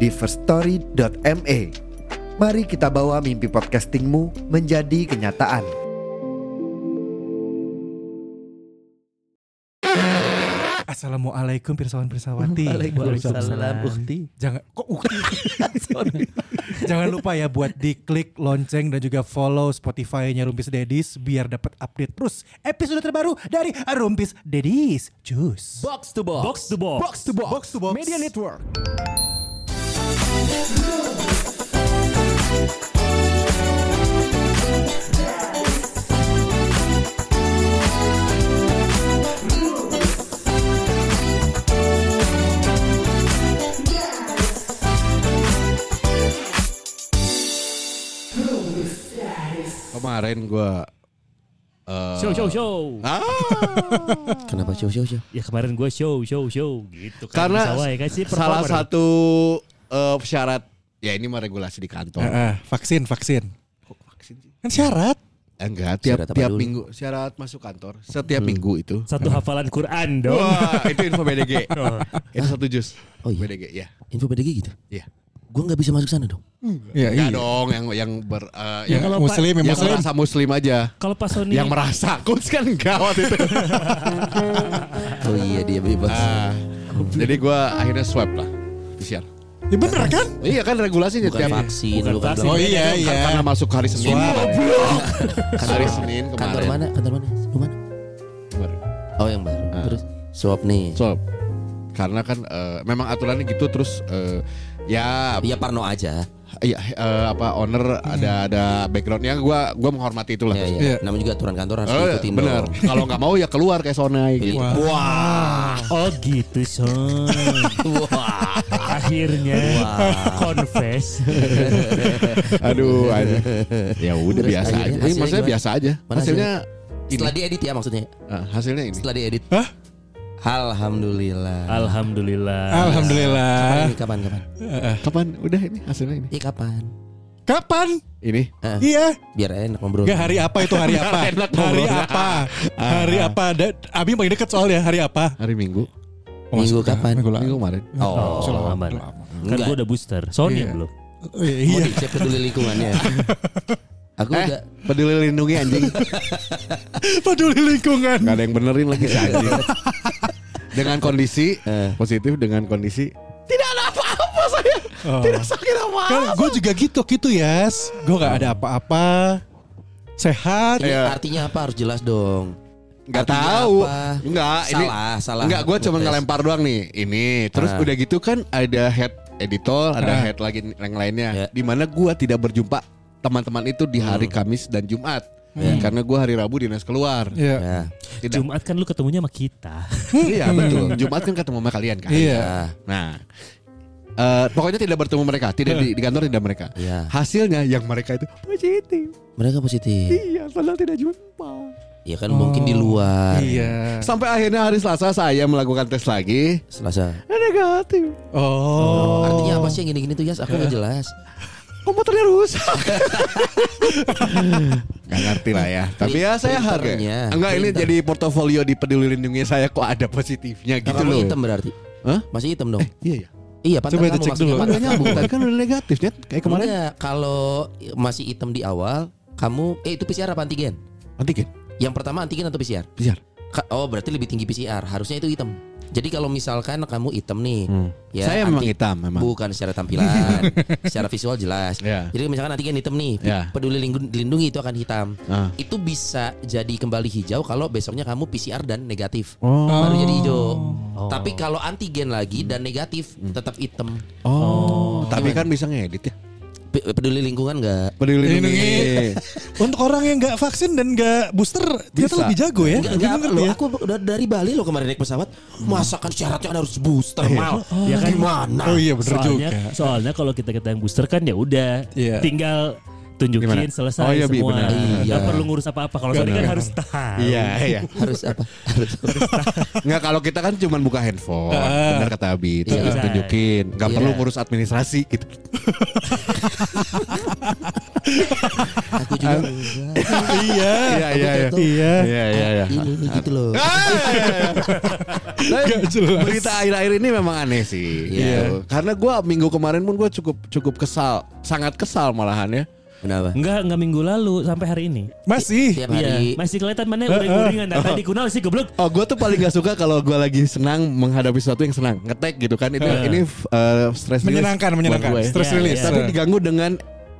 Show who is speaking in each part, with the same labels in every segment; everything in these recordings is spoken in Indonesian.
Speaker 1: di firststory.me. Mari kita bawa mimpi podcastingmu menjadi kenyataan.
Speaker 2: Assalamualaikum Pirsawan Pirsawati.
Speaker 3: Waalaikumsalam Ukti.
Speaker 2: Jangan kok ukti. Jangan lupa ya buat diklik lonceng dan juga follow Spotify-nya Rumpis Dedis biar dapat update terus episode terbaru dari Rumpis Dedis. Cus.
Speaker 3: Box to box.
Speaker 4: Box to box.
Speaker 3: Box to box.
Speaker 4: Box to box.
Speaker 3: Media Network.
Speaker 5: Kemarin gua eh,
Speaker 4: Show show show.
Speaker 5: ah,
Speaker 3: Kenapa show show show?
Speaker 4: Ya kemarin gue show show show gitu kan.
Speaker 5: karena
Speaker 4: Bisa wae kan si
Speaker 5: salah
Speaker 3: ya?
Speaker 4: performer.
Speaker 5: satu eh, syarat ya ini mah regulasi di kantor.
Speaker 2: Heeh, Eh, vaksin, vaksin. Kan syarat.
Speaker 5: Eh, Enggak, tiap
Speaker 3: Syarat apa
Speaker 5: tiap
Speaker 3: dulu? Hmm.
Speaker 5: minggu syarat masuk kantor setiap minggu itu.
Speaker 4: satu hafalan Quran dong.
Speaker 5: Wah, itu info BDG. itu satu jus.
Speaker 3: Oh iya.
Speaker 5: BDG, ya.
Speaker 3: Info PDG gitu.
Speaker 5: Iya.
Speaker 3: Gua nggak bisa masuk sana dong.
Speaker 2: Iya,
Speaker 5: Enggak dong yang yang ber eh,
Speaker 4: Ya,
Speaker 5: yang,
Speaker 4: kalau Pak-
Speaker 3: Iya.
Speaker 2: muslim, yang
Speaker 5: yang
Speaker 2: muslim.
Speaker 5: merasa muslim aja.
Speaker 4: Kalau Pak Sony
Speaker 5: Yang merasa Kus kan enggak waktu itu.
Speaker 3: Oh iya dia bebas.
Speaker 5: Ah, jadi gua akhirnya swab lah. PCR.
Speaker 2: Ya bener kan?
Speaker 5: Iya kan regulasinya
Speaker 3: Bukan
Speaker 5: tiap
Speaker 3: vaksin,
Speaker 4: Bukan
Speaker 3: lu kan
Speaker 4: vaksin.
Speaker 2: Oh iya,
Speaker 5: Kan karena
Speaker 2: iya.
Speaker 5: masuk hari Senin. Goblok. hari Senin kemarin.
Speaker 3: Kantor mana? Kantor mana? Lu mana?
Speaker 5: Kemarin.
Speaker 3: Oh yang baru. Terus swab nih.
Speaker 5: So, karena kan eh, memang aturannya gitu terus eh, ya
Speaker 3: Iya Parno aja.
Speaker 5: ya eh, apa owner ada ada backgroundnya gua gua menghormati itulah.
Speaker 3: Hmm. Ya,
Speaker 5: lah. Oh, iya.
Speaker 3: ya. Namanya juga aturan kantor harus diikutin
Speaker 5: bener.
Speaker 3: dong. Iya.
Speaker 5: Kalau nggak mau ya keluar kayak sonai. Gitu.
Speaker 3: Wah.
Speaker 4: Oh gitu Son.
Speaker 3: Wah.
Speaker 4: Akhirnya confess.
Speaker 5: Aduh, aduh. ya udah
Speaker 3: Terus
Speaker 5: biasa
Speaker 3: akhirnya
Speaker 5: aja. Ini
Speaker 3: hasilnya
Speaker 5: maksudnya
Speaker 3: gimana?
Speaker 5: biasa aja.
Speaker 3: Mana
Speaker 5: hasilnya ini.
Speaker 3: Setelah diedit ya maksudnya.
Speaker 5: Eh, hasilnya ini.
Speaker 3: Setelah diedit.
Speaker 2: Hah?
Speaker 4: Ah.
Speaker 3: Alhamdulillah.
Speaker 5: Ah.
Speaker 4: Alhamdulillah.
Speaker 3: Kapan
Speaker 2: Alhamdulillah.
Speaker 3: ini? kapan kapan?
Speaker 5: Kapan? Udah ini hasilnya ini.
Speaker 3: Iya kapan?
Speaker 2: Kapan?
Speaker 5: Ini.
Speaker 3: Ah,
Speaker 2: Iya.
Speaker 3: biar enak ngobrol.
Speaker 2: Gak hari apa itu hari apa?
Speaker 5: Enak
Speaker 2: hari
Speaker 5: ngobrol.
Speaker 2: apa? Hari apa? Da- Abi paling deket soalnya hari apa?
Speaker 5: Hari Minggu.
Speaker 2: Oh,
Speaker 3: Minggu
Speaker 2: maksudnya,
Speaker 3: kapan?
Speaker 2: Minggu lalu.
Speaker 5: Minggu kemarin.
Speaker 3: Oh,
Speaker 4: Oh, aman. Kan
Speaker 3: Enggak.
Speaker 4: gue udah booster. Sony
Speaker 2: Iya.
Speaker 4: belum.
Speaker 2: Oh, iya,
Speaker 3: Mau
Speaker 2: iya.
Speaker 3: dicek peduli lingkungannya. Aku
Speaker 5: Eh,
Speaker 3: udah
Speaker 5: peduli lindungi anjing.
Speaker 2: Peduli lingkungan.
Speaker 5: Gak ada yang benerin lagi si anjing. dengan kondisi
Speaker 3: Eh.
Speaker 5: positif dengan kondisi
Speaker 2: Oh. Tidak sakit apa Kan gue juga gitu gitu Yas Gue gak ada apa-apa Sehat
Speaker 3: Ini
Speaker 5: Iya.
Speaker 3: artinya apa harus jelas dong.
Speaker 5: nggak
Speaker 3: Artinya
Speaker 5: tahu
Speaker 3: apa?
Speaker 5: nggak Ah, ini
Speaker 3: Salah, salah.
Speaker 5: nggak gue cuma
Speaker 3: Ngetes.
Speaker 5: ngelempar doang nih ini terus
Speaker 3: Ah.
Speaker 5: udah gitu kan ada head editor ada
Speaker 2: Ah.
Speaker 5: head lagi yang lainnya
Speaker 3: Ya. Hmm.
Speaker 5: di mana gue tidak berjumpa teman-teman itu di hari Kamis dan Jumat karena gue hari Rabu dinas keluar
Speaker 2: Iya
Speaker 3: Ya.
Speaker 5: tidak
Speaker 4: Jumat kan lu ketemunya sama kita.
Speaker 5: iya betul Jumat kan ketemu sama kalian kan
Speaker 2: Iya
Speaker 3: Ah,
Speaker 5: nah eh, pokoknya tidak bertemu mereka tidak di, di kantor tidak mereka
Speaker 3: Ya.
Speaker 5: hasilnya yang mereka itu positif
Speaker 3: mereka positif.
Speaker 5: iya padahal tidak jumpa
Speaker 3: Ya kan mungkin di luar.
Speaker 2: Iya
Speaker 5: Sampai akhirnya hari Selasa saya melakukan tes lagi.
Speaker 3: Selasa.
Speaker 5: Negatif.
Speaker 2: Oh
Speaker 3: Artinya apa sih yang gini-gini tuh Yas? Aku nggak jelas.
Speaker 5: Komputernya rusak. Gak ngerti lah ya. Tapi ya saya harga.
Speaker 3: Printernya.
Speaker 5: Enggak ini
Speaker 3: Printer.
Speaker 5: jadi portofolio di peduli lindungi saya kok ada positifnya gitu
Speaker 3: Kamu
Speaker 5: loh.
Speaker 3: hitam berarti.
Speaker 5: Hah?
Speaker 3: Masih hitam dong.
Speaker 5: Iya ya.
Speaker 3: Iya, pantat
Speaker 2: Eh, Coba
Speaker 3: kamu
Speaker 2: dicek
Speaker 3: maksudnya
Speaker 2: dulu.
Speaker 3: pantat kamu.
Speaker 5: bukan kan udah negatif ya kayak kemarin.
Speaker 3: Enggak, kalau masih hitam di awal, kamu eh itu PCR apa antigen?
Speaker 5: Antigen.
Speaker 3: Yang pertama antigen atau PCR?
Speaker 5: Biar.
Speaker 3: Ka- Oh, berarti lebih tinggi PCR. Harusnya itu hitam. Jadi kalau misalkan kamu hitam nih,
Speaker 5: Hmm,
Speaker 3: ya
Speaker 5: saya memang
Speaker 3: anti-
Speaker 5: hitam memang.
Speaker 3: Bukan secara tampilan, secara visual jelas.
Speaker 5: Ya.
Speaker 3: Jadi misalkan antigen hitam nih,
Speaker 5: Ya.
Speaker 3: peduli lingkung- lindungi itu akan hitam.
Speaker 5: Ah.
Speaker 3: Itu bisa jadi kembali hijau kalau besoknya kamu PCR dan negatif.
Speaker 5: Oh.
Speaker 3: Baru jadi hijau.
Speaker 4: Oh.
Speaker 3: Tapi kalau
Speaker 5: Hmm.
Speaker 3: antigen lagi dan negatif tetap hitam.
Speaker 5: Oh, tapi kan bisa ngedit ya.
Speaker 3: P- peduli lingkungan nggak?
Speaker 5: Peduli lindungi.
Speaker 6: Untuk orang yang nggak vaksin dan nggak booster ternyata
Speaker 5: Bisa.
Speaker 6: lebih jago ya.
Speaker 3: Nggak-
Speaker 6: Lebih
Speaker 3: nggak,
Speaker 6: ngerti
Speaker 3: loh, Hmm.
Speaker 6: ya.
Speaker 3: aku udah dari Bali loh kemarin naik pesawat. Masakan syaratnya kan harus booster mal.
Speaker 4: Ya kan?
Speaker 3: Gimana?
Speaker 6: Oh iya bener
Speaker 4: soalnya
Speaker 6: juga.
Speaker 5: ya.
Speaker 4: soalnya kalau kita kita yang booster kan ya udah
Speaker 6: Iya.
Speaker 4: tinggal tunjukin
Speaker 5: Gimana?
Speaker 4: selesai
Speaker 5: Oh iya, Bi,
Speaker 4: semua.
Speaker 5: benar.
Speaker 4: Nggak
Speaker 3: Iya.
Speaker 4: perlu ngurus apa-apa. Kalau Sony kan harus tahan.
Speaker 5: Iya, iya.
Speaker 3: Harus apa? Harus
Speaker 5: Nggak kalau kita kan cuman buka handphone, benar kata Abi, itu
Speaker 4: Iya.
Speaker 5: tunjukin. Nggak
Speaker 3: Iya.
Speaker 5: perlu ngurus administrasi gitu.
Speaker 3: aku juga. nggak.
Speaker 6: Iya.
Speaker 5: Iya, iya, iya.
Speaker 6: Iya.
Speaker 5: Iya, iya, iya.
Speaker 3: Ini ini gitu loh.
Speaker 5: Tapi
Speaker 6: Nggak jelas.
Speaker 5: Berita akhir-akhir ini memang aneh sih. gitu. Karena gua minggu kemarin pun gue cukup cukup kesal, sangat kesal malahan ya.
Speaker 3: Kenapa?
Speaker 4: Enggak, enggak minggu lalu sampai hari ini.
Speaker 6: Masih.
Speaker 3: Tiap
Speaker 4: Iya,
Speaker 3: hari.
Speaker 4: masih kelihatan mana udah guringan Nah, tadi kunal sih goblok.
Speaker 5: Eh, Oh, gue tuh paling gak suka kalau gue lagi senang menghadapi sesuatu yang senang, ngetek gitu kan. Itu ini uh, stress release
Speaker 6: Eh. Menyenangkan,
Speaker 5: buat
Speaker 6: menyenangkan.
Speaker 5: gua ya.
Speaker 6: Stress
Speaker 4: Iya,
Speaker 6: release.
Speaker 4: iya.
Speaker 5: Tapi diganggu dengan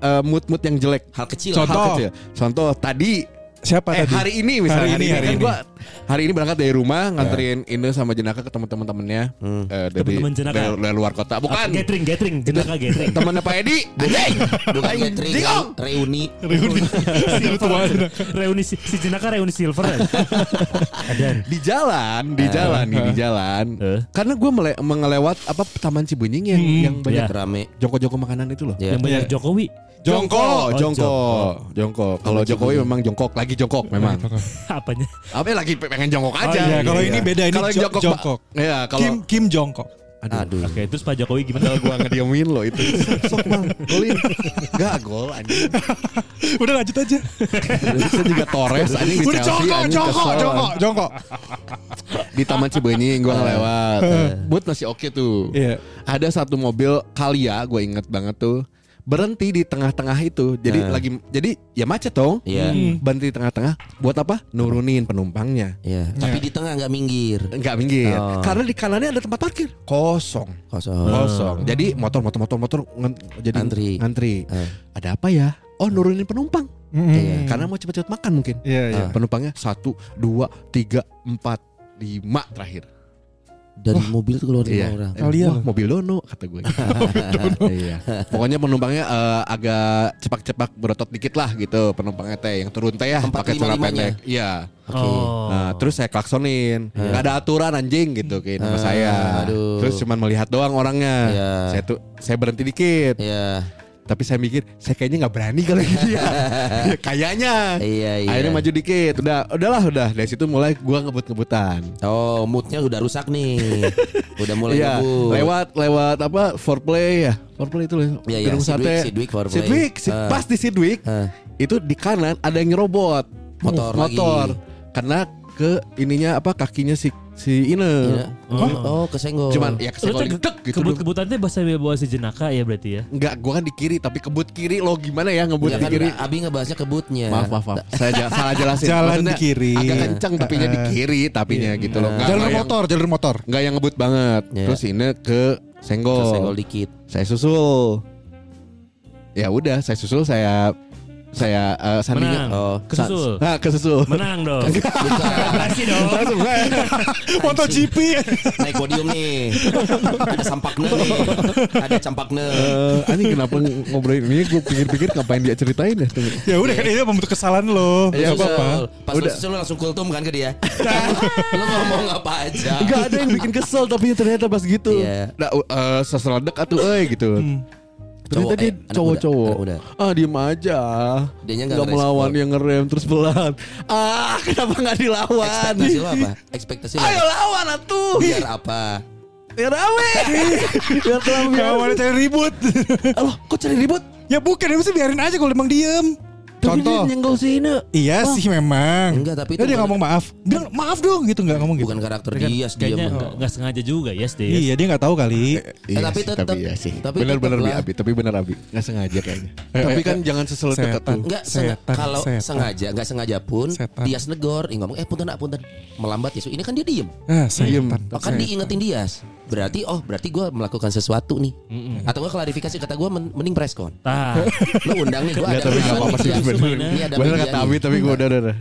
Speaker 5: uh, mood-mood yang jelek.
Speaker 3: Hal kecil.
Speaker 6: Contoh.
Speaker 5: Hal kecil. Contoh tadi
Speaker 6: Siapa
Speaker 5: eh
Speaker 6: tadi?
Speaker 5: hari ini misalnya
Speaker 6: Hari ini, hari
Speaker 5: kan
Speaker 6: ini. Iya.
Speaker 5: gua hari ini berangkat dari rumah nganterin Indo sama Jenaka ke teman-teman-temannya eh, dari,
Speaker 4: Hmm. Teman-teman Jenaka.
Speaker 5: dari dari luar kota. Bukan.
Speaker 4: Gathering, gathering, jenaka gathering.
Speaker 5: Temannya Pak Edi. Anjing.
Speaker 3: Bukan
Speaker 5: Anjing.
Speaker 3: gathering,
Speaker 5: Dingong.
Speaker 3: reuni.
Speaker 4: reuni si, si jenaka reuni silver. kan? Ada.
Speaker 5: di jalan, di jalan, nih, di jalan.
Speaker 4: Eh.
Speaker 5: Karena gue mele- mengelewat apa Taman Cibenying yang yang banyak
Speaker 4: Iya.
Speaker 3: Rame.
Speaker 5: joko-joko makanan itu loh.
Speaker 3: Ya.
Speaker 4: Yang banyak Jokowi.
Speaker 5: Iya. Jongkok,
Speaker 4: Oh,
Speaker 5: jongkok, jongkok. Kalau Jokowi memang jongkok, lagi jongkok memang.
Speaker 4: Apanya?
Speaker 5: Apa lagi pengen jongkok
Speaker 6: Oh,
Speaker 5: aja.
Speaker 6: iya, kalau ini beda, ini
Speaker 5: Kalau
Speaker 6: jo-
Speaker 5: jongkok.
Speaker 6: jongkok.
Speaker 5: Pak- Iya,
Speaker 6: Kim
Speaker 5: kalau
Speaker 6: Kim Jongkok.
Speaker 3: Aduh.
Speaker 4: Oke, terus Pak Jokowi gimana?
Speaker 5: gua ngediemin lo itu. Sok mal, golin. Enggak gol anjing.
Speaker 6: Udah lanjut aja.
Speaker 5: Itu juga Torres anjing di
Speaker 6: Udah
Speaker 5: Chelsea,
Speaker 6: jongkok,
Speaker 5: anjing,
Speaker 6: jongkok,
Speaker 5: kesel.
Speaker 6: jongkok, jongkok.
Speaker 5: Di Taman Cibenying gua ngelewat. Buat masih oke tuh.
Speaker 6: Iya.
Speaker 5: Ada satu mobil Kalia gue inget banget tuh berhenti di tengah-tengah itu. Jadi lagi jadi ya macet dong.
Speaker 3: Nah. Iya.
Speaker 6: Hmm.
Speaker 5: Berhenti di tengah-tengah buat apa? Nurunin penumpangnya.
Speaker 3: Iya. Tapi di tengah nggak minggir.
Speaker 5: Enggak minggir.
Speaker 3: Oh.
Speaker 5: Karena di kanannya ada tempat parkir. Kosong.
Speaker 3: Kosong.
Speaker 5: Kosong. Jadi motor motor motor motor ngen- jadi
Speaker 3: Antri.
Speaker 5: Ngantri.
Speaker 3: Eh.
Speaker 5: Ada apa ya? Oh nurunin penumpang.
Speaker 3: Iya.
Speaker 5: Karena mau cepet-cepet makan mungkin. Ah.
Speaker 6: Iya, iya.
Speaker 5: Penumpangnya satu, dua, tiga, empat, lima terakhir.
Speaker 3: Dari mobil tuh keluar lima
Speaker 5: Iya.
Speaker 3: orang.
Speaker 6: Kalian.
Speaker 5: Wah, mobil dono kata gue. Gitu. iya. Pokoknya penumpangnya eh, agak cepak-cepak berotot dikit lah gitu penumpangnya teh yang turun teh ya
Speaker 3: Empat Oh.
Speaker 5: pakai celana
Speaker 3: lima-limanya.
Speaker 5: pendek. Iya.
Speaker 3: Oke.
Speaker 5: Nah, terus saya klaksonin. Gak ada aturan anjing gitu kayak
Speaker 3: Iya.
Speaker 5: nama
Speaker 3: Ah,
Speaker 5: saya.
Speaker 3: aduh.
Speaker 5: Terus cuman melihat doang orangnya.
Speaker 3: Iya.
Speaker 5: Saya tuh saya berhenti dikit.
Speaker 3: Iya.
Speaker 5: Tapi saya mikir saya kayaknya nggak berani kalau gitu ya. kayaknya.
Speaker 3: Iya, iya.
Speaker 5: Akhirnya maju dikit. Udah, udahlah udah. Dari situ mulai gua ngebut-ngebutan.
Speaker 3: Oh, moodnya udah rusak nih. udah mulai
Speaker 5: Iya,
Speaker 3: ngebut.
Speaker 5: lewat lewat apa foreplay ya. Foreplay itu loh.
Speaker 3: Iya, iya,
Speaker 5: Gedung
Speaker 3: Sidwick,
Speaker 5: sate.
Speaker 3: Sidwick foreplay.
Speaker 5: Sidwick, si-
Speaker 3: Ah.
Speaker 5: pas di Sidwick.
Speaker 3: Ah.
Speaker 5: Itu di kanan ada yang nyerobot.
Speaker 3: Motor lagi.
Speaker 5: Motor. Karena ke ininya apa kakinya si si Ine.
Speaker 3: Iya. Oh, kesenggol.
Speaker 5: Cuman ya
Speaker 4: Lu
Speaker 5: kesenggol
Speaker 4: teh
Speaker 5: dikit, gitu. doang.
Speaker 4: kebut-kebutan teh bahasa bawa si jenaka ya berarti ya.
Speaker 5: Enggak, gua kan di kiri tapi kebut kiri lo gimana ya ngebut
Speaker 3: Ya
Speaker 5: di
Speaker 3: kan,
Speaker 5: kiri?
Speaker 3: Abi ngebahasnya kebutnya.
Speaker 5: Maaf, maaf, maaf. Saya ja- salah jelasin.
Speaker 6: Jalan di
Speaker 5: Maksudnya
Speaker 6: kiri. Iya.
Speaker 5: Agak kencang tapinya di kiri tapinya gitu loh. Nggak-
Speaker 6: Jalur
Speaker 5: nggak yang-
Speaker 6: motor, jalur motor.
Speaker 5: nggak yang ngebut banget.
Speaker 3: Iya.
Speaker 5: Terus ini ke senggol.
Speaker 3: Kesenggol dikit.
Speaker 5: Saya susul. Ya udah, saya susul saya saya eh,
Speaker 4: Menang.
Speaker 5: sandingan.
Speaker 3: Oh.
Speaker 4: Kesusul.
Speaker 5: Sa- Nah, kesusul.
Speaker 4: Menang dong.
Speaker 3: Bukan.
Speaker 4: Kasih dong.
Speaker 5: Langsung, eh.
Speaker 6: MotoGP.
Speaker 3: Naik podium nih. ada sampakne nih. Ada campakne.
Speaker 5: Eh, anjing kenapa ng- ngobrolin ini? Gue pikir-pikir ngapain dia ceritain ya? Tunggu.
Speaker 6: ya udah kan itu membentuk kesalahan lo.
Speaker 5: Iya,
Speaker 3: Susul.
Speaker 5: apa-apa.
Speaker 3: Pas lu
Speaker 5: Udah.
Speaker 3: susul lu langsung kultum kan ke dia. lu ngomong apa aja.
Speaker 5: Gak ada yang bikin kesel tapi ternyata pas gitu.
Speaker 3: Iya.
Speaker 5: Nah, uh, seseledak atuh euy gitu.
Speaker 4: Hmm.
Speaker 5: Ternyata
Speaker 3: Cowok,
Speaker 5: dia
Speaker 3: eh, anak
Speaker 5: cowok-cowok.
Speaker 3: muda, anak
Speaker 5: Ah diem aja.
Speaker 3: Dianya nggak
Speaker 5: nggak
Speaker 3: ngerespon.
Speaker 5: melawan yang ngerem terus pelan. Ah kenapa nggak dilawan?
Speaker 3: Ekspektasi lu apa? Ekspektasi lu.
Speaker 5: Ayo
Speaker 3: apa?
Speaker 5: lawan atuh.
Speaker 3: Biar apa?
Speaker 5: Biar rame. Biar kelam biar.
Speaker 6: Kamu ada cari ribut.
Speaker 5: Aloh, kok cari ribut?
Speaker 6: ya bukan, ya bisa biarin aja kalau emang diem.
Speaker 5: Tapi dia
Speaker 6: Contoh.
Speaker 5: nyenggol si Ine.
Speaker 6: Iya sih memang.
Speaker 3: Enggak, tapi itu
Speaker 6: Ya, dia
Speaker 3: bukan-
Speaker 6: ngomong maaf. Bilang maaf dong gitu nggak ngomong gitu.
Speaker 3: Bukan karakter dia, dia
Speaker 4: Kayaknya nggak- nggak sengaja juga ya, Steve.
Speaker 6: Iya, dia nggak tahu kali.
Speaker 5: Iya
Speaker 3: Eh, tapi tetap- tapi
Speaker 5: bener-bener
Speaker 3: tetap lah.
Speaker 5: Abi, tapi bener Abi, nggak sengaja kayaknya. tapi kan jangan seselot dekat
Speaker 6: Setan.
Speaker 5: tuh.
Speaker 3: Enggak sengaja
Speaker 6: Setan,
Speaker 3: kalau
Speaker 6: setan.
Speaker 3: sengaja enggak sengaja pun
Speaker 6: Setan.
Speaker 3: Dias negor Ih, ngomong eh punten nak punten melambat ya. So, ini kan dia diem.
Speaker 6: Ah, saya
Speaker 3: Oh, kan diingetin Dias. Berarti oh berarti gue melakukan sesuatu nih. Atau gue klarifikasi kata gue mending preskon.
Speaker 4: Tah.
Speaker 3: Lu undang nih gue
Speaker 5: Ya,
Speaker 3: ada
Speaker 5: tapi nggak apa-apa sih
Speaker 3: media nih.
Speaker 5: bener.
Speaker 3: Ini ada
Speaker 5: Bener
Speaker 3: media
Speaker 5: kata
Speaker 3: nih.
Speaker 5: Abi, tapi gue udah udah. udah.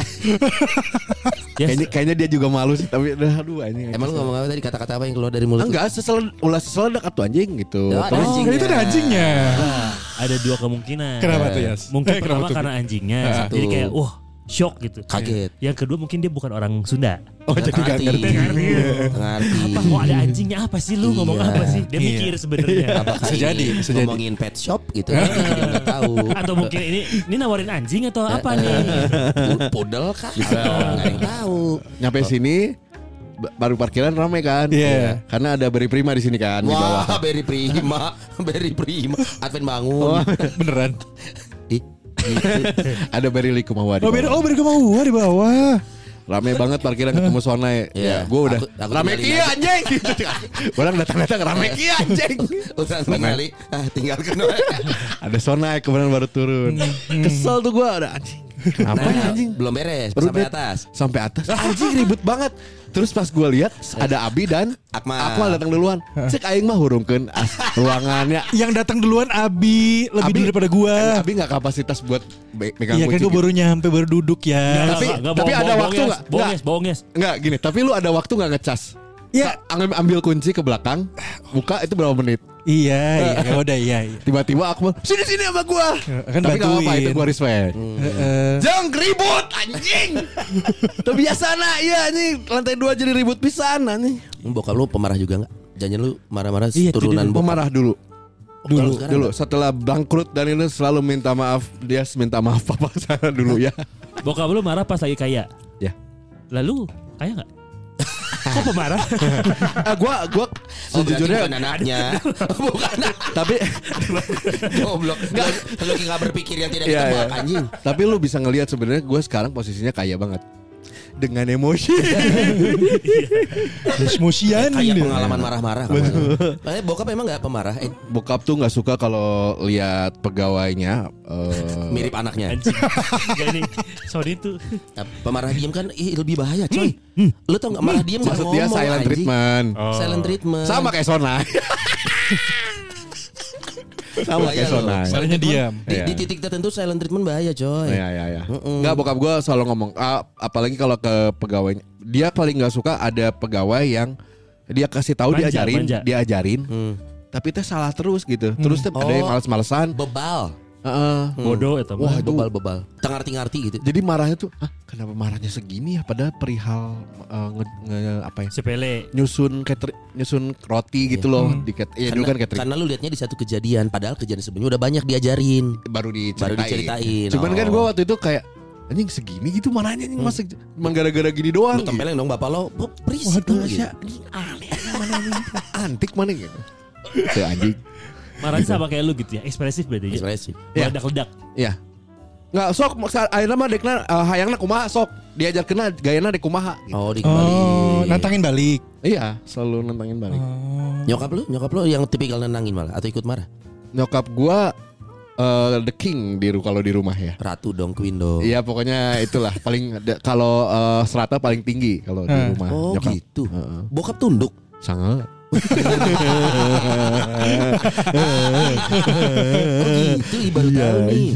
Speaker 4: Ya,
Speaker 5: Kayaknya, kayaknya dia juga malu sih, tapi udah aduh anjing.
Speaker 3: Emang lu ngomong apa tadi kata-kata apa yang keluar dari mulut? lu?
Speaker 5: Enggak, sesel ulah seseledak atau anjing gitu.
Speaker 3: Ya, ada
Speaker 5: Terus-
Speaker 6: Oh, itu ada anjingnya.
Speaker 4: ada dua kemungkinan.
Speaker 6: Kenapa tuh, Yas?
Speaker 4: Mungkin
Speaker 6: Eh,
Speaker 4: pertama
Speaker 6: kenapa tuh?
Speaker 4: karena anjingnya,
Speaker 5: Satu.
Speaker 4: jadi kayak wah shock gitu.
Speaker 3: Kaget.
Speaker 4: Yang kedua mungkin dia bukan orang Sunda.
Speaker 5: Oh jadi gak ngerti.
Speaker 3: Ngerti.
Speaker 4: Apa? Oh ada anjingnya apa sih lu ngomong
Speaker 3: Iya.
Speaker 4: apa sih? Dia mikir sebenarnya.
Speaker 3: Apakah
Speaker 5: Bisa
Speaker 3: ini
Speaker 5: jadi, bisa jadi.
Speaker 3: ngomongin pet shop gitu kan? Kita juga nggak tahu.
Speaker 4: Atau mungkin ini ini nawarin anjing
Speaker 3: Eh,
Speaker 4: atau apa nih?
Speaker 3: Pu- Pudel kah? Nggak ada Oh. yang tahu.
Speaker 5: Nyampe sini ba- baru parkiran ramai kan?
Speaker 6: Iya.
Speaker 5: Karena ada beri prima di sini kan di bawah.
Speaker 3: Wah, Berry Prima, Berry Prima, Advent
Speaker 5: Oh,
Speaker 3: bangun.
Speaker 6: Beneran.
Speaker 3: Ih,
Speaker 5: ada beri likumawadi.
Speaker 6: Oh beda, oh beda sama gua di bawah.
Speaker 5: Rame banget parkiran ketemu Sonai.
Speaker 3: Iya.
Speaker 5: Ya, gue udah
Speaker 3: Aku- aku
Speaker 5: rame
Speaker 3: tinggalin
Speaker 5: kia
Speaker 3: aja.
Speaker 5: anjing gitu. Orang datang-datang rame
Speaker 3: Iya.
Speaker 5: kia anjing.
Speaker 3: Utang kembali, ah, tinggalkan aja.
Speaker 5: ada Sonai kemudian baru
Speaker 6: Hmm,
Speaker 5: turun. Kesel tuh gue ada anjing. Kenapa ya
Speaker 3: Nah,
Speaker 5: anjing?
Speaker 3: belum beres,
Speaker 5: Baru
Speaker 3: sampai
Speaker 5: dia-
Speaker 3: atas.
Speaker 5: Sampai atas. Ah, Anjing ribet banget. Terus pas gue lihat ada Abi dan
Speaker 3: Akmal.
Speaker 5: Akmal datang duluan. Cek aing mah hurungkeun as ruangannya.
Speaker 6: Yang datang duluan Abi lebih dulu daripada gua.
Speaker 5: Abi nggak kapasitas buat be- megang
Speaker 6: Iya kan
Speaker 5: kunci. gitu.
Speaker 6: gua baru nyampe baru duduk ya.
Speaker 5: Tapi-
Speaker 4: Nggak, nggak,
Speaker 5: tapi
Speaker 4: bohong,
Speaker 5: ada
Speaker 4: bohong,
Speaker 5: waktu
Speaker 4: bohong,
Speaker 5: nggak?
Speaker 4: Bohong,
Speaker 5: Nggak.
Speaker 4: yes, bohong, yes.
Speaker 5: Enggak gini, tapi lu ada waktu nggak ngecas?
Speaker 6: Iya.
Speaker 5: Ka- Ambil, ambil kunci ke belakang, buka itu berapa menit?
Speaker 6: Iya, iya, ya udah iya. iya.
Speaker 5: Tiba-tiba aku sini sini sama gua.
Speaker 6: kan
Speaker 5: tapi nggak apa-apa
Speaker 6: bantuin.
Speaker 5: itu gua respect. Hmm.
Speaker 6: Heeh.
Speaker 5: Jangan ribut anjing. Terbiasa nah iya anjing lantai dua jadi ribut pisan anjing.
Speaker 3: Bokap lu pemarah juga nggak? Jangan lu marah-marah
Speaker 5: Iya,
Speaker 3: turunan bokap.
Speaker 5: pemarah dulu.
Speaker 3: Kalau
Speaker 5: Dulu,
Speaker 3: sekarang
Speaker 5: dulu setelah bangkrut dan ini selalu minta maaf dia minta maaf papa sana dulu ya.
Speaker 4: Bokap lu marah pas lagi kaya.
Speaker 5: Ya.
Speaker 4: Lalu kaya nggak? Kok pemarah?
Speaker 5: Ah, gua gua
Speaker 3: Oh, berarti
Speaker 5: sejujurnya
Speaker 3: bukan anaknya. bukan.
Speaker 5: tapi
Speaker 3: Goblok. Enggak, lu enggak berpikir yang tidak
Speaker 5: Iya,
Speaker 3: ditebak
Speaker 5: iya.
Speaker 3: anjing.
Speaker 5: Tapi lu bisa ngelihat sebenarnya gue sekarang posisinya kaya banget dengan emosi.
Speaker 6: Desmosian
Speaker 3: Kayak
Speaker 6: ini.
Speaker 3: pengalaman marah-marah kemarin. Eh, bokap emang enggak pemarah, eh,
Speaker 5: Bokap tuh nggak suka kalau lihat pegawainya eh,
Speaker 3: mirip anaknya.
Speaker 4: Anjing. Gak nih. Sony tuh.
Speaker 3: Nah, pemarah diem kan ih, lebih bahaya, coy. Lu tau enggak marah diem nggak
Speaker 5: Hmm, maksud dia
Speaker 3: ngomong,
Speaker 5: silent
Speaker 3: anjing.
Speaker 5: treatment.
Speaker 3: Silent treatment.
Speaker 5: Sama kayak Sona. Sama
Speaker 3: Bahaya Iya,
Speaker 5: kayak
Speaker 3: loh.
Speaker 5: Sona.
Speaker 3: Silent
Speaker 6: Caranya diam.
Speaker 3: treatment, Di,
Speaker 5: Iya.
Speaker 3: di titik tertentu silent treatment bahaya, coy.
Speaker 5: Iya iya iya. Enggak bokap gue selalu ngomong "Ah, apalagi kalau ke pegawainya. Dia paling nggak suka ada pegawai yang dia kasih tahu
Speaker 4: Manja,
Speaker 5: diajarin,
Speaker 4: manja.
Speaker 5: diajarin.
Speaker 3: Hmm.
Speaker 5: Tapi teh salah terus gitu. Terus teh ada yang
Speaker 3: Oh. Hmm.
Speaker 5: males-malesan.
Speaker 3: Bebal.
Speaker 5: Heeh.
Speaker 4: Bodoh atau
Speaker 5: Wah, itu
Speaker 3: Bebal-bebal. Tengarti-ngarti gitu.
Speaker 5: Jadi marahnya tuh, ah kenapa marahnya segini ya? Padahal perihal eh, nge, nge- apa ya?
Speaker 4: sepele.
Speaker 5: Nyusun cater, nyusun roti gitu loh di cat, ya dulu kan
Speaker 3: Iya.
Speaker 5: catering.
Speaker 3: Hmm. karena lu liatnya di satu kejadian, padahal kejadian sebelumnya udah banyak diajarin.
Speaker 5: baru
Speaker 3: Baru
Speaker 5: diceritain.
Speaker 3: diceritain,
Speaker 5: Cuman kan
Speaker 3: oh. Hmm.
Speaker 5: gue waktu itu kayak anjing segini gitu marahnya anjing masa cuma gara-gara gini
Speaker 3: Lu
Speaker 5: doang. gitu.
Speaker 3: tempelin dong bapak lo, "Bu, berisik
Speaker 5: Waduh,
Speaker 3: lu," gitu.
Speaker 5: Asya, anjing aneh mana ini? Antik mana gitu. Tuh anjing.
Speaker 4: Marahnya sama kayak lu gitu ya. Ekspresif berarti. ya.
Speaker 3: Ekspresif.
Speaker 5: Iya.
Speaker 4: Meledak-ledak.
Speaker 5: Iya. Nggak sok maksa- akhirnya mah dekna eh, hayangna kumaha sok diajar kena gayana di kumaha gitu.
Speaker 3: Oh, dikembaliin.
Speaker 6: Oh, nantangin balik.
Speaker 5: Iya, selalu nentangin balik.
Speaker 3: Nyokap lu, nyokap lu yang tipikal nenangin malah atau ikut marah?
Speaker 5: Nyokap gua eh, the king di ru- kalau di rumah ya.
Speaker 3: Ratu dong, Queen dong.
Speaker 5: Iya pokoknya itulah paling ada- kalau eh, serata paling tinggi kalau di rumah
Speaker 3: Oh
Speaker 5: nyokap.
Speaker 3: gitu.
Speaker 5: Heeh.
Speaker 3: Bokap tunduk.
Speaker 5: Sangat. Eh,
Speaker 3: Oh gitu, ih, baru
Speaker 5: iya,
Speaker 3: tahu nih.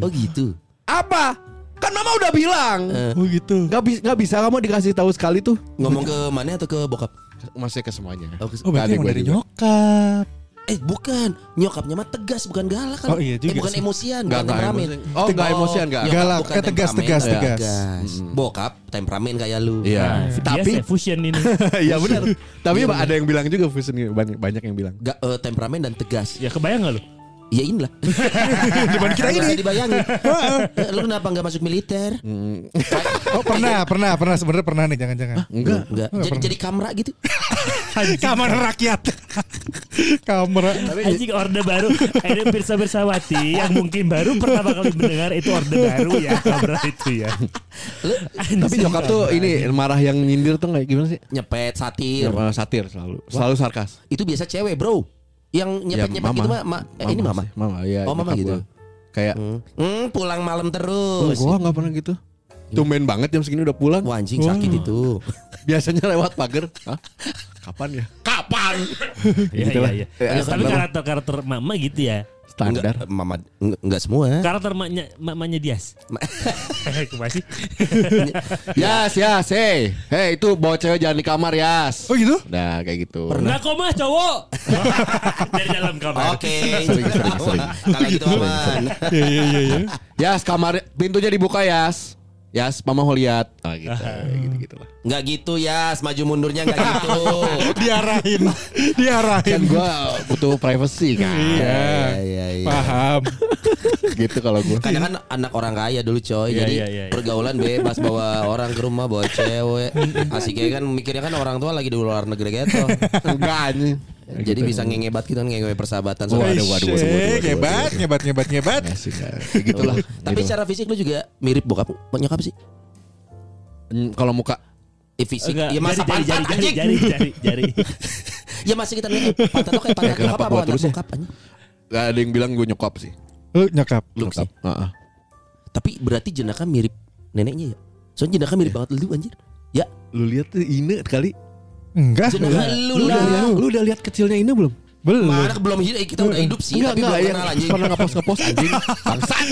Speaker 3: Oh gitu.
Speaker 5: Apa? Kan mama udah bilang.
Speaker 6: Oh gitu.
Speaker 5: Gak, bis- gak bisa kamu dikasih tahu sekali tuh.
Speaker 3: Ngomong ke mana atau ke bokap?
Speaker 5: Masih ke semuanya.
Speaker 3: Oh, ke-
Speaker 6: Oh
Speaker 5: Adik
Speaker 6: berarti emang
Speaker 5: gua
Speaker 6: dari
Speaker 5: juga.
Speaker 6: nyokap.
Speaker 3: Eh bukan, nyokapnya mah tegas bukan galak kan.
Speaker 6: Oh, iya juga
Speaker 3: eh, bukan
Speaker 6: sih.
Speaker 3: emosian,
Speaker 5: Nggak,
Speaker 3: bukan
Speaker 5: nggak
Speaker 3: temperamen.
Speaker 5: emosian. Oh, nggak emosian, nggak.
Speaker 3: nyokap
Speaker 6: Galak,
Speaker 3: bukan
Speaker 6: kayak tegas,
Speaker 3: temperamen,
Speaker 6: tegas,
Speaker 3: tapi
Speaker 6: tegas.
Speaker 3: Bokap temperamen kayak lu.
Speaker 5: Iya.
Speaker 4: Nah,
Speaker 5: Tapi
Speaker 4: biasa fusion ini.
Speaker 5: Iya benar. Tapi ada yang bilang juga Fusion banyak banyak yang bilang.
Speaker 3: Ga- eh, temperamen dan tegas.
Speaker 4: Ya kebayang gak lu?
Speaker 3: Ya inilah.
Speaker 6: Depan Iya. kita
Speaker 3: Nggak
Speaker 6: ini.
Speaker 3: bisa dibayangin. Eh, lu kenapa nggak masuk militer?
Speaker 5: Mm,
Speaker 6: Oh pernah, pernah, pernah sebenarnya pernah nih jangan-jangan.
Speaker 5: Enggak.
Speaker 3: Enggak. Jadi jadi kamera gitu.
Speaker 6: Kamar rakyat. Kamar.
Speaker 4: Anjing orde baru Ini Pirsa Bersawati Yang mungkin baru pertama kali mendengar Itu orde baru ya Kabar itu ya Anjing.
Speaker 5: Tapi nyokap tuh ini
Speaker 3: Iya.
Speaker 5: marah yang nyindir tuh kayak gimana sih?
Speaker 3: Nyepet, satir.
Speaker 5: Nyokap satir selalu. Selalu sarkas. Ya,
Speaker 3: Itu biasa cewek, Bro. Yang nyepet-nyepet
Speaker 5: mama.
Speaker 3: gitu mah ma- eh, ini mama.
Speaker 5: sih, Mama ya.
Speaker 3: Oh, mama
Speaker 5: nyokap
Speaker 3: gitu.
Speaker 5: gua. Kayak
Speaker 3: Hmm, pulang malam
Speaker 5: "Oh,
Speaker 3: terus.
Speaker 5: gua nggak pernah gitu. Tumben banget jam segini udah pulang.
Speaker 3: Iya. Wah anjing
Speaker 6: Oh.
Speaker 3: sakit itu.
Speaker 5: Biasanya lewat pagar. Hah? Kapan ya? Kapan?
Speaker 4: Iya,
Speaker 5: Gitu
Speaker 4: iya,
Speaker 5: lah.
Speaker 4: iya.
Speaker 5: Ya,
Speaker 4: Tapi
Speaker 5: standar.
Speaker 4: karakter karakter mama gitu ya.
Speaker 5: Standar.
Speaker 3: Enggak, mama enggak, enggak semua.
Speaker 4: Karakter mamanya mamanya Dias. Eh, Kenapa sih?
Speaker 5: Yas, Yas, hey. Hey, itu bawa cewek jangan di kamar, Yas.
Speaker 6: Oh gitu?
Speaker 5: Nah, kayak gitu.
Speaker 4: Enggak kok mah cowok. Dari dalam kamar.
Speaker 3: Oke.
Speaker 5: Sering, sering, sering.
Speaker 3: Kalau gitu aman.
Speaker 6: Iya iya iya. iya.
Speaker 5: Yas, kamar pintunya dibuka, Yas. Yas, mama mau lihat. Ah, gitu. Gitu-gitu lah.
Speaker 3: Enggak gitu ya, maju mundurnya enggak gitu.
Speaker 6: Diarahin,
Speaker 5: Kan
Speaker 6: diarahin.
Speaker 5: gua butuh privacy kan.
Speaker 6: Iya.
Speaker 3: iya, iya.
Speaker 6: Paham.
Speaker 5: gitu kalau gua.
Speaker 3: Kadang kan anak orang kaya dulu coy
Speaker 4: Iya,
Speaker 3: Jadi
Speaker 4: iya, iya, iya.
Speaker 3: pergaulan bebas Bawa orang ke rumah Bawa cewek Asiknya kan mikirnya kan orang tua lagi di luar negeri gitu
Speaker 5: Enggak anjing.
Speaker 3: Jadi bisa ngengebat gitu kan Ngengebat persahabatan
Speaker 5: Waduh,
Speaker 3: Soalnya
Speaker 5: waduh, waduh, waduh, waduh, waduh.
Speaker 6: Eh, Ngebat, ngebat, ngebat, ngebat.
Speaker 5: Ya, sih, ya. Kayak gitulah.
Speaker 3: Tapi
Speaker 5: Gitu.
Speaker 3: secara fisik lu juga mirip bokap Nyokap sih
Speaker 5: Hmm, kalau muka
Speaker 3: Eh, fisik
Speaker 4: Enggak,
Speaker 3: Ya masa
Speaker 4: jari, jari,
Speaker 3: pantat
Speaker 4: jari,
Speaker 3: anjing
Speaker 4: jari, jari, jari, jari.
Speaker 3: Ya masih kita lihat eh, Pantat lo kayak pantat
Speaker 5: Ya, kenapa
Speaker 3: nyokap apa
Speaker 5: gua
Speaker 3: pantat
Speaker 5: terus ya?
Speaker 3: bokap anjing
Speaker 5: Gak ada yang bilang gue nyokap sih.
Speaker 6: Lu nyokap.
Speaker 3: Looks
Speaker 5: Nyokap. Heeh.
Speaker 3: Tapi berarti jenaka mirip neneknya ya Soalnya jenaka mirip banget lu anjir Ya
Speaker 5: Lu lihat tuh Ine kali.
Speaker 6: Enggak.
Speaker 3: jenaka lu lah
Speaker 5: lu udah lihat kecilnya Ine belum?
Speaker 6: Belum.
Speaker 3: Mana belum hidup eh, kita udah hidup sih
Speaker 5: Enggak,
Speaker 3: tapi
Speaker 5: enggak,
Speaker 3: belum
Speaker 5: yang
Speaker 3: kenal Iya, anjing.
Speaker 5: pernah ngepost ngepost anjing. Bangsat.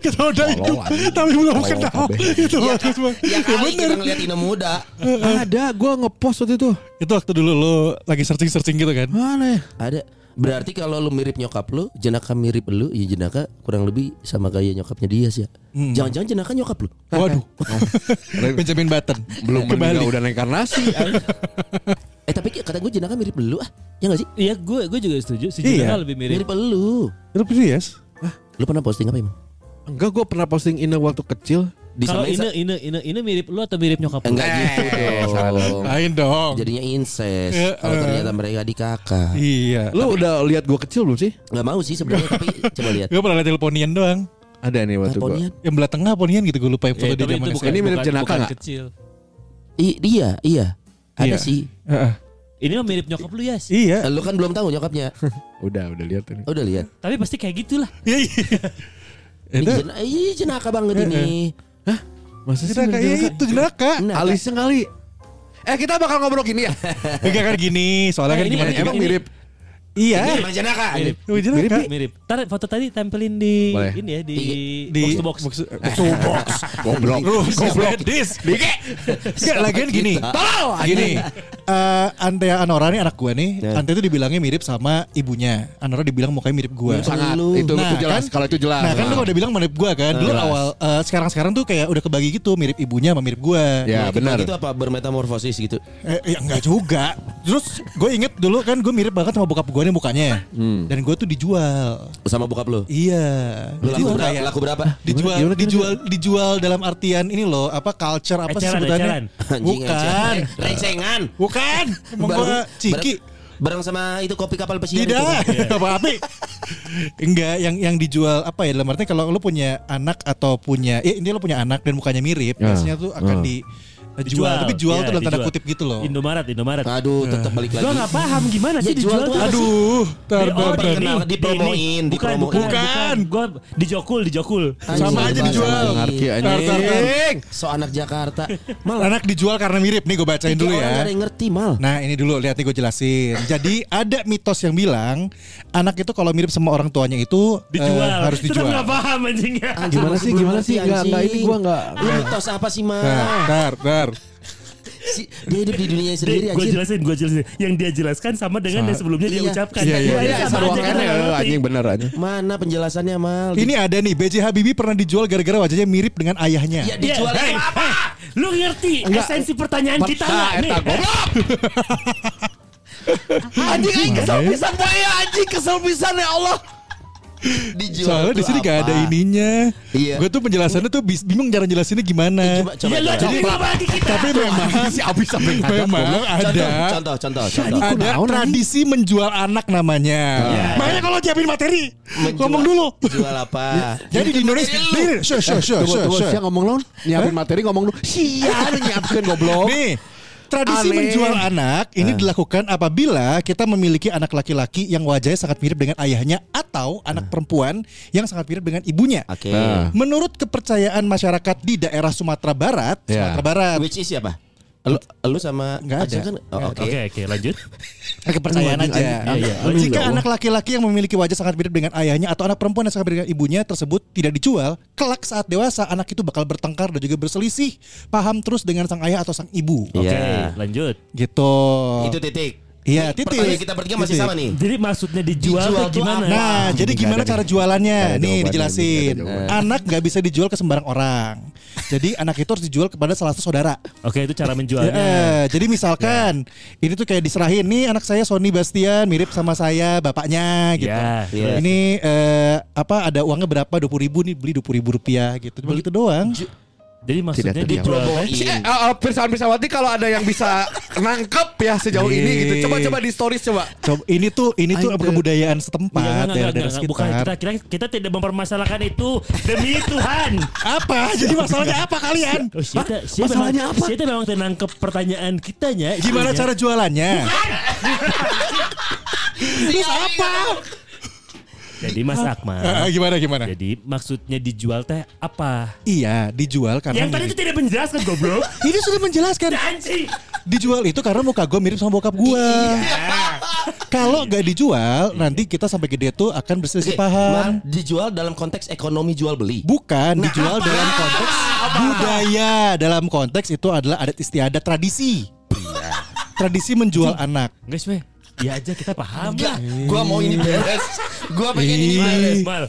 Speaker 6: Kita udah hidup,
Speaker 5: Tolol, anjing.
Speaker 6: tapi belum
Speaker 5: Tolol,
Speaker 6: kenal.
Speaker 5: kabeh.
Speaker 6: Itu
Speaker 3: Iya
Speaker 6: waktu semua.
Speaker 3: Ya
Speaker 6: Ya
Speaker 3: kali
Speaker 6: bener.
Speaker 3: kita ngeliat Ina muda.
Speaker 5: Ada, gue ngepost waktu itu.
Speaker 6: Itu waktu dulu lu lagi searching-searching gitu kan.
Speaker 5: Mana ya?
Speaker 3: Ada. Berarti kalau lu mirip nyokap lu, jenaka mirip lu, ya jenaka kurang lebih sama gaya nyokapnya dia sih ya. Jangan-jangan jenaka nyokap lu.
Speaker 6: Waduh. Benjamin Button.
Speaker 5: Belum
Speaker 6: kembali.
Speaker 5: meninggal udah reinkarnasi.
Speaker 3: Eh tapi kata gue jenaka mirip lu ah. Ya gak sih?
Speaker 4: Iya, gue gue juga setuju. Si
Speaker 6: Iya.
Speaker 4: Jenaka lebih mirip.
Speaker 3: Mirip lu.
Speaker 6: Lu pilih yes?
Speaker 3: Lu pernah posting apa emang?
Speaker 5: Enggak, gue pernah posting Ine waktu kecil.
Speaker 4: Kalau
Speaker 3: Disamain
Speaker 4: Ine,
Speaker 3: sa-
Speaker 4: Ine, Ine, Ine mirip lu atau mirip nyokap lu?
Speaker 3: Enggak gitu dong.
Speaker 6: Lain dong.
Speaker 3: Jadinya incest.
Speaker 6: Eh,
Speaker 3: Kalau
Speaker 6: eh.
Speaker 3: ternyata mereka adik kakak.
Speaker 6: Iya.
Speaker 5: Lu udah lihat gue kecil belum sih?
Speaker 3: Enggak mau sih sebenarnya tapi coba lihat.
Speaker 6: Gue pernah liat teleponian doang.
Speaker 5: Ada nih waktu gue.
Speaker 3: Teleponnya.
Speaker 6: Yang belah tengah ponian gitu gue lupa yang
Speaker 4: Eh,
Speaker 6: foto di
Speaker 4: tapi
Speaker 6: zaman
Speaker 4: itu
Speaker 6: SMA.
Speaker 4: bukan,
Speaker 5: Ini mirip
Speaker 4: bukan-
Speaker 5: jenaka
Speaker 4: bukan
Speaker 5: nggak?
Speaker 4: kecil.
Speaker 3: I- Iya, iya. Ada
Speaker 6: Iya.
Speaker 3: sih.
Speaker 6: Heeh.
Speaker 4: Ini mah mirip nyokap lu ya sih.
Speaker 6: Iya.
Speaker 3: Eh, Lu kan belum tahu nyokapnya.
Speaker 5: Udah, udah lihat ini.
Speaker 3: Udah lihat.
Speaker 4: Tapi pasti kayak gitu gitulah.
Speaker 6: Iya, iya.
Speaker 3: Ini
Speaker 6: Itu- Eh,
Speaker 3: jen- Ih, jenaka banget ini.
Speaker 5: Masa sih?
Speaker 6: Jenaka, iya, itu jenaka.
Speaker 3: Nah,
Speaker 5: Alisnya
Speaker 6: kan.
Speaker 5: kali. Eh, kita bakal ngobrol gini ya.
Speaker 6: Enggak kan gini, soalnya
Speaker 4: Nah,
Speaker 6: kan
Speaker 4: ini
Speaker 6: gimana-
Speaker 4: mirip-
Speaker 5: Eh, Emang
Speaker 4: ini-
Speaker 5: mirip.
Speaker 6: Iya.
Speaker 3: Emang jenaka.
Speaker 4: Mirip.
Speaker 6: Lu jenaka.
Speaker 4: Mirip. mirip. Tar foto tadi tempelin di
Speaker 5: Boleh.
Speaker 4: ini ya di,
Speaker 6: Di
Speaker 4: box to box.
Speaker 6: box to box.
Speaker 5: Goblok.
Speaker 6: Lu goblok dis. Enggak lagian gini.
Speaker 3: Tolol.
Speaker 6: Gini, eh Ante Anora nih anak gue nih.
Speaker 5: Ya.
Speaker 6: Ante itu dibilangnya mirip sama ibunya. Anora dibilang mukanya mirip gue.
Speaker 5: Sangat.
Speaker 3: Lu.
Speaker 5: Itu, itu
Speaker 6: Nah,
Speaker 5: jelas.
Speaker 6: kan-
Speaker 5: Kalau itu jelas. Iya,
Speaker 6: Nah kan lu udah bilang mirip gue kan. Dulu
Speaker 5: Jelas.
Speaker 6: awal eh, sekarang-sekarang tuh kayak udah kebagi gitu mirip ibunya sama mirip gue.
Speaker 5: Ya, benar.
Speaker 6: Iya, gitu.
Speaker 3: Itu Nah, gitu, apa bermetamorfosis gitu.
Speaker 6: Eh, ya enggak juga. Terus gue inget dulu kan gue mirip banget sama bokap gue nih mukanya.
Speaker 5: Hmm.
Speaker 6: Dan gue tuh dijual.
Speaker 3: Sama bokap lu.
Speaker 6: Iya.
Speaker 3: Lu
Speaker 6: ya?
Speaker 3: laku
Speaker 6: Jadi orang
Speaker 3: berapa?
Speaker 6: kaya.
Speaker 3: Laku berapa?
Speaker 6: dijual dijual dijual dalam artian ini loh apa culture apa sih
Speaker 4: Eceran,
Speaker 6: sebutannya
Speaker 4: eceran.
Speaker 3: Anjing,
Speaker 6: bukan
Speaker 3: anjing. Rencengan.
Speaker 6: bukan emang
Speaker 3: Bareng-
Speaker 6: gua
Speaker 4: Iya,
Speaker 6: ciki
Speaker 3: bareng- Bareng sama itu kopi kapal pesiar itu. kan?
Speaker 6: tidak apa apa enggak yang yang dijual apa ya dalam artian kalau lo punya anak atau punya ya ini lo punya anak dan mukanya mirip
Speaker 5: Ya.
Speaker 6: biasanya tuh akan di dijual tapi jual
Speaker 4: Iya,
Speaker 6: tuh dalam tanda
Speaker 4: dijual.
Speaker 6: kutip gitu loh
Speaker 4: Indomaret, Indomaret.
Speaker 6: Eh.
Speaker 3: Aduh, tetap balik Ah, lagi.
Speaker 4: Gua nggak paham gimana sih
Speaker 3: Ya, jual
Speaker 4: dijual
Speaker 3: tuh
Speaker 4: tuh.
Speaker 3: apa
Speaker 4: Aduh.
Speaker 6: aduh tar,
Speaker 4: Oh,
Speaker 3: di-
Speaker 6: tar,
Speaker 4: ini,
Speaker 6: tar.
Speaker 3: Dikenal,
Speaker 4: ini.
Speaker 3: dipromoin,
Speaker 4: bukan,
Speaker 3: dipromoin.
Speaker 4: bukan, Gua dijokul, dijokul.
Speaker 3: Anjing,
Speaker 6: Sama aja
Speaker 3: bahasa
Speaker 6: dijual.
Speaker 3: Bali.
Speaker 5: Ngerti aja.
Speaker 6: Tar, tar, tar.
Speaker 3: So anak Jakarta. Mal,
Speaker 6: anak dijual karena mirip nih gue
Speaker 5: Iya,
Speaker 6: bacain
Speaker 3: tiga
Speaker 5: oh,
Speaker 6: dulu
Speaker 3: orang
Speaker 6: ya
Speaker 3: ada yang ngerti mal.
Speaker 6: Nah ini dulu lihat nih gue jelasin. Jadi ada mitos yang bilang anak itu kalau mirip sama orang tuanya itu eh,
Speaker 4: Dijual.
Speaker 6: harus dijual.
Speaker 4: Tetap nggak paham ya. anjingnya.
Speaker 3: Anjing,
Speaker 5: Gimana
Speaker 3: masih
Speaker 5: sih,
Speaker 3: belum
Speaker 5: gimana
Speaker 3: ngerti,
Speaker 5: sih? Nggak,
Speaker 3: anjing.
Speaker 5: nggak, ini gua nggak-
Speaker 3: Lu mitos apa sih mal?
Speaker 6: Nah, tar, tar.
Speaker 3: Si- dia hidup di dunia
Speaker 4: Dek,
Speaker 3: sendiri
Speaker 4: gua
Speaker 3: anjing.
Speaker 4: jelasin, gua jelasin. Yang dia jelaskan sama dengan yang sebelumnya dia
Speaker 3: Iya.
Speaker 4: ucapkan.
Speaker 6: Iya,
Speaker 4: Dua ini
Speaker 6: iya, iya.
Speaker 4: sama aja, kita
Speaker 5: Saruangannya
Speaker 4: nggak
Speaker 5: lu,
Speaker 4: ngerti.
Speaker 5: eh, anjing bener anjing.
Speaker 3: Mana penjelasannya mal?
Speaker 6: Ini ada nih BJ Habibie pernah dijual gara-gara wajahnya mirip dengan ayahnya.
Speaker 3: ya
Speaker 4: Iya,
Speaker 3: dijual
Speaker 4: hey,
Speaker 3: itu apa?
Speaker 4: hey, Lu ngerti
Speaker 5: Enggak.
Speaker 4: esensi pertanyaan kita
Speaker 5: Nah,
Speaker 4: nggak nih?
Speaker 5: eta goblok. Anjing aing kesel pisan poe anjing kesel pisan ya Allah.
Speaker 3: Dijual.
Speaker 6: Soalnya di
Speaker 3: itu
Speaker 6: sini gak
Speaker 3: apa?
Speaker 6: ada ininya.
Speaker 3: Iya.
Speaker 6: Gue tuh penjelasannya tuh bis- bingung cara jelasinnya
Speaker 3: Coba
Speaker 6: gimana.
Speaker 3: coba.
Speaker 4: Ya lu
Speaker 3: coba.
Speaker 4: jadi apa lagi kita?
Speaker 6: Tapi memang
Speaker 5: Si abis sampai kagak.
Speaker 6: memang
Speaker 3: Contoh,
Speaker 6: ada
Speaker 3: contoh, contoh, contoh.
Speaker 6: ada
Speaker 5: Kunaon,
Speaker 6: tradisi menjual anak namanya. Makanya kalau siapin materi
Speaker 3: Menjual-
Speaker 6: ngomong dulu. Iya.
Speaker 3: Jual apa?
Speaker 6: Jadi di Indonesia, Nih, sure, sure, sure,
Speaker 5: Tunggu,
Speaker 6: sure,
Speaker 5: tunggu,
Speaker 6: sure.
Speaker 5: Sia ngomong lawan Nyiapin materi ngomong lu Sia lu nyiapin goblok
Speaker 6: Nih Tradisi
Speaker 5: Aneh.
Speaker 6: menjual anak ini dilakukan apabila kita memiliki anak laki-laki yang wajahnya sangat mirip dengan ayahnya atau anak perempuan yang sangat mirip dengan ibunya.
Speaker 3: Oke.
Speaker 5: Nah.
Speaker 6: Menurut kepercayaan masyarakat di daerah Sumatera Barat,
Speaker 5: Ya.
Speaker 6: Sumatera Barat,
Speaker 3: Which is siapa? Lu, lu sama
Speaker 6: Nggak ada.
Speaker 3: Ajeng kan? Oh, Oke.
Speaker 4: Oke oke lanjut.
Speaker 6: kepercayaan aja.
Speaker 4: Iya, iya.
Speaker 3: Aduh,
Speaker 6: Jika
Speaker 3: ya Allah.
Speaker 6: anak laki-laki yang memiliki wajah sangat mirip dengan ayahnya atau anak perempuan yang sangat mirip dengan ibunya tersebut tidak dijual, kelak saat dewasa anak itu bakal bertengkar dan juga berselisih paham terus dengan sang ayah atau sang ibu.
Speaker 3: Iya.
Speaker 4: Oke lanjut.
Speaker 6: Gitu.
Speaker 3: Itu titik.
Speaker 6: Iya,
Speaker 3: Nih,
Speaker 6: titik.
Speaker 3: Pertanyaan kita bertiga masih
Speaker 6: Titik.
Speaker 3: sama nih.
Speaker 4: Jadi maksudnya dijual,
Speaker 3: Dijual
Speaker 4: tuh
Speaker 3: tuh
Speaker 4: gimana?
Speaker 3: apa?
Speaker 6: Nah, jadi
Speaker 5: Nggak
Speaker 6: gimana
Speaker 5: ada nih.
Speaker 6: cara
Speaker 5: Nggak
Speaker 6: jualannya?
Speaker 5: ada
Speaker 6: Nih
Speaker 5: jawabannya,
Speaker 6: dijelasin.
Speaker 5: nggak ada jawabannya.
Speaker 6: Anak nggak bisa dijual ke sembarang orang. Jadi anak itu harus dijual kepada salah satu saudara.
Speaker 4: Oke itu cara menjualnya.
Speaker 6: Eh, jadi misalkan ini tuh kayak diserahin nih anak saya Sony Bastian mirip sama saya bapaknya gitu.
Speaker 4: Ya,
Speaker 3: ya.
Speaker 2: Iya.
Speaker 6: Ini eh, apa ada uangnya berapa? 20 ribu nih beli 20 ribu rupiah gitu. Cuma gitu doang.
Speaker 4: Jadi maksudnya Iya,
Speaker 5: terjawab.
Speaker 4: dijual.
Speaker 3: Iya,
Speaker 5: Si, eh, eh, Pirsawan Pirsawati kalau ada yang bisa nangkep ya sejauh ini gitu. Coba-coba di stories coba.
Speaker 6: Coba ini tuh ini tuh
Speaker 5: Aduh.
Speaker 6: kebudayaan
Speaker 4: Enggak,
Speaker 6: setempat
Speaker 4: enggak, enggak,
Speaker 6: daerah-daerah
Speaker 4: enggak, bukan
Speaker 6: sekitar.
Speaker 4: kita, kita kita tidak mempermasalahkan itu demi Tuhan.
Speaker 5: Ya.
Speaker 6: Apa?
Speaker 5: Ah,
Speaker 6: Jadi masalahnya apa kalian?
Speaker 4: Oh, siapa, siapa
Speaker 5: Masalahnya
Speaker 4: memang,
Speaker 5: apa?
Speaker 4: Siapa memang tenangkep pertanyaan kitanya. Iya.
Speaker 6: Gimana
Speaker 4: itunya.
Speaker 6: cara jualannya? Terus apa?
Speaker 4: Jadi Mas Akmal.
Speaker 5: Ah,
Speaker 6: Eh, gimana gimana?
Speaker 4: Jadi maksudnya dijual teh apa?
Speaker 6: Iya, dijual karena
Speaker 4: Yang tadi Ya. itu
Speaker 6: mirip.
Speaker 4: tidak menjelaskan goblok.
Speaker 6: Ini sudah menjelaskan.
Speaker 4: Anjing.
Speaker 6: Dijual itu karena muka gue mirip sama bokap gue.
Speaker 4: Iya.
Speaker 6: Kalau gak dijual,
Speaker 5: Iya.
Speaker 6: nanti kita sampai gede tuh akan berselisih
Speaker 3: Oke,
Speaker 6: paham.
Speaker 3: nah, dijual dalam konteks ekonomi jual beli.
Speaker 6: Bukan dijual dalam konteks budaya. Dalam konteks itu adalah adat istiadat tradisi. Tradisi menjual anak.
Speaker 4: Guys, weh. Ya aja kita paham
Speaker 3: Enggak,
Speaker 4: lah.
Speaker 3: gua mau ini
Speaker 6: Iya.
Speaker 3: beres. Gua pengen ini
Speaker 4: Males,
Speaker 3: beres.
Speaker 4: mal.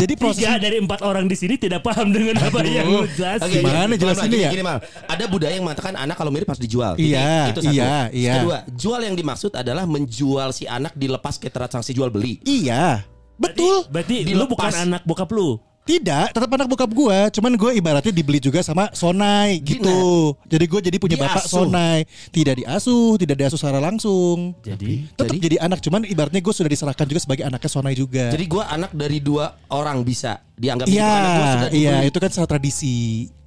Speaker 6: Jadi proses
Speaker 4: Tiga dari empat orang di sini tidak paham dengan apa yang lu jelasin.
Speaker 3: Oke,
Speaker 6: Gimana
Speaker 3: gini,
Speaker 6: jelasinnya
Speaker 3: gini,
Speaker 6: ya?
Speaker 3: gini, Mal. Ada budaya yang mengatakan anak kalau mirip harus dijual.
Speaker 6: Iya,
Speaker 3: Titik. itu satu.
Speaker 6: iya, iya.
Speaker 3: Kedua, jual yang dimaksud adalah menjual si anak dilepas ke transaksi jual beli.
Speaker 6: iya. Betul.
Speaker 4: Berarti lu
Speaker 3: Dilepas.
Speaker 4: bukan anak bokap lu.
Speaker 6: Tidak, tetap anak bokap gua, cuman gua ibaratnya dibeli juga sama Sonai gitu. Jadi gua jadi punya bapak
Speaker 3: Diasuh.
Speaker 6: Sonai, tidak diasuh, tidak diasuh secara langsung.
Speaker 4: Jadi
Speaker 6: Tetap jadi, anak, cuman ibaratnya gue sudah diserahkan juga sebagai anaknya Sonai juga.
Speaker 3: Jadi gua anak dari dua orang bisa dianggap itu
Speaker 6: Iya,
Speaker 3: anak gua sudah
Speaker 6: iya
Speaker 3: dibeli.
Speaker 6: itu kan secara tradisi.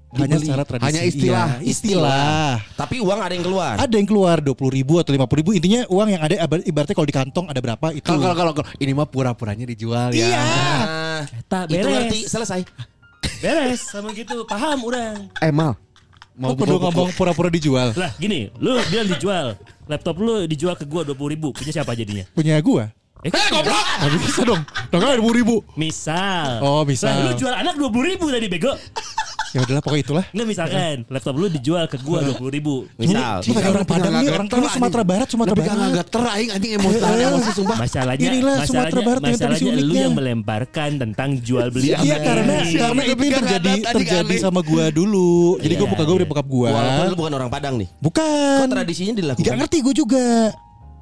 Speaker 6: Hanya
Speaker 5: Dibeli.
Speaker 6: secara tradisi.
Speaker 5: Hanya istilah.
Speaker 6: iya. istilah.
Speaker 3: Tapi uang ada yang keluar.
Speaker 6: Ada yang keluar 20 ribu atau 50 ribu Intinya uang yang ada ibar- ibaratnya kalau di kantong ada berapa itu
Speaker 5: Kalau kalau kalau kalau- ini mah pura-puranya dijual ya.
Speaker 6: Iya
Speaker 3: Nah,
Speaker 4: Tak
Speaker 3: itu
Speaker 4: beres.
Speaker 3: ngerti selesai.
Speaker 4: beres sama gitu. Paham udah.
Speaker 5: Eh Mal. Mau
Speaker 6: Lo perlu
Speaker 5: buka buku?
Speaker 6: ngomong pura-pura dijual
Speaker 4: Lah gini, lu bilang dijual. Laptop lu dijual ke gua 20 ribu. Punya siapa jadinya?
Speaker 6: Punya gua
Speaker 4: Eh, goblok.
Speaker 6: Gak bisa dong Dong kan 20 ribu
Speaker 4: Misal.
Speaker 6: Oh,
Speaker 4: Lah, lu
Speaker 6: misal.
Speaker 4: jual anak 20 ribu tadi bego.
Speaker 6: Ya udahlah pokoknya itulah
Speaker 4: Enggak misalkan laptop lu dijual ke gua 20 ribu.
Speaker 3: Misal.
Speaker 6: Ini kayak orang Padang nih, orang Padang Sumatera Barat, Sumatera
Speaker 5: Tapi
Speaker 6: Barat.
Speaker 5: kagak teraing anjing emosi emosi sumpah.
Speaker 6: Iya,
Speaker 4: Masalahnya,
Speaker 6: Inilah Sumatera
Speaker 4: masalahnya,
Speaker 6: Barat yang tadi
Speaker 4: masalahnya lu
Speaker 6: uniknya.
Speaker 4: yang melemparkan tentang jual beli.
Speaker 6: Iya karena
Speaker 5: Siapa
Speaker 6: karena
Speaker 5: yang
Speaker 6: itu yang
Speaker 5: bikin
Speaker 6: terjadi
Speaker 5: adat anjing
Speaker 6: terjadi
Speaker 5: aneh?
Speaker 6: sama gua dulu. Jadi gua
Speaker 4: Iya,
Speaker 6: buka gua
Speaker 4: iya.
Speaker 6: udah bokap gua.
Speaker 3: Walaupun lu bukan orang Padang nih.
Speaker 6: Bukan. Oh.
Speaker 3: Kok tradisinya
Speaker 6: Gak
Speaker 3: dilakukan?
Speaker 6: Kan.
Speaker 3: gitu?
Speaker 6: ngerti gua juga.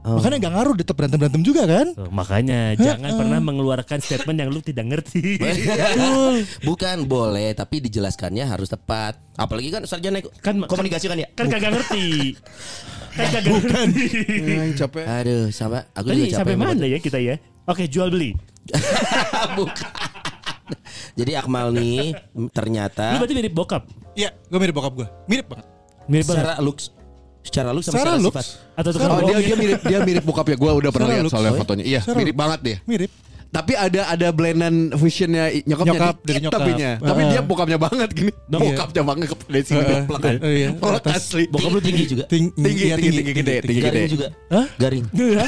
Speaker 6: Makanya gak ngaruh tetap berantem berantem juga kan?
Speaker 4: Tuh, Gitu. makanya jangan pernah mengeluarkan statement yang lu tidak ngerti.
Speaker 3: Bukan boleh, tapi dijelaskannya harus tepat. Apalagi kan sarjana
Speaker 4: Kan-
Speaker 3: kan komunikasi kan ya.
Speaker 4: kan kagak ngerti. Kan kagak ngerti.
Speaker 5: Ay, capek.
Speaker 3: Aduh, sama aku
Speaker 4: Tadi
Speaker 3: juga capek.
Speaker 4: sampai
Speaker 3: banget.
Speaker 4: mana ya kita ya? Oke, jual beli.
Speaker 3: Bukan. Jadi Akmal nih
Speaker 4: Lu
Speaker 3: ternyata
Speaker 4: berarti mirip bokap.
Speaker 6: Iya, gua mirip bokap gua. Mirip banget.
Speaker 4: Mirip banget.
Speaker 3: secara looks secara looks sama
Speaker 6: Secara
Speaker 3: secara
Speaker 6: looks.
Speaker 3: sifat.
Speaker 4: Atau tukang
Speaker 5: Oh, dia
Speaker 4: bohong.
Speaker 5: dia mirip dia mirip bokapnya gue udah pernah
Speaker 6: Sarah
Speaker 5: lihat
Speaker 6: looks.
Speaker 5: soalnya
Speaker 6: Oh,
Speaker 5: fotonya. Iya,
Speaker 6: Sarah
Speaker 5: mirip
Speaker 6: looks.
Speaker 5: banget dia.
Speaker 6: Mirip.
Speaker 5: Tapi ada ada blendan fusionnya i- nyokapnya
Speaker 6: Nyokap, dari
Speaker 5: dikit
Speaker 6: nyokap. Ah.
Speaker 5: tapinya. Tapi
Speaker 6: Heeh.
Speaker 5: dia bokapnya banget gini.
Speaker 6: Dong.
Speaker 5: Bokapnya banget ke dari sini
Speaker 6: Heeh.
Speaker 5: plek.
Speaker 6: Oh, iya.
Speaker 5: Plek asli.
Speaker 3: Bokap lu tinggi juga.
Speaker 6: Ting-
Speaker 5: Tinggi,
Speaker 6: iya,
Speaker 5: tinggi, tinggi, gede, tinggi, gede.
Speaker 3: Garing juga.
Speaker 6: Hah?
Speaker 3: Garing.
Speaker 6: Iya.